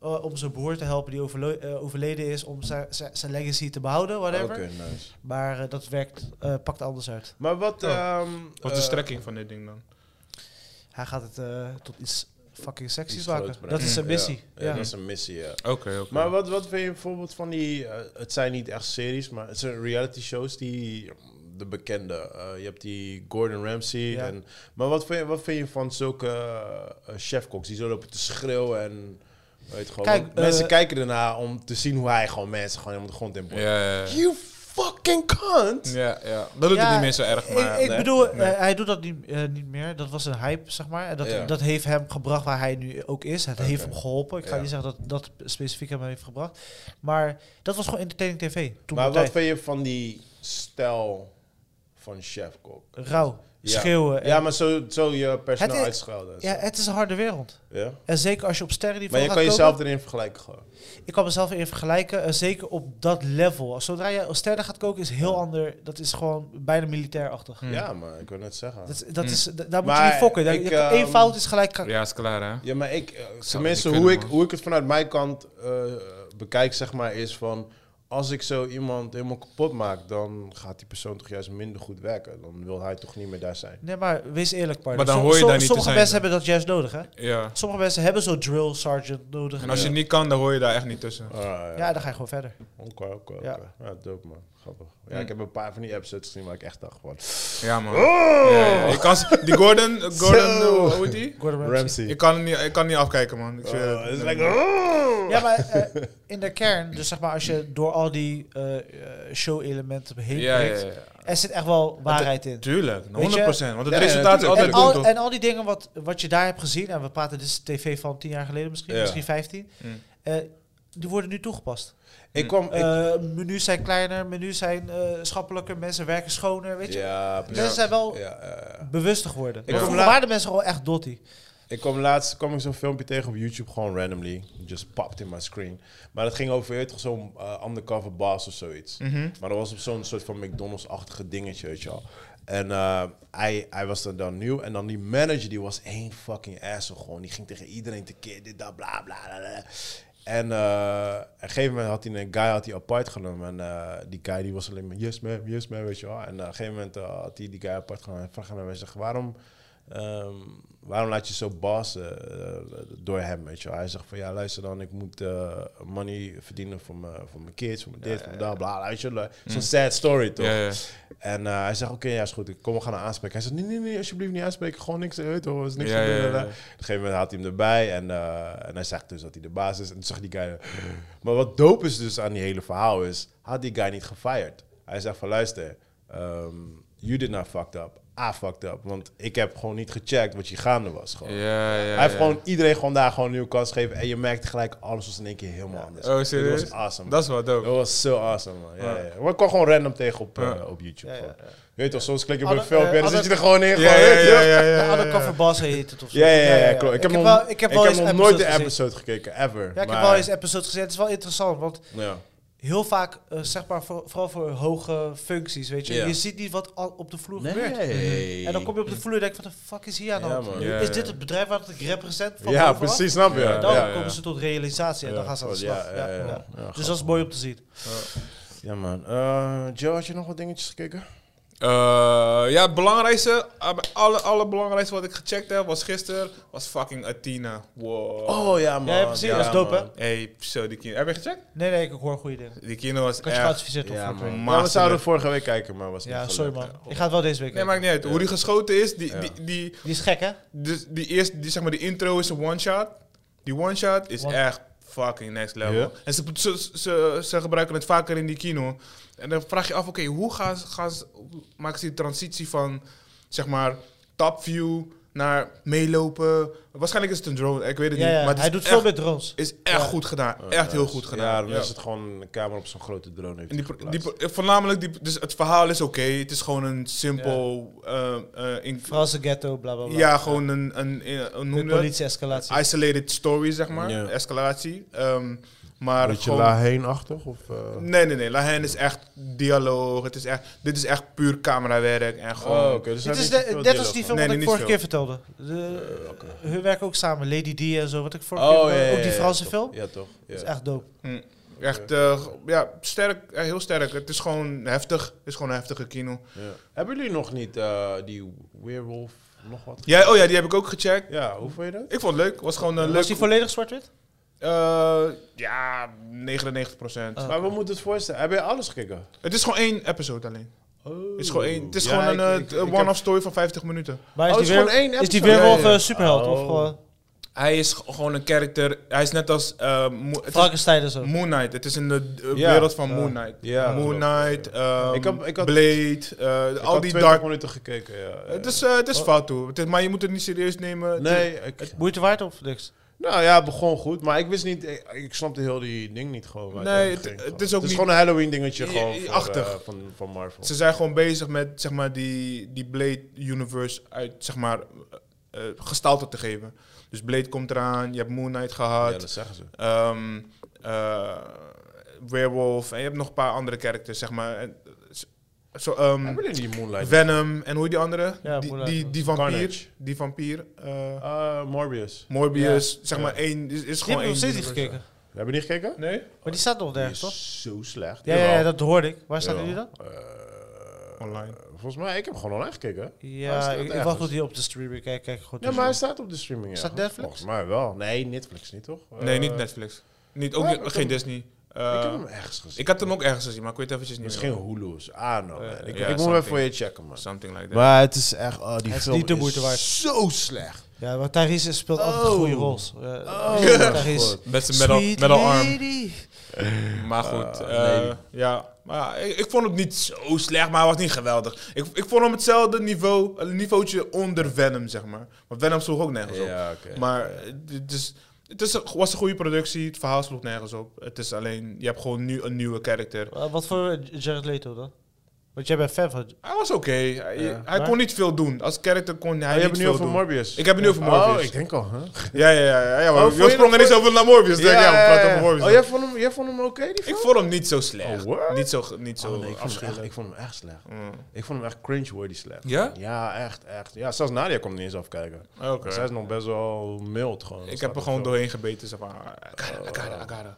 Speaker 2: Oh,
Speaker 3: eh, om zijn broer te helpen die overlo- eh, overleden is, om zijn- zijn zijn legacy te behouden, whatever.
Speaker 2: Ah, Oké, nice.
Speaker 3: Maar eh, dat werkt, eh, pakt anders uit.
Speaker 2: Maar wat...
Speaker 1: Oh.
Speaker 2: ehm
Speaker 1: Wat is
Speaker 2: eh,
Speaker 1: de strekking van dit ding dan?
Speaker 3: Hij gaat het eh, tot iets fucking
Speaker 2: iets
Speaker 3: sexys
Speaker 2: groots
Speaker 3: maken.
Speaker 2: brengen?
Speaker 3: Dat is zijn
Speaker 2: Ja,
Speaker 3: missie.
Speaker 2: Ja,
Speaker 3: Ja.
Speaker 2: dat is een missie, ja.
Speaker 1: Oké, oké.
Speaker 2: Maar wat, wat vind je bijvoorbeeld van die... eh, het zijn niet echt series, maar het zijn reality shows die... mm, De bekende. eh, je hebt die Gordon Ramsay.
Speaker 3: Ja.
Speaker 2: En, maar wat vind, je, wat vind je van zulke eh, eh, chefkoks die zo lopen te schreeuwen en... Weet gewoon,
Speaker 3: Kijk,
Speaker 2: want mensen
Speaker 3: eh,
Speaker 2: kijken ernaar om te zien hoe hij gewoon mensen gewoon helemaal de grond in
Speaker 1: Ja,
Speaker 2: boort.
Speaker 1: ja, ja.
Speaker 2: You fucking cunt!
Speaker 1: Ja, ja. Dat doet
Speaker 3: Ja,
Speaker 1: het niet meer zo erg, maar...
Speaker 3: ik ik
Speaker 2: nee.
Speaker 3: bedoel,
Speaker 1: Nee.
Speaker 3: eh, hij doet dat niet, eh, niet meer. Dat was een hype, zeg maar. En dat,
Speaker 2: Ja.
Speaker 3: dat heeft hem gebracht waar hij nu ook is. Het heeft hem geholpen. Ik ga
Speaker 2: Ja.
Speaker 3: niet zeggen dat dat specifiek hem heeft gebracht. Maar dat was gewoon entertaining tv. Toen
Speaker 2: maar
Speaker 3: de tijd.
Speaker 2: wat vind je van die stijl van chef-kok.
Speaker 3: Rauw,
Speaker 2: Ja.
Speaker 3: schreeuwen.
Speaker 2: Ja, maar zo, zo je personeel
Speaker 3: Eh, Het is-
Speaker 2: uitschelden. en zo.
Speaker 3: ja, het is een harde wereld.
Speaker 2: Ja?
Speaker 3: En zeker als je op sterrenniveau
Speaker 2: Maar je
Speaker 3: gaat
Speaker 2: kan
Speaker 3: komen-
Speaker 2: jezelf erin vergelijken gewoon.
Speaker 3: Ik kan mezelf erin vergelijken, eh, zeker op dat level. Als- Zodra je als sterren gaat koken, is heel ander. Dat is gewoon bijna militairachtig.
Speaker 1: Hmm.
Speaker 2: Ja, maar ik wil net zeggen.
Speaker 3: Dat, dat
Speaker 1: Mm.
Speaker 3: is, da- daar moet
Speaker 2: Maar
Speaker 3: je niet fokken. Daar-
Speaker 2: ik,
Speaker 3: je kan- één
Speaker 2: ehm,
Speaker 3: fout is gelijk... ka-
Speaker 1: Ja, is klaar, hè?
Speaker 2: Ja, maar ik, eh,
Speaker 1: niet
Speaker 2: tenminste,
Speaker 1: kunnen,
Speaker 2: hoe, ik,
Speaker 1: man.
Speaker 2: hoe ik het vanuit mijn kant eh, bekijk, zeg maar, is van... Als ik zo iemand helemaal kapot maak, dan gaat die persoon toch juist minder goed werken. Dan wil hij toch niet meer daar zijn.
Speaker 3: Nee, maar wees eerlijk, partner.
Speaker 1: Maar dan
Speaker 3: Som-
Speaker 1: hoor je
Speaker 3: som-
Speaker 1: daar niet te
Speaker 3: Sommige
Speaker 1: zijn,
Speaker 3: mensen hebben dat juist nodig, hè?
Speaker 1: Ja.
Speaker 3: Sommige mensen hebben zo'n drill sergeant nodig.
Speaker 1: En als je het niet kan, dan hoor je daar echt niet tussen.
Speaker 2: Ah, ja,
Speaker 3: Ja, dan ga je gewoon verder.
Speaker 2: oké, oké,
Speaker 3: Ja.
Speaker 2: oké. Ja, dope man. Grappig. Ja,
Speaker 1: Hmm.
Speaker 2: ik heb een paar van die episodes gezien waar ik echt dacht van... Oh!
Speaker 1: Ja, man. Ja, ja. Ik kan, s- die Gordon, eh, Gordon
Speaker 2: (laughs) Zo.
Speaker 1: eh, hoe heet die?
Speaker 3: Gordon Ramsay.
Speaker 2: Ramsey.
Speaker 1: Ik kan, het niet, ik kan niet afkijken, man. Ik
Speaker 2: Oh,
Speaker 1: zweer
Speaker 2: het
Speaker 1: het.
Speaker 2: is
Speaker 1: Nee.
Speaker 2: like, oh.
Speaker 3: Ja, maar eh, in de kern, dus zeg maar, als je door al die eh, eh, show-elementen heen
Speaker 1: Ja, ja,
Speaker 3: prikt,
Speaker 1: ja.
Speaker 3: er zit echt wel waarheid in.
Speaker 1: Tuurlijk, 100%. Want het
Speaker 2: Ja, ja,
Speaker 1: resultaat is
Speaker 2: tuurlijk.
Speaker 1: altijd
Speaker 3: En
Speaker 1: goed,
Speaker 3: al,
Speaker 1: toch?
Speaker 3: en al die dingen wat, wat je daar hebt gezien, en we praten dus tv van tien jaar geleden misschien,
Speaker 2: Ja.
Speaker 3: misschien vijftien, eh,
Speaker 1: Mm.
Speaker 3: die worden nu toegepast.
Speaker 2: Ik kwam... ik-
Speaker 3: Eh, menus zijn kleiner, menus zijn eh, schappelijker, mensen werken schoner, weet je.
Speaker 2: ja, precies.
Speaker 3: Mensen zijn wel
Speaker 2: Ja, eh. ja, ja.
Speaker 3: bewuster geworden.
Speaker 2: kwam
Speaker 3: Vroeger
Speaker 2: laat-
Speaker 3: waren de mensen gewoon echt dotty.
Speaker 2: Ik kwam laatst kwam ik zo'n filmpje tegen op YouTube, gewoon randomly. Just popped in my screen. Maar dat ging over weet je toch, zo'n eh, undercover boss of zoiets. Maar dat was op zo'n soort van McDonald's-achtige dingetje, weet je wel. En eh, hij, hij was er dan nieuw. En dan die manager, die was één fucking asshole gewoon. Die ging tegen iedereen tekeer, dit, dat, bla, bla, bla, bla. En eh, op een gegeven moment had hij een guy had hij apart genomen. En eh, die guy die was alleen maar, yes ma'am, yes ma'am, weet je wel. En eh, op een gegeven moment eh, had hij die guy apart genomen. En vraag aan hem, hij zegt, waarom... Ehm, waarom laat je zo bassen eh, door hem, weet je wel? Hij zegt van, ja, luister dan, ik moet eh, money verdienen voor mijn voor mijn kids, voor mijn dit, voor mijn dat, bla, bla, weet je wel. Zo'n sad story, toch?
Speaker 1: Mm. Ja, ja.
Speaker 2: En eh, hij zegt, oké, ja, is goed, ik kom, we gaan hem aanspreken. Hij zegt, nee, nee, nee, alsjeblieft niet aanspreken, gewoon niks, uit hoor, is niks
Speaker 1: Ja,
Speaker 2: te doen.
Speaker 1: ja, ja,
Speaker 2: eh.
Speaker 1: ja.
Speaker 2: Op een gegeven moment haalt hij hem erbij en, eh, en hij zegt dus dat hij de baas is. En toen zag die guy... Maar wat dope is dus aan die hele verhaal is, had die guy niet gefired. Hij zegt van, luister, ehm you did not fucked up. I fucked up, want ik heb gewoon niet gecheckt wat je gaande was. Gewoon.
Speaker 1: Ja, ja,
Speaker 2: Hij heeft
Speaker 1: ja.
Speaker 2: gewoon iedereen gewoon daar gewoon een nieuwe kans gegeven. En je merkt gelijk, alles was in één keer helemaal anders.
Speaker 1: Oh, serieus?
Speaker 2: Dat was awesome.
Speaker 1: Dat is wel
Speaker 2: Dat
Speaker 1: dope.
Speaker 2: was zo awesome, man. Ja,
Speaker 1: Ja.
Speaker 2: ja. Maar ik kwam gewoon random tegen op, eh,
Speaker 1: Ja.
Speaker 2: op YouTube.
Speaker 3: Ja, ja,
Speaker 2: gewoon. Je weet toch, soms klik je op
Speaker 3: Alle-
Speaker 2: een filmpje en
Speaker 3: eh,
Speaker 2: dan zit je
Speaker 3: alle-
Speaker 2: er gewoon in.
Speaker 1: Ja,
Speaker 2: gewoon,
Speaker 1: ja,
Speaker 2: weet je
Speaker 1: ja,
Speaker 2: wel.
Speaker 1: ja,
Speaker 3: Ja,
Speaker 1: ja, ja.
Speaker 3: Undercover Bas heet het of zo.
Speaker 2: Ja, ja, ja, klopt. Ik heb, nog-
Speaker 3: wel, ik heb wel eens
Speaker 2: nog nooit de
Speaker 3: episodes
Speaker 2: episode gekeken, ever.
Speaker 3: Ja, ik heb
Speaker 2: maar-
Speaker 3: wel eens episodes gezien. Het is wel interessant, want
Speaker 2: Ja.
Speaker 3: heel vaak, eh, zeg maar, voor- vooral voor hoge functies, weet je.
Speaker 2: Ja.
Speaker 3: Je ziet niet wat al op de vloer gebeurt.
Speaker 2: Nee.
Speaker 3: En dan kom je op de vloer en denk van, de fuck is hier aan de
Speaker 2: Ja,
Speaker 3: hand?
Speaker 2: man.
Speaker 1: Ja,
Speaker 3: Is
Speaker 1: ja.
Speaker 3: dit het bedrijf waar ik represent van
Speaker 2: Ja,
Speaker 3: bovenaf?
Speaker 2: precies, snap je.
Speaker 1: Ja,
Speaker 3: En
Speaker 2: Ja,
Speaker 3: dan
Speaker 2: ja.
Speaker 3: komen ze tot realisatie en dan gaan ze aan de
Speaker 2: Ja,
Speaker 3: slag. Ja,
Speaker 2: ja, ja, ja.
Speaker 3: ja.
Speaker 2: Ja,
Speaker 3: Dus dat is mooi om te zien.
Speaker 2: Ja, man. Eh, Joe, had je nog wat dingetjes gekeken?
Speaker 1: Eh, ja, het belangrijkste, eh, alle, alle belangrijkste wat ik gecheckt heb, was gisteren, was fucking Athena. Wow.
Speaker 2: Oh, ja, man.
Speaker 3: Ja, precies, dat is dope, hè?
Speaker 2: man.
Speaker 1: Hey, zo, die kino. Heb je gecheckt?
Speaker 3: Nee, nee, ik hoor goede dingen.
Speaker 1: Die kino was
Speaker 3: Ik had je
Speaker 1: echt...
Speaker 3: geadviseerd om
Speaker 2: Ja,
Speaker 3: voor te doen.
Speaker 2: man.
Speaker 1: doen.
Speaker 2: Maar we zouden vorige week kijken, maar was niet
Speaker 3: Ja,
Speaker 2: gelukt.
Speaker 3: sorry man. Ik ga het wel deze week
Speaker 1: Nee,
Speaker 3: hebben.
Speaker 1: maakt niet uit. Hoe die geschoten is, die,
Speaker 2: Ja.
Speaker 1: die, die,
Speaker 3: Die is gek, hè?
Speaker 1: dus die, eerste, die, zeg maar, die intro is een one-shot. Die one-shot is
Speaker 3: One-
Speaker 1: echt fucking next level.
Speaker 2: Ja.
Speaker 1: En ze, ze, ze, ze gebruiken het vaker in die kino. En dan vraag je af, oké, hoe gaan ze, gaan ze, hoe maken ze die transitie van, zeg maar, top view naar meelopen? Waarschijnlijk is het een drone, ik weet het
Speaker 3: Ja,
Speaker 1: niet.
Speaker 3: ja.
Speaker 1: Maar het is
Speaker 3: Hij doet
Speaker 1: echt,
Speaker 3: veel met drones.
Speaker 1: is echt
Speaker 3: Ja.
Speaker 1: goed gedaan.
Speaker 2: Oh, Ja,
Speaker 1: echt heel
Speaker 2: nice.
Speaker 1: goed gedaan.
Speaker 2: Ja, dan is het gewoon een camera op zo'n grote drone. Heeft
Speaker 1: En die,
Speaker 2: hij
Speaker 1: pro- die,
Speaker 2: geplaatst.
Speaker 1: pro- voornamelijk, die, dus het verhaal is oké. Het is gewoon een simpel... eh, eh, in-
Speaker 3: Franse ghetto, bla bla bla.
Speaker 1: ja, gewoon een... een, een, een
Speaker 3: Met
Speaker 1: noem je dat?
Speaker 3: politie-escalatie.
Speaker 1: isolated story, zeg maar.
Speaker 2: Ja.
Speaker 1: Escalatie. Ehm, maar
Speaker 2: Beetje
Speaker 1: gewoon-
Speaker 2: Laheen-achtig? Of, eh?
Speaker 1: Nee, nee, nee. Lahen is echt dialoog. Het is echt, dit is echt puur camerawerk en gewoon...
Speaker 2: Oh, oké. dus
Speaker 3: Het
Speaker 2: hij
Speaker 3: is
Speaker 2: heeft
Speaker 3: de-
Speaker 2: niet
Speaker 3: net
Speaker 2: veel
Speaker 3: als die
Speaker 1: van. Nee,
Speaker 3: film wat
Speaker 1: nee,
Speaker 3: ik
Speaker 1: niet
Speaker 3: vorige
Speaker 1: veel.
Speaker 3: keer vertelde. De, Hun werken ook samen, Lady D en zo, wat ik vorige
Speaker 2: dialoog.
Speaker 3: keer
Speaker 2: Oh, ja, ja,
Speaker 3: vertelde. Ook die
Speaker 2: ja,
Speaker 3: Franse
Speaker 2: toch.
Speaker 3: film.
Speaker 2: Ja, toch. Ja.
Speaker 3: Dat is echt dope.
Speaker 1: Hm. Echt, eh, ja, sterk. Ja, heel sterk. Het is gewoon heftig. Het is gewoon een heftige kino.
Speaker 2: Ja. Hebben jullie nog niet eh, die Werewolf nog wat?
Speaker 1: Jij, oh ja, die heb ik ook gecheckt.
Speaker 2: Ja, hoe vond je dat?
Speaker 1: Ik vond het leuk. Het was gewoon een
Speaker 3: Was
Speaker 1: leuk...
Speaker 3: die volledig zwart-wit?
Speaker 1: Eh, ja, 99 procent.
Speaker 3: Oh.
Speaker 2: Maar we moeten het voorstellen. Heb je alles gekeken?
Speaker 1: Het is gewoon één episode alleen.
Speaker 2: Oh.
Speaker 1: Het is gewoon, één, het is gewoon een eh, one-off story van 50 minuten.
Speaker 3: Maar is,
Speaker 2: Oh, het
Speaker 3: die,
Speaker 2: is
Speaker 3: weer,
Speaker 2: gewoon één
Speaker 3: is die
Speaker 2: episode.
Speaker 3: weerwolf
Speaker 1: Ja, ja, ja.
Speaker 3: eh, superheld? Of
Speaker 2: Oh.
Speaker 3: gewoon
Speaker 1: Hij is g- gewoon een karakter. Hij is net als... eh, Mo- het is-
Speaker 3: Frankenstein en zo?
Speaker 2: Mm.
Speaker 1: Moon Knight. Het is in de eh,
Speaker 2: Ja.
Speaker 1: wereld van
Speaker 2: Ja.
Speaker 1: Moon Knight.
Speaker 2: Ja,
Speaker 1: Moon
Speaker 2: klopt, ja.
Speaker 1: Knight, ehm,
Speaker 2: Ik had- ik had-
Speaker 1: Blade, eh, al die dark...
Speaker 2: minuten gekeken, ja.
Speaker 1: Het is, eh het is fout toe. Het is- maar je moet het niet serieus nemen. Het
Speaker 2: nee, ik,
Speaker 3: Moeite waard dus. of niks?
Speaker 2: nee, Nou ja, het begon goed, maar ik wist niet, ik, ik snapte heel die ding niet gewoon. waar
Speaker 1: Nee,
Speaker 2: over
Speaker 1: het-
Speaker 2: ging,
Speaker 1: het
Speaker 2: gewoon.
Speaker 1: is ook
Speaker 2: het is
Speaker 1: niet-
Speaker 2: gewoon een Halloween dingetje
Speaker 1: I-
Speaker 2: gewoon
Speaker 1: i-
Speaker 2: voor,
Speaker 1: achtig.
Speaker 2: eh, van, van Marvel.
Speaker 1: Ze zijn gewoon bezig met zeg maar, die, die Blade Universe uit zeg maar, eh, eh, gestalte te geven. Dus Blade komt eraan, je hebt Moon Knight
Speaker 2: ja,
Speaker 1: gehad,
Speaker 2: dat zeggen ze.
Speaker 1: ehm, eh, Werewolf en je hebt nog een paar andere characters, zeg maar. En, eh, zo- zo, ehm,
Speaker 2: Hebben jullie die Moonlight?
Speaker 1: Venom en hoe heet die andere?
Speaker 3: Ja,
Speaker 1: die,
Speaker 3: Moonlight.
Speaker 1: die, die vampier.
Speaker 2: Carnage.
Speaker 1: Die vampier. eh,
Speaker 2: Eh, Morbius.
Speaker 1: Morbius, zeg
Speaker 2: Ja.
Speaker 1: maar één. Is, is
Speaker 3: Die
Speaker 1: gewoon
Speaker 3: heb ik nog
Speaker 1: één.
Speaker 3: steeds niet
Speaker 1: universe.
Speaker 3: gekeken.
Speaker 2: Hebben we niet gekeken?
Speaker 1: Nee?
Speaker 3: Maar die staat nog
Speaker 2: Die
Speaker 3: nergens,
Speaker 2: is
Speaker 3: toch?
Speaker 2: zo slecht.
Speaker 3: Ja, ja, ja,
Speaker 2: Jawel.
Speaker 3: dat hoorde ik. Waar staat
Speaker 2: Jawel.
Speaker 3: die dan?
Speaker 2: Eh,
Speaker 1: Online.
Speaker 2: Volgens mij, ik heb gewoon online gekeken. Hij
Speaker 3: Ja,
Speaker 2: staat
Speaker 3: ik, ik wacht
Speaker 2: ergens.
Speaker 3: tot die op de streamer kijkt. Kijk gewoon
Speaker 2: Ja, maar hij staat op de streaming. Ja.
Speaker 3: Staat Netflix?
Speaker 2: Volgens mij wel. Nee, Netflix niet, toch?
Speaker 1: Nee,
Speaker 2: Eh,
Speaker 1: niet Netflix. Niet, ook
Speaker 2: ja,
Speaker 1: niet-
Speaker 2: ik heb
Speaker 1: geen
Speaker 2: hem-
Speaker 1: Disney. Eh,
Speaker 2: ik heb hem ergens gezien.
Speaker 1: ik had hem ook ergens gezien, maar ik weet eventjes niet
Speaker 2: Misschien
Speaker 1: meer.
Speaker 2: Hulu's. Ah, no.
Speaker 1: Eh,
Speaker 2: man. ik
Speaker 1: ja,
Speaker 2: ik moet hem
Speaker 1: something.
Speaker 2: even voor je checken, man.
Speaker 1: Something like that.
Speaker 2: Maar het is echt... Oh, die
Speaker 3: Het is
Speaker 2: film
Speaker 3: niet de moeite
Speaker 2: is
Speaker 3: waard.
Speaker 2: zo slecht.
Speaker 3: Ja, maar Tyrese speelt altijd
Speaker 2: Oh.
Speaker 3: goede rols. Eh,
Speaker 2: Oh,
Speaker 3: (laughs) Tyrese.
Speaker 2: God.
Speaker 1: Met zijn metal,
Speaker 3: Sweet
Speaker 1: metal arm.
Speaker 3: lady.
Speaker 1: Maar goed,
Speaker 2: Ah,
Speaker 1: eh,
Speaker 2: nee.
Speaker 1: ja. Maar ik, ik vond hem niet zo slecht, maar hij was niet geweldig. Ik, ik vond hem hetzelfde niveau, een niveautje onder Venom, zeg maar. Want Venom sloeg ook nergens op.
Speaker 2: Ja, oké.
Speaker 1: Maar eh, het, is, het is, een- was een goede productie, het verhaal sloeg nergens op. Het is alleen, je hebt gewoon nu een nieuwe karakter.
Speaker 3: Eh, Wat voor Jared Leto dan? Want jij bent fan van...
Speaker 1: Hij was oké, hij,
Speaker 2: Ja.
Speaker 1: hij
Speaker 3: Maar-
Speaker 1: kon niet veel doen. Als karakter kon hij
Speaker 2: Oh, je
Speaker 1: niet
Speaker 2: hebt nu
Speaker 1: veel
Speaker 2: over
Speaker 1: doen.
Speaker 2: Morbius.
Speaker 1: Ik heb het nu over
Speaker 2: Oh,
Speaker 1: Morbius.
Speaker 2: ik denk al, hè?
Speaker 1: (laughs) Ja, ja, ja. ja, ja maar
Speaker 2: Oh,
Speaker 1: we-
Speaker 2: vond
Speaker 1: we
Speaker 2: je
Speaker 1: sprongen
Speaker 2: dat
Speaker 1: niet over naar Morbius. denk, Dus ja, we praten over Morbius.
Speaker 2: Oh, jij vond hem, jij vond hem oké, die
Speaker 1: Ik
Speaker 2: film?
Speaker 1: vond hem niet zo slecht.
Speaker 2: Oh, what?
Speaker 1: niet zo, niet zo
Speaker 2: Oh, nee, ik, vond hem echt,
Speaker 1: afschuwelijk.
Speaker 2: ik vond hem echt slecht.
Speaker 1: Mm.
Speaker 2: Ik vond hem echt cringe-worthy slecht.
Speaker 1: Ja?
Speaker 2: Ja, echt, echt. Ja, zelfs Nadia komt niet eens afkijken.
Speaker 1: Oké.
Speaker 2: Zij is nog best wel mild gewoon.
Speaker 1: Ik heb er gewoon doorheen gebeten. Zeg maar,
Speaker 2: Ah,
Speaker 1: I gotta, I gotta, I gotta.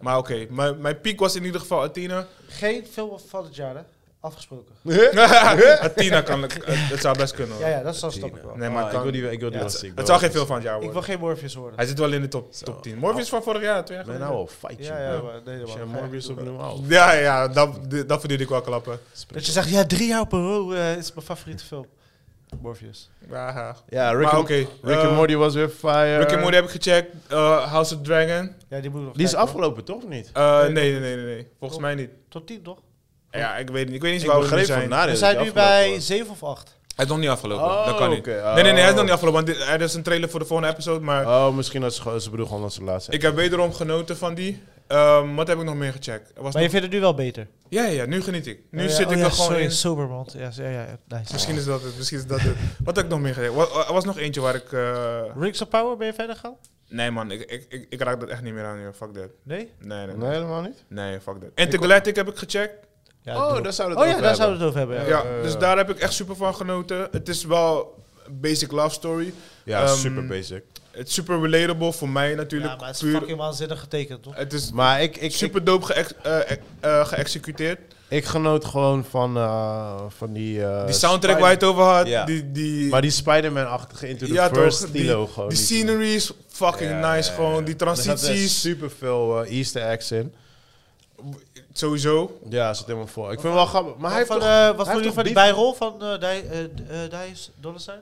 Speaker 1: Maar oké, mijn, mijn piek was in ieder geval Athena.
Speaker 3: Geen film van het jaar, hè? Afgesproken.
Speaker 2: Oh,
Speaker 1: (laughs) Athena kan, ik- het, het zou best kunnen. hoor.
Speaker 3: Ja, ja, dat snap ik wel.
Speaker 1: Nee, maar
Speaker 2: maar
Speaker 1: het
Speaker 2: Ah, ik
Speaker 1: kan-
Speaker 2: wil die, ik wil die
Speaker 3: Ja,
Speaker 2: wel
Speaker 3: het-
Speaker 2: zien. Ik
Speaker 1: het
Speaker 2: wil
Speaker 1: zou
Speaker 2: wel
Speaker 1: geen veel van het jaar
Speaker 3: Ik wil
Speaker 1: worden.
Speaker 3: geen Morpheus worden.
Speaker 1: Hij zit wel in de top, top 10. Morbius van vorig jaar, twee jaar
Speaker 2: zien. Ben
Speaker 1: geleden.
Speaker 2: nou al fightje.
Speaker 3: Ja, ja, maar nee,
Speaker 2: Als
Speaker 3: man.
Speaker 2: jij Morbius opnieuw haalt.
Speaker 1: Ja, ja, dat, dat verdiende ik wel klappen.
Speaker 3: Dat je zegt, ja, drie jaar op een rol eh, is mijn favoriete film. Morpheus.
Speaker 1: Ja,
Speaker 2: Ja, Rick,
Speaker 1: maar
Speaker 2: and-
Speaker 1: oké.
Speaker 2: Rick
Speaker 1: eh,
Speaker 2: and Morty was weer fire.
Speaker 1: Rick and Morty heb ik gecheckt. Eh, House of Dragon.
Speaker 3: Ja, die moet ik nog
Speaker 2: Die is
Speaker 3: kijken, hoor.
Speaker 2: afgelopen, toch? of Niet?
Speaker 1: Eh, nee, nee, nee, nee, nee. Volgens mij niet.
Speaker 3: Tot tien, toch?
Speaker 1: Ja, ik weet niet. Ik weet niet eens
Speaker 2: Ik
Speaker 1: waar we nu
Speaker 2: begreep
Speaker 1: zijn.
Speaker 2: van Nadia
Speaker 3: We
Speaker 2: dat
Speaker 3: zijn
Speaker 2: die
Speaker 3: nu
Speaker 2: afgelopen
Speaker 3: bij
Speaker 2: was.
Speaker 3: zeven of acht.
Speaker 1: Hij is nog niet afgelopen.
Speaker 2: Oh,
Speaker 1: dat kan niet.
Speaker 2: oké. Oh.
Speaker 1: Nee, nee, nee, hij is nog niet afgelopen. Want dit- er is een trailer voor de volgende episode. Maar
Speaker 2: Oh, misschien dat ze gewoon- ze bedoel gewoon dat ze laatst zijn.
Speaker 1: ik heb wederom genoten van die. Ehm, wat heb ik nog meer gecheckt? Er was
Speaker 3: Maar je
Speaker 1: nog-
Speaker 3: vindt het nu wel beter?
Speaker 1: Ja, ja, ja, nu geniet ik. Nu
Speaker 3: Oh ja,
Speaker 1: zit
Speaker 3: oh
Speaker 1: ik
Speaker 3: ja,
Speaker 1: er gewoon
Speaker 3: sorry,
Speaker 1: in.
Speaker 3: sober, man. Ja, ja, ja, nice.
Speaker 1: Misschien is dat het, misschien is dat het. Wat heb ik nog meer gecheckt? Wa- Er was nog eentje waar ik... eh,
Speaker 3: Rings of Power, ben je verder gaan?
Speaker 1: Nee man, ik, ik, ik, ik raak dat echt niet meer aan. joh. Fuck that.
Speaker 3: Nee?
Speaker 1: Nee, nee,
Speaker 2: Nee,
Speaker 1: nee.
Speaker 2: helemaal niet.
Speaker 1: Nee, fuck that. Intergalactic heb ik gecheckt.
Speaker 3: Ja, doe
Speaker 2: Oh,
Speaker 3: ik.
Speaker 2: daar zouden we
Speaker 3: oh
Speaker 2: het
Speaker 3: ja,
Speaker 2: over
Speaker 3: daar zouden
Speaker 2: hebben.
Speaker 3: we het over hebben.
Speaker 1: Ja,
Speaker 3: Ja.
Speaker 2: ja,
Speaker 1: dus
Speaker 2: ja.
Speaker 1: daar heb ik echt super van genoten. Het is wel een basic love story.
Speaker 2: Ja,
Speaker 1: Ehm,
Speaker 2: super basic.
Speaker 1: Het is super relatable voor mij natuurlijk.
Speaker 3: Ja, maar het is
Speaker 1: Puur-
Speaker 3: fucking waanzinnig getekend, toch?
Speaker 1: het is
Speaker 2: Maar ik, ik, ik,
Speaker 1: super dope geëx- eh, eh, eh, geëxecuteerd.
Speaker 2: ik genoot gewoon van, eh, van die... eh,
Speaker 1: die soundtrack
Speaker 2: Spider-
Speaker 1: waar je het over had.
Speaker 2: Ja.
Speaker 1: Die, die,
Speaker 2: Maar die Spider-Man-achtige Into the
Speaker 1: ja, toch,
Speaker 2: First
Speaker 1: die-
Speaker 2: stilo gewoon.
Speaker 1: Die
Speaker 2: niet-
Speaker 1: scenery is fucking
Speaker 2: Ja, ja,
Speaker 1: nice.
Speaker 2: ja,
Speaker 1: gewoon
Speaker 2: ja.
Speaker 1: die
Speaker 2: Er zitten
Speaker 1: transities.
Speaker 2: super veel easter eggs in.
Speaker 1: Sowieso.
Speaker 2: Ja, zit helemaal vol. Ik vind het wel grappig. Maar hij heeft
Speaker 3: van,
Speaker 2: toch...
Speaker 3: eh, wat
Speaker 2: heeft
Speaker 3: vond je
Speaker 2: toch
Speaker 3: van die
Speaker 2: beef-
Speaker 3: bijrol van eh Dij- eh, eh, Dijs Dollarstein?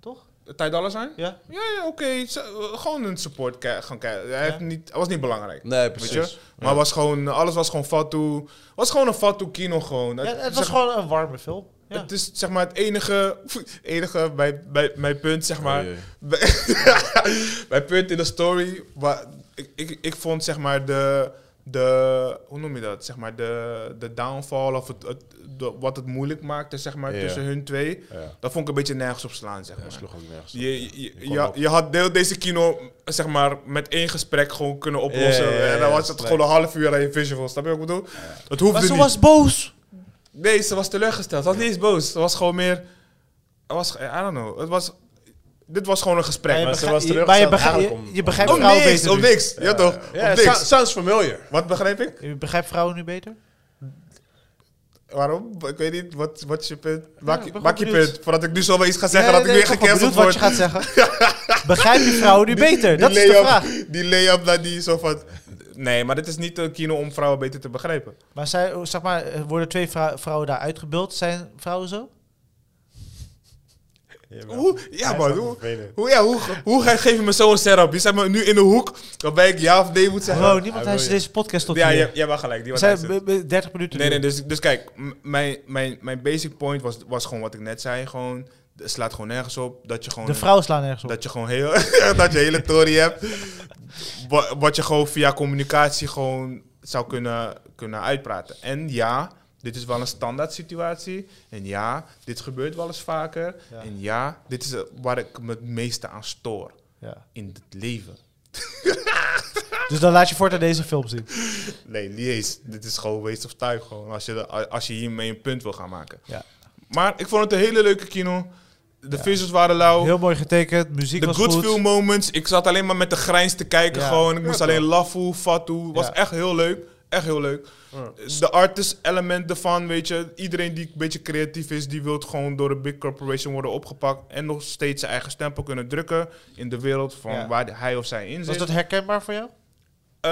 Speaker 3: Toch?
Speaker 1: Tijd alles zijn?
Speaker 3: Ja?
Speaker 1: Ja, ja oké. Zo- Gewoon een support ki- gaan kijken. Hij
Speaker 3: Ja.
Speaker 1: heeft niet, hij was niet belangrijk.
Speaker 2: Nee,
Speaker 1: Weet je? Maar was gewoon, alles was gewoon Fatou. was gewoon een Fatou kino gewoon.
Speaker 3: ja het was
Speaker 1: zeg-
Speaker 3: gewoon een warme film. Ja.
Speaker 1: Het is zeg maar het enige, (laughs) enige bij, bij mijn punt, zeg
Speaker 3: Oh,
Speaker 1: maar.
Speaker 2: Oei, oei.
Speaker 1: bij- mijn punt in de story. Waar, ik, ik, ik vond zeg maar de, de, hoe noem je dat? Zeg maar de, de downfall of het, het- de- wat het moeilijk maakte, zeg maar,
Speaker 2: Ja.
Speaker 1: tussen hun twee.
Speaker 2: Ja,
Speaker 1: Dat vond ik een beetje nergens op slaan, zeg
Speaker 2: dat
Speaker 1: maar.
Speaker 2: sloeg ook nergens op.
Speaker 1: Je, je,
Speaker 2: Ik
Speaker 1: je,
Speaker 2: kon
Speaker 1: ja,
Speaker 2: ook-
Speaker 1: je had deel deze kino zeg maar, met één gesprek gewoon kunnen oplossen.
Speaker 2: Ja, ja, ja, ja,
Speaker 1: en dan was het
Speaker 2: nee.
Speaker 1: gewoon een half uur aan je visual. Snap je wat ik bedoel? Het hoefde
Speaker 3: Maar ze
Speaker 1: niet.
Speaker 3: was boos!
Speaker 1: Nee, ze was teleurgesteld. Ze was niet eens boos. Ze was gewoon meer... Het was, I don't know. Het was, dit was gewoon een gesprek.
Speaker 3: Maar je
Speaker 2: Maar ze
Speaker 3: bega-
Speaker 2: was
Speaker 3: je-
Speaker 2: teruggesteld
Speaker 3: maar je bega-
Speaker 2: eigenlijk
Speaker 3: je-
Speaker 2: om-
Speaker 3: je begrijpt
Speaker 1: Om
Speaker 3: vrouwen
Speaker 1: Oh, niks,
Speaker 3: beter
Speaker 1: om
Speaker 3: nu.
Speaker 1: niks. Ja, toch?
Speaker 2: Ja,
Speaker 1: Om
Speaker 2: so-
Speaker 1: niks.
Speaker 2: sounds familiar.
Speaker 1: Wat begrijp ik?
Speaker 3: Je begrijpt vrouwen nu beter?
Speaker 1: Waarom? Ik weet niet. Wat, wat is je punt? Maak,
Speaker 3: ik
Speaker 1: je-
Speaker 3: ben
Speaker 1: maak je
Speaker 3: gewoon benieuwd.
Speaker 1: punt. Voordat ik nu zo wel iets ga zeggen
Speaker 3: Nee,
Speaker 1: dat
Speaker 3: nee,
Speaker 1: ik
Speaker 3: ik
Speaker 1: weer
Speaker 3: ben gewoon
Speaker 1: gecanceld
Speaker 3: benieuwd
Speaker 1: word.
Speaker 3: wat je gaat
Speaker 1: (laughs)
Speaker 3: zeggen. Begrijp je vrouwen nu beter? Dat is de
Speaker 1: lay-up-
Speaker 3: vraag.
Speaker 1: Die lay-up naar die zo van... Nee, maar dit is niet een kino om vrouwen beter te begrijpen.
Speaker 3: Maar, zij, oh, zeg maar er worden twee vrou- vrouwen daar uitgebeeld? Zijn vrouwen zo?
Speaker 1: Hoe? Ja,
Speaker 2: Hij
Speaker 1: man.
Speaker 2: is
Speaker 1: Hoe,
Speaker 2: vervelend.
Speaker 1: hoe, ja, hoe, hoe ga- geef je me zo'n setup? Je zet me nu in de hoek waarbij ik ja of nee moet zeggen.
Speaker 3: Bro, niemand
Speaker 2: wil
Speaker 3: heeft
Speaker 2: je.
Speaker 3: deze podcast tot
Speaker 1: ja,
Speaker 3: hier.
Speaker 1: jij, jij was gelijk. Die
Speaker 3: We
Speaker 1: was
Speaker 3: zijn
Speaker 1: nice.
Speaker 3: b- b- 30 minuten
Speaker 1: Nee, nee,
Speaker 3: door.
Speaker 1: dus, dus kijk, m- mijn, mijn, mijn basic point was, was gewoon wat ik net zei. Gewoon, Het slaat gewoon nergens op dat je gewoon...
Speaker 3: De vrouwen slaan ergens op.
Speaker 1: Dat je gewoon heel... (laughs) dat je hele tory hebt. Wa- Wat je gewoon via communicatie gewoon zou kunnen, kunnen uitpraten. En ja, dit is wel een standaard situatie. En ja, dit gebeurt wel eens vaker.
Speaker 3: Ja.
Speaker 1: En ja, dit is eh, waar ik me het meeste aan stoor.
Speaker 3: Ja.
Speaker 1: In het leven.
Speaker 3: Dus dan laat je voort aan deze film zien.
Speaker 1: Nee, niet eens. Dit is gewoon waste of time gewoon. Als je, de- als je hiermee een punt wil gaan maken.
Speaker 3: Ja.
Speaker 1: Maar ik vond het een hele leuke kino. De
Speaker 3: Ja.
Speaker 1: visuals waren lauw.
Speaker 3: Heel mooi getekend, muziek
Speaker 1: Oh. de
Speaker 3: was
Speaker 1: good
Speaker 3: goed.
Speaker 1: feel moments. Ik zat alleen maar met de grijns te kijken
Speaker 3: Ja.
Speaker 1: gewoon. Ik moest
Speaker 2: Ja,
Speaker 1: alleen lafu, fatu. Was
Speaker 3: Ja.
Speaker 1: echt heel leuk. Echt heel leuk. De artist element ervan, weet je. Iedereen die een beetje creatief is, die wil gewoon door een big corporation worden opgepakt. En nog steeds zijn eigen stempel kunnen drukken in de wereld van
Speaker 3: Ja.
Speaker 1: waar hij of zij in zit.
Speaker 3: Was dat herkenbaar voor jou?
Speaker 1: Eh,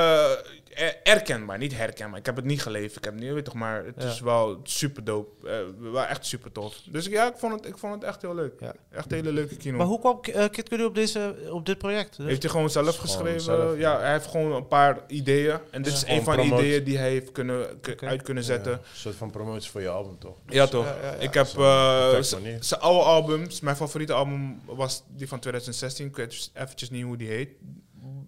Speaker 1: er- herkenbaar, niet herkenbaar. Ik heb het niet geleefd. Ik heb het niet, weet toch, maar het
Speaker 3: Ja.
Speaker 1: is wel super dope. Eh, wel echt super tof. Dus ik- ja, ik vond het, ik vond het echt heel leuk.
Speaker 3: Ja.
Speaker 1: Echt een hele leuke kino.
Speaker 3: Maar hoe kwam K- eh, Kid Cudi op, deze, op dit project?
Speaker 1: Heeft hij gewoon zelf
Speaker 2: Is gewoon
Speaker 1: geschreven?
Speaker 2: zelf,
Speaker 1: ja, hij heeft gewoon een paar ideeën. En dit
Speaker 3: Ja.
Speaker 1: is
Speaker 2: Gewoon
Speaker 1: een van de
Speaker 2: promote.
Speaker 1: ideeën die hij heeft kunnen, k-
Speaker 3: Oké.
Speaker 1: uit kunnen zetten.
Speaker 2: Ja,
Speaker 1: Ja,
Speaker 2: een soort van promotie voor je album, toch?
Speaker 1: toch?
Speaker 3: Ja, ja, ja.
Speaker 1: Ik heb
Speaker 2: Zo'n perfecte
Speaker 1: eh, z-
Speaker 2: manier.
Speaker 1: zijn oude albums. Mijn favoriete album was die van 2016. Ik weet dus eventjes niet hoe die heet.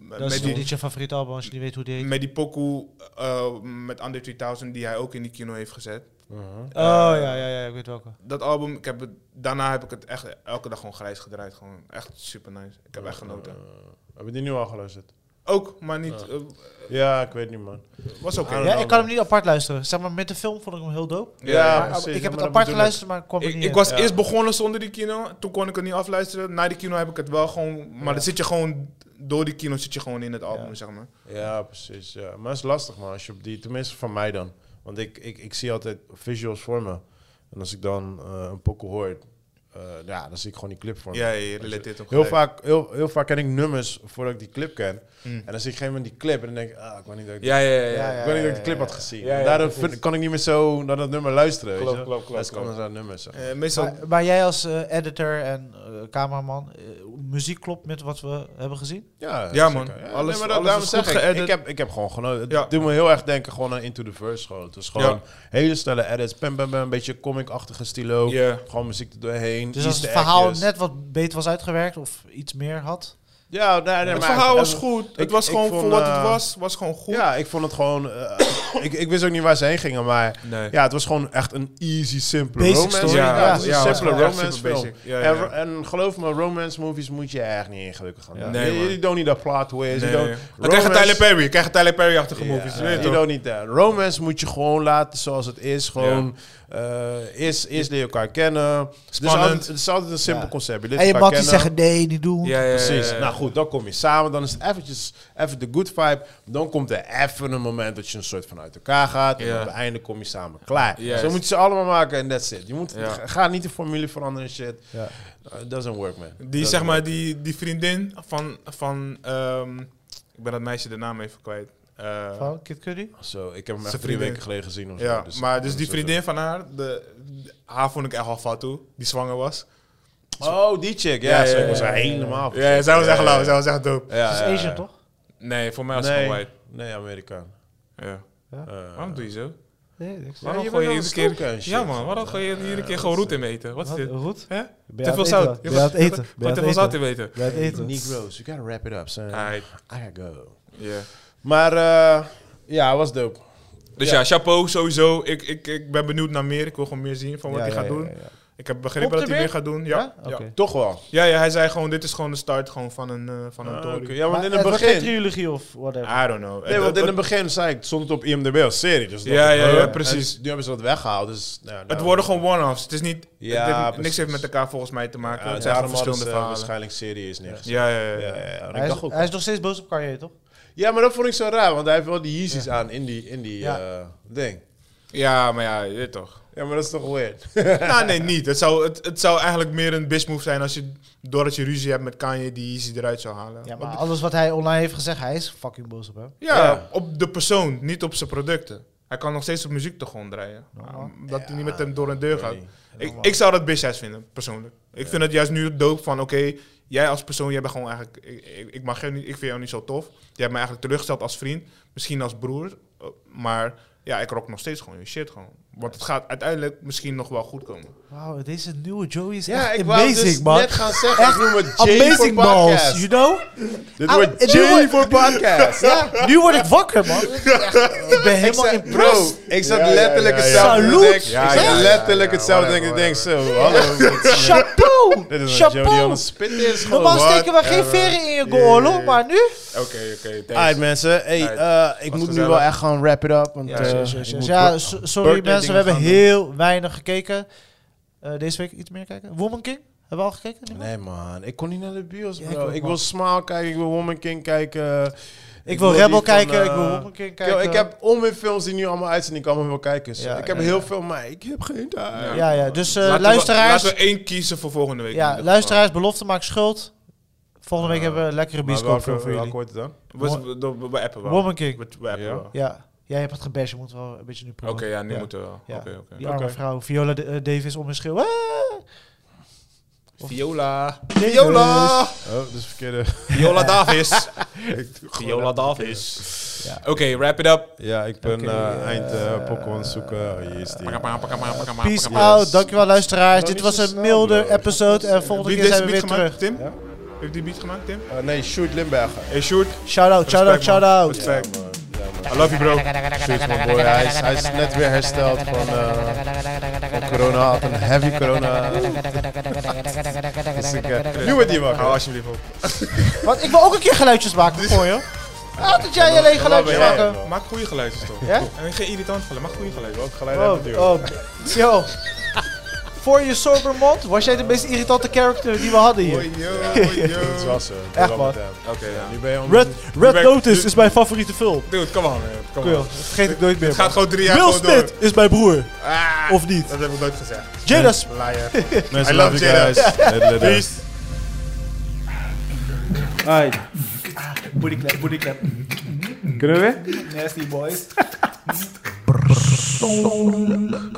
Speaker 3: dat
Speaker 1: met,
Speaker 3: is
Speaker 1: die,
Speaker 3: niet je favoriete album als je niet weet hoe die heet.
Speaker 1: met die pokoe eh, met Under 3000 die hij ook in die kino heeft gezet.
Speaker 2: Mhm.
Speaker 3: Oh
Speaker 1: Eh.
Speaker 3: ja, ja, ja, ik weet welke.
Speaker 1: Dat album, ik heb het, daarna heb ik het echt elke dag gewoon grijs gedraaid. Gewoon echt super nice. Ik heb echt genoten.
Speaker 2: Eh, heb je die nu al geluisterd?
Speaker 1: Ook, maar niet. eh,
Speaker 2: Ja, ik weet niet, man.
Speaker 1: was oké.
Speaker 2: Ja,
Speaker 3: Ja, ik kan hem niet apart luisteren. Zeg maar, met de film vond ik hem heel dope.
Speaker 2: Ja,
Speaker 3: Maar,
Speaker 2: precies, ja,
Speaker 3: ik heb
Speaker 2: maar
Speaker 3: het
Speaker 2: dat
Speaker 3: apart
Speaker 2: bedoel ik.
Speaker 3: geluisterd, maar ik kwam er
Speaker 1: Ik,
Speaker 3: niet
Speaker 1: ik
Speaker 3: in.
Speaker 1: was
Speaker 2: Ja.
Speaker 1: eerst begonnen zonder die kino. Toen kon ik het niet afluisteren. Na de kino heb ik het wel gewoon. Maar
Speaker 3: Ja.
Speaker 1: dan zit je gewoon. Door die kino zit je gewoon in het album,
Speaker 3: Ja.
Speaker 1: zeg maar.
Speaker 2: Ja, precies. Ja. Maar het is lastig, man. Als je op die, tenminste van mij dan. Want ik, ik, ik zie altijd visuals voor me. En als ik dan eh, een pokoe hoor, eh, ja, dan zie ik gewoon die clip voor me.
Speaker 1: Ja, je relateert ook
Speaker 2: Heel
Speaker 1: gelijk.
Speaker 2: vaak, heel, heel vaak ken ik nummers voordat ik die clip ken.
Speaker 1: Mm.
Speaker 2: En dan zie ik geen moment die clip en dan denk ik, ah, ik wou niet dat ik,
Speaker 1: Ja, ja, ja.
Speaker 3: Ja,
Speaker 1: ja.
Speaker 2: ik, wou niet dat ik de clip had gezien.
Speaker 1: Ja, ja,
Speaker 2: Daardoor
Speaker 1: precies.
Speaker 2: vind- kan ik niet meer zo naar dat nummer luisteren.
Speaker 1: Klopt,
Speaker 2: weet je?
Speaker 1: klopt, klopt,
Speaker 2: Dat is
Speaker 1: klopt.
Speaker 2: anders aan nummers. zeg.
Speaker 1: Eh, meestal.
Speaker 3: maar, maar jij als eh, editor en eh, cameraman, eh, muziek klopt met wat we hebben gezien?
Speaker 2: Ja,
Speaker 1: Ja, man.
Speaker 2: zeker.
Speaker 1: Alles-
Speaker 2: nee, maar
Speaker 1: alles
Speaker 2: daarom
Speaker 1: is
Speaker 2: zeg
Speaker 1: goed
Speaker 2: ik,
Speaker 1: geëdit.
Speaker 2: ik, heb, ik heb gewoon genoten. Het
Speaker 1: Ja.
Speaker 2: doet me heel erg denken gewoon aan Into the Verse. Gewoon. Het is gewoon
Speaker 1: Ja.
Speaker 2: hele snelle edits. Pam, pam, pam. Een beetje comic-achtige stilo.
Speaker 1: Ja.
Speaker 2: Gewoon muziek er doorheen.
Speaker 3: Dus als het
Speaker 2: easter
Speaker 3: verhaal
Speaker 2: eggjes.
Speaker 3: net wat beter was uitgewerkt of iets meer had?
Speaker 2: Ja, nee, nee,
Speaker 1: het
Speaker 2: maar
Speaker 1: verhaal was
Speaker 2: even-
Speaker 1: goed.
Speaker 2: ik-
Speaker 1: het was
Speaker 2: ik
Speaker 1: gewoon
Speaker 2: vond,
Speaker 1: voor wat het
Speaker 2: eh,
Speaker 1: was. Was gewoon goed.
Speaker 2: Ja, ik vond het gewoon... eh, (coughs) ik, ik wist ook niet waar ze heen gingen, maar...
Speaker 1: Nee.
Speaker 2: Ja, dus het was gewoon echt een easy, simpele
Speaker 3: Basic
Speaker 2: romance.
Speaker 3: story.
Speaker 2: Ja,
Speaker 3: Ja,
Speaker 2: het was een
Speaker 3: ja, was
Speaker 2: simpele
Speaker 1: wel echt
Speaker 2: romance
Speaker 1: super
Speaker 2: film.
Speaker 1: basic. Ja,
Speaker 2: en,
Speaker 1: ja, ja.
Speaker 2: en geloof me, romance movies moet je echt niet in gelukkig gaan. doen.
Speaker 1: Nee,
Speaker 2: You- you
Speaker 1: man.
Speaker 2: don't need a plot twist.
Speaker 1: Nee,
Speaker 2: you
Speaker 1: nee,
Speaker 2: don't,
Speaker 1: nee. Dan krijg je
Speaker 2: romance-
Speaker 1: Tyler Perry. Je krijgt Tyler Perry-achtige
Speaker 2: Ja,
Speaker 1: movies. weet je
Speaker 2: you
Speaker 1: toch?
Speaker 2: don't need that. Romance moet je gewoon laten zoals het is. Gewoon eh, eerst, eerst leer je elkaar kennen. Dus Het is,
Speaker 1: Spannend.
Speaker 2: altijd, het is altijd een simpel
Speaker 3: Ja.
Speaker 2: concept. Je leert
Speaker 3: En je
Speaker 2: elkaar
Speaker 3: mag niet
Speaker 2: kennen.
Speaker 3: zeggen, nee, niet doen.
Speaker 1: Ja, ja, ja, ja,
Speaker 2: Precies.
Speaker 1: ja.
Speaker 2: Nou goed, dan kom je samen. Dan is het eventjes even de good vibe. Dan komt er even een moment dat je een soort van uit elkaar gaat. En
Speaker 1: Ja.
Speaker 2: op het einde kom je samen klaar.
Speaker 1: Juist.
Speaker 2: Zo moet je ze allemaal maken en that's it. Je moet,
Speaker 1: Ja.
Speaker 2: ga- Ga niet de formule veranderen en shit. Uh, it doesn't work, man.
Speaker 1: Die,
Speaker 2: Doesn't
Speaker 1: zeg
Speaker 2: work.
Speaker 1: maar, die, die vriendin van. van ehm, ik ben dat meisje de naam even kwijt. Eh,
Speaker 3: Van Kid Cudi?
Speaker 2: Zo, ik heb hem
Speaker 1: Zijn
Speaker 2: echt drie
Speaker 1: vriendin.
Speaker 2: weken geleden gezien. Of
Speaker 1: Ja,
Speaker 2: zo,
Speaker 1: maar dus die
Speaker 2: zo-
Speaker 1: vriendin van haar, de, de- haar vond ik echt al fout toe, die zwanger was.
Speaker 2: Oh, die chick. Ja,
Speaker 1: Ja,
Speaker 2: zo
Speaker 1: ja,
Speaker 2: was
Speaker 1: ja,
Speaker 2: hij
Speaker 3: ja, ja.
Speaker 2: helemaal.
Speaker 1: Ja, zij was echt
Speaker 2: ja,
Speaker 1: lauw,
Speaker 2: ja.
Speaker 1: zij was echt dope.
Speaker 2: Ja,
Speaker 3: Het is
Speaker 2: ja, ja.
Speaker 3: Asian, toch?
Speaker 1: Nee, voor mij was het gewoon
Speaker 2: Nee,
Speaker 1: white.
Speaker 2: nee, Amerikaan.
Speaker 1: Ja.
Speaker 2: Eh,
Speaker 1: Waarom doe je zo?
Speaker 3: Nee, niks.
Speaker 1: Waarom
Speaker 2: je
Speaker 1: gooi je
Speaker 2: bent
Speaker 1: iedere
Speaker 2: wel een
Speaker 1: keer...
Speaker 2: stalker en
Speaker 1: Ja
Speaker 2: shit.
Speaker 1: man, waarom gooi je iedere keer gewoon roet in eten? Wat is dit?
Speaker 3: Goed?
Speaker 1: Hè?
Speaker 3: Ben je
Speaker 1: Te
Speaker 3: aan
Speaker 1: veel
Speaker 3: het
Speaker 1: zout.
Speaker 3: eten? Ben je aan het eten? Ben je
Speaker 1: Gewoon
Speaker 3: aan
Speaker 1: te
Speaker 3: het
Speaker 1: veel
Speaker 3: eten?
Speaker 1: zout in eten.
Speaker 3: Ben je aan het eten?
Speaker 2: Negroes, you gotta wrap it up, son.
Speaker 1: Aight.
Speaker 2: I gotta go.
Speaker 1: Ja.
Speaker 2: Maar eh, ja, hij was dope.
Speaker 1: Dus ja, chapeau sowieso. Ik, ik, ik ben benieuwd naar meer. Ik wil gewoon meer zien van wat
Speaker 3: Ja,
Speaker 1: hij
Speaker 3: ja,
Speaker 1: gaat
Speaker 3: ja,
Speaker 1: doen.
Speaker 3: ja, ja.
Speaker 1: Ik heb begrepen
Speaker 3: Komt
Speaker 1: dat
Speaker 3: er
Speaker 1: hij meer
Speaker 3: weer?
Speaker 1: gaat doen. Ja.
Speaker 3: Ja?
Speaker 1: Ja.
Speaker 3: Oké.
Speaker 2: Toch wel.
Speaker 1: ja, ja, hij zei gewoon, dit is gewoon de start gewoon van een, eh, van een
Speaker 2: Ah,
Speaker 1: tory.
Speaker 2: oké. Ja, want
Speaker 3: Maar
Speaker 2: in
Speaker 3: het
Speaker 2: het
Speaker 3: wordt geen
Speaker 2: begin...
Speaker 3: trilogie of whatever.
Speaker 1: I don't know.
Speaker 2: Nee, want in het begin zei ik, stond het op IMDb als serie. Dus
Speaker 1: Ja,
Speaker 2: dacht ik,
Speaker 1: ja,
Speaker 2: huh?
Speaker 1: ja, precies.
Speaker 2: En nu hebben ze dat weggehaald, dus... nou, nou,
Speaker 1: Het worden gewoon one-offs. Het is niet.
Speaker 2: Ja,
Speaker 1: het heeft niks
Speaker 2: precies.
Speaker 1: heeft met elkaar volgens mij te
Speaker 2: ja,
Speaker 1: maken.
Speaker 2: het
Speaker 1: het
Speaker 2: zijn
Speaker 1: zijn
Speaker 2: allemaal
Speaker 1: verschillende
Speaker 2: verschillende
Speaker 1: verhalen.
Speaker 2: waarschijnlijk serie is neergezet.
Speaker 1: Ja, ja, ja. ja.
Speaker 2: Ja, ja, ja. En
Speaker 3: Hij
Speaker 2: ik
Speaker 3: is,
Speaker 2: dacht ook-
Speaker 3: hij is nog steeds boos op Kanye, toch?
Speaker 2: Ja, maar dat vond ik zo raar, want hij heeft wel die Yeezys aan in die, in die
Speaker 3: Ja.
Speaker 2: eh, ding.
Speaker 1: Ja, maar ja, je weet toch.
Speaker 2: Ja, maar dat is toch weird.
Speaker 1: nou, nee, niet. Het zou, het, het zou eigenlijk meer een bismove zijn als je, doordat je ruzie hebt met Kanye, die Yeezy eruit zou halen.
Speaker 3: Ja,
Speaker 1: Op
Speaker 3: maar
Speaker 1: de-
Speaker 3: alles wat hij online heeft gezegd, hij is fucking boos op hem.
Speaker 1: ja,
Speaker 2: Ja.
Speaker 1: op de persoon, niet op zijn producten. Hij kan nog steeds op muziek te grond draaien.
Speaker 3: Nou,
Speaker 1: Omdat hij niet met hem door een deur gaat.
Speaker 2: weet niet.
Speaker 1: Ik, ik zou dat bitch ass vinden, persoonlijk. Ik vind het juist nu dope van, oké, jij als persoon, jij bent gewoon eigenlijk... Ik, ik, ik mag jou niet, ik vind jou niet zo tof. Jij hebt me eigenlijk teleurgesteld als vriend, misschien als broer. eh, Maar ja, ik rock nog steeds gewoon je shit gewoon. Want het gaat uiteindelijk misschien nog wel goed komen.
Speaker 3: Wauw, deze nieuwe Joey is
Speaker 2: Ja,
Speaker 3: echt
Speaker 2: ik wou
Speaker 3: amazing,
Speaker 2: dus
Speaker 3: man.
Speaker 2: net gaan zeggen, ik noem het Jay
Speaker 3: amazing
Speaker 2: voor
Speaker 3: balls,
Speaker 2: podcast.
Speaker 3: you know?
Speaker 2: Dit
Speaker 3: Ah,
Speaker 2: wordt
Speaker 3: en nu
Speaker 2: Jay
Speaker 3: wordt-
Speaker 2: voor podcast.
Speaker 3: Ja, nu word ik
Speaker 2: (laughs)
Speaker 3: wakker, man. Ik ben helemaal
Speaker 2: Ik zei, bro,
Speaker 3: impressed.
Speaker 2: ik zat
Speaker 4: Ja, ja,
Speaker 2: letterlijk
Speaker 4: ja, ja.
Speaker 2: hetzelfde te
Speaker 3: Salut.
Speaker 2: denken.
Speaker 4: Ja,
Speaker 2: ik
Speaker 4: ja,
Speaker 2: zat
Speaker 4: ja, ja,
Speaker 2: letterlijk
Speaker 4: ja,
Speaker 2: hetzelfde
Speaker 4: whatever,
Speaker 2: denken. Ik denk zo, hallo. dit is-
Speaker 3: Chapeau,
Speaker 2: (laughs) Dit is een Jody on
Speaker 3: chapeau.
Speaker 2: een spit is gewoon.
Speaker 3: Normaal
Speaker 2: What?
Speaker 3: steken we geen veren in je goal, hoor, maar nu...
Speaker 1: Oké, oké. thanks.
Speaker 2: Alright mensen, hey,
Speaker 1: Alright,
Speaker 2: eh, ik
Speaker 1: was
Speaker 2: moet nu
Speaker 1: gezellig.
Speaker 2: wel echt gaan wrap it up. Want,
Speaker 1: Ja,
Speaker 2: eh,
Speaker 1: ja, ja,
Speaker 2: ik
Speaker 3: Dus
Speaker 2: moet-
Speaker 3: ja, so- sorry
Speaker 2: birthday
Speaker 3: mensen, we
Speaker 2: dingen
Speaker 3: hebben
Speaker 2: gaan doen.
Speaker 3: heel weinig gekeken. Eh, deze week iets meer kijken. Woman King, hebben we al gekeken? Niemand?
Speaker 2: Nee man, ik kon niet naar de bios
Speaker 3: Ja,
Speaker 2: bro. ik,
Speaker 3: ik ook, man.
Speaker 2: wil Smile kijken, ik wil Woman King kijken.
Speaker 3: Ik wil Rebel
Speaker 2: die van,
Speaker 3: kijken, ik wil
Speaker 2: eh,
Speaker 3: Woman King
Speaker 2: Yo,
Speaker 3: kijken.
Speaker 2: ik heb onweer films die nu allemaal uit zijn, die ik allemaal wil kijken. So,
Speaker 3: Ja,
Speaker 2: ik heb
Speaker 3: ja,
Speaker 2: heel
Speaker 3: ja.
Speaker 2: veel, maar ik heb geen tijd.
Speaker 3: Ja, ja, dus eh,
Speaker 1: Laten we-
Speaker 3: luisteraars...
Speaker 1: laten we één kiezen voor volgende week. in
Speaker 3: Ja,
Speaker 1: ieder geval.
Speaker 3: luisteraars, belofte maakt schuld. Volgende week
Speaker 2: Eh,
Speaker 3: hebben we een lekkere
Speaker 2: Maar
Speaker 3: bioscoopfilm voor
Speaker 2: welke
Speaker 3: jullie.
Speaker 2: wordt het dan?
Speaker 1: We, we, we- we appen wel.
Speaker 3: Woman King.
Speaker 1: We, we appen
Speaker 2: Ja.
Speaker 1: wel.
Speaker 3: Ja. Jij hebt het gebashed, je moet wel een beetje nu
Speaker 1: Oké,
Speaker 3: promoten.
Speaker 1: ja, nu
Speaker 3: Ja.
Speaker 1: moeten we wel.
Speaker 3: Ja.
Speaker 1: Oké, oké.
Speaker 3: Die arme
Speaker 2: Oké.
Speaker 3: vrouw, Viola D- eh, Davis om een schil. Ah!
Speaker 1: Viola.
Speaker 3: Davis.
Speaker 1: Viola.
Speaker 2: Oh, dat is verkeerde.
Speaker 1: Viola
Speaker 3: (laughs)
Speaker 1: Davis.
Speaker 2: Ik doe gewoon-
Speaker 1: Viola Davis.
Speaker 3: Ja.
Speaker 1: Oké, wrap it up.
Speaker 2: Ja, ik ben
Speaker 3: Oké,
Speaker 2: eh, eind eh
Speaker 3: eh,
Speaker 2: pokken aan het zoeken. Oh, hier is die.
Speaker 1: Pakka, pakka, pakka, pakka, pakka,
Speaker 3: Peace
Speaker 1: pakka.
Speaker 3: out, dankjewel luisteraars.
Speaker 2: Nou,
Speaker 3: Dit
Speaker 2: niet
Speaker 3: was
Speaker 2: zo
Speaker 3: een
Speaker 2: snel,
Speaker 3: milder
Speaker 2: bro.
Speaker 3: episode en volgende
Speaker 1: Wie
Speaker 3: keer
Speaker 1: heeft
Speaker 3: zijn
Speaker 1: deze
Speaker 3: we
Speaker 1: beat
Speaker 3: weer
Speaker 1: gemaakt?
Speaker 3: terug.
Speaker 1: Tim?
Speaker 2: Ja.
Speaker 1: Heeft die beat gemaakt, Tim?
Speaker 2: Eh, nee, Sjoerd Limberger.
Speaker 1: Hey, Sjoerd.
Speaker 3: Shout-out, shout-out,
Speaker 1: Respect, man.
Speaker 3: shout-out.
Speaker 1: Respect.
Speaker 2: Ja, man. Ja, man.
Speaker 1: I love you, bro.
Speaker 2: Shoot, man, boy. Hij is, hij is net weer hersteld van, eh, van corona. Had een heavy corona. Dus ik, eh, nu wordt hij wakker.
Speaker 1: Hou alsjeblieft op.
Speaker 3: Wat, ik wil ook een keer geluidjes maken voor je. Altijd jij alleen geluidjes
Speaker 2: Ja, ja,
Speaker 3: maken.
Speaker 2: ja.
Speaker 1: Maak goede geluidjes toch?
Speaker 3: Ja?
Speaker 1: En geen irritant vallen, maak goede geluidjes.
Speaker 2: Welk geluid
Speaker 3: Oh,
Speaker 2: hebben we
Speaker 3: oh. Yo. Voor je sober mond was jij de meest irritante character die we hadden hier.
Speaker 2: Het was eh, zo.
Speaker 3: Echt, man.
Speaker 1: Oké, ja.
Speaker 2: Nu ben je
Speaker 1: Red
Speaker 3: Red, Red
Speaker 1: Back-
Speaker 3: Notice
Speaker 1: Notice
Speaker 3: is mijn favoriete film.
Speaker 1: Dude, come on, man. Come
Speaker 3: Cool.
Speaker 1: on.
Speaker 3: Dat vergeet ik nooit meer.
Speaker 1: Het gaat gewoon drie jaar
Speaker 3: Will
Speaker 1: gewoon door.
Speaker 3: Smith is mijn broer.
Speaker 1: Ah,
Speaker 3: Of niet?
Speaker 1: Dat heb ik nooit gezegd.
Speaker 3: Jada
Speaker 1: Liar.
Speaker 2: Mensen,
Speaker 1: I
Speaker 2: love
Speaker 1: love
Speaker 2: you guys. Peace.
Speaker 3: Booty clap, booty clap. Kunnen we Nasty boys.
Speaker 5: persoonlijk.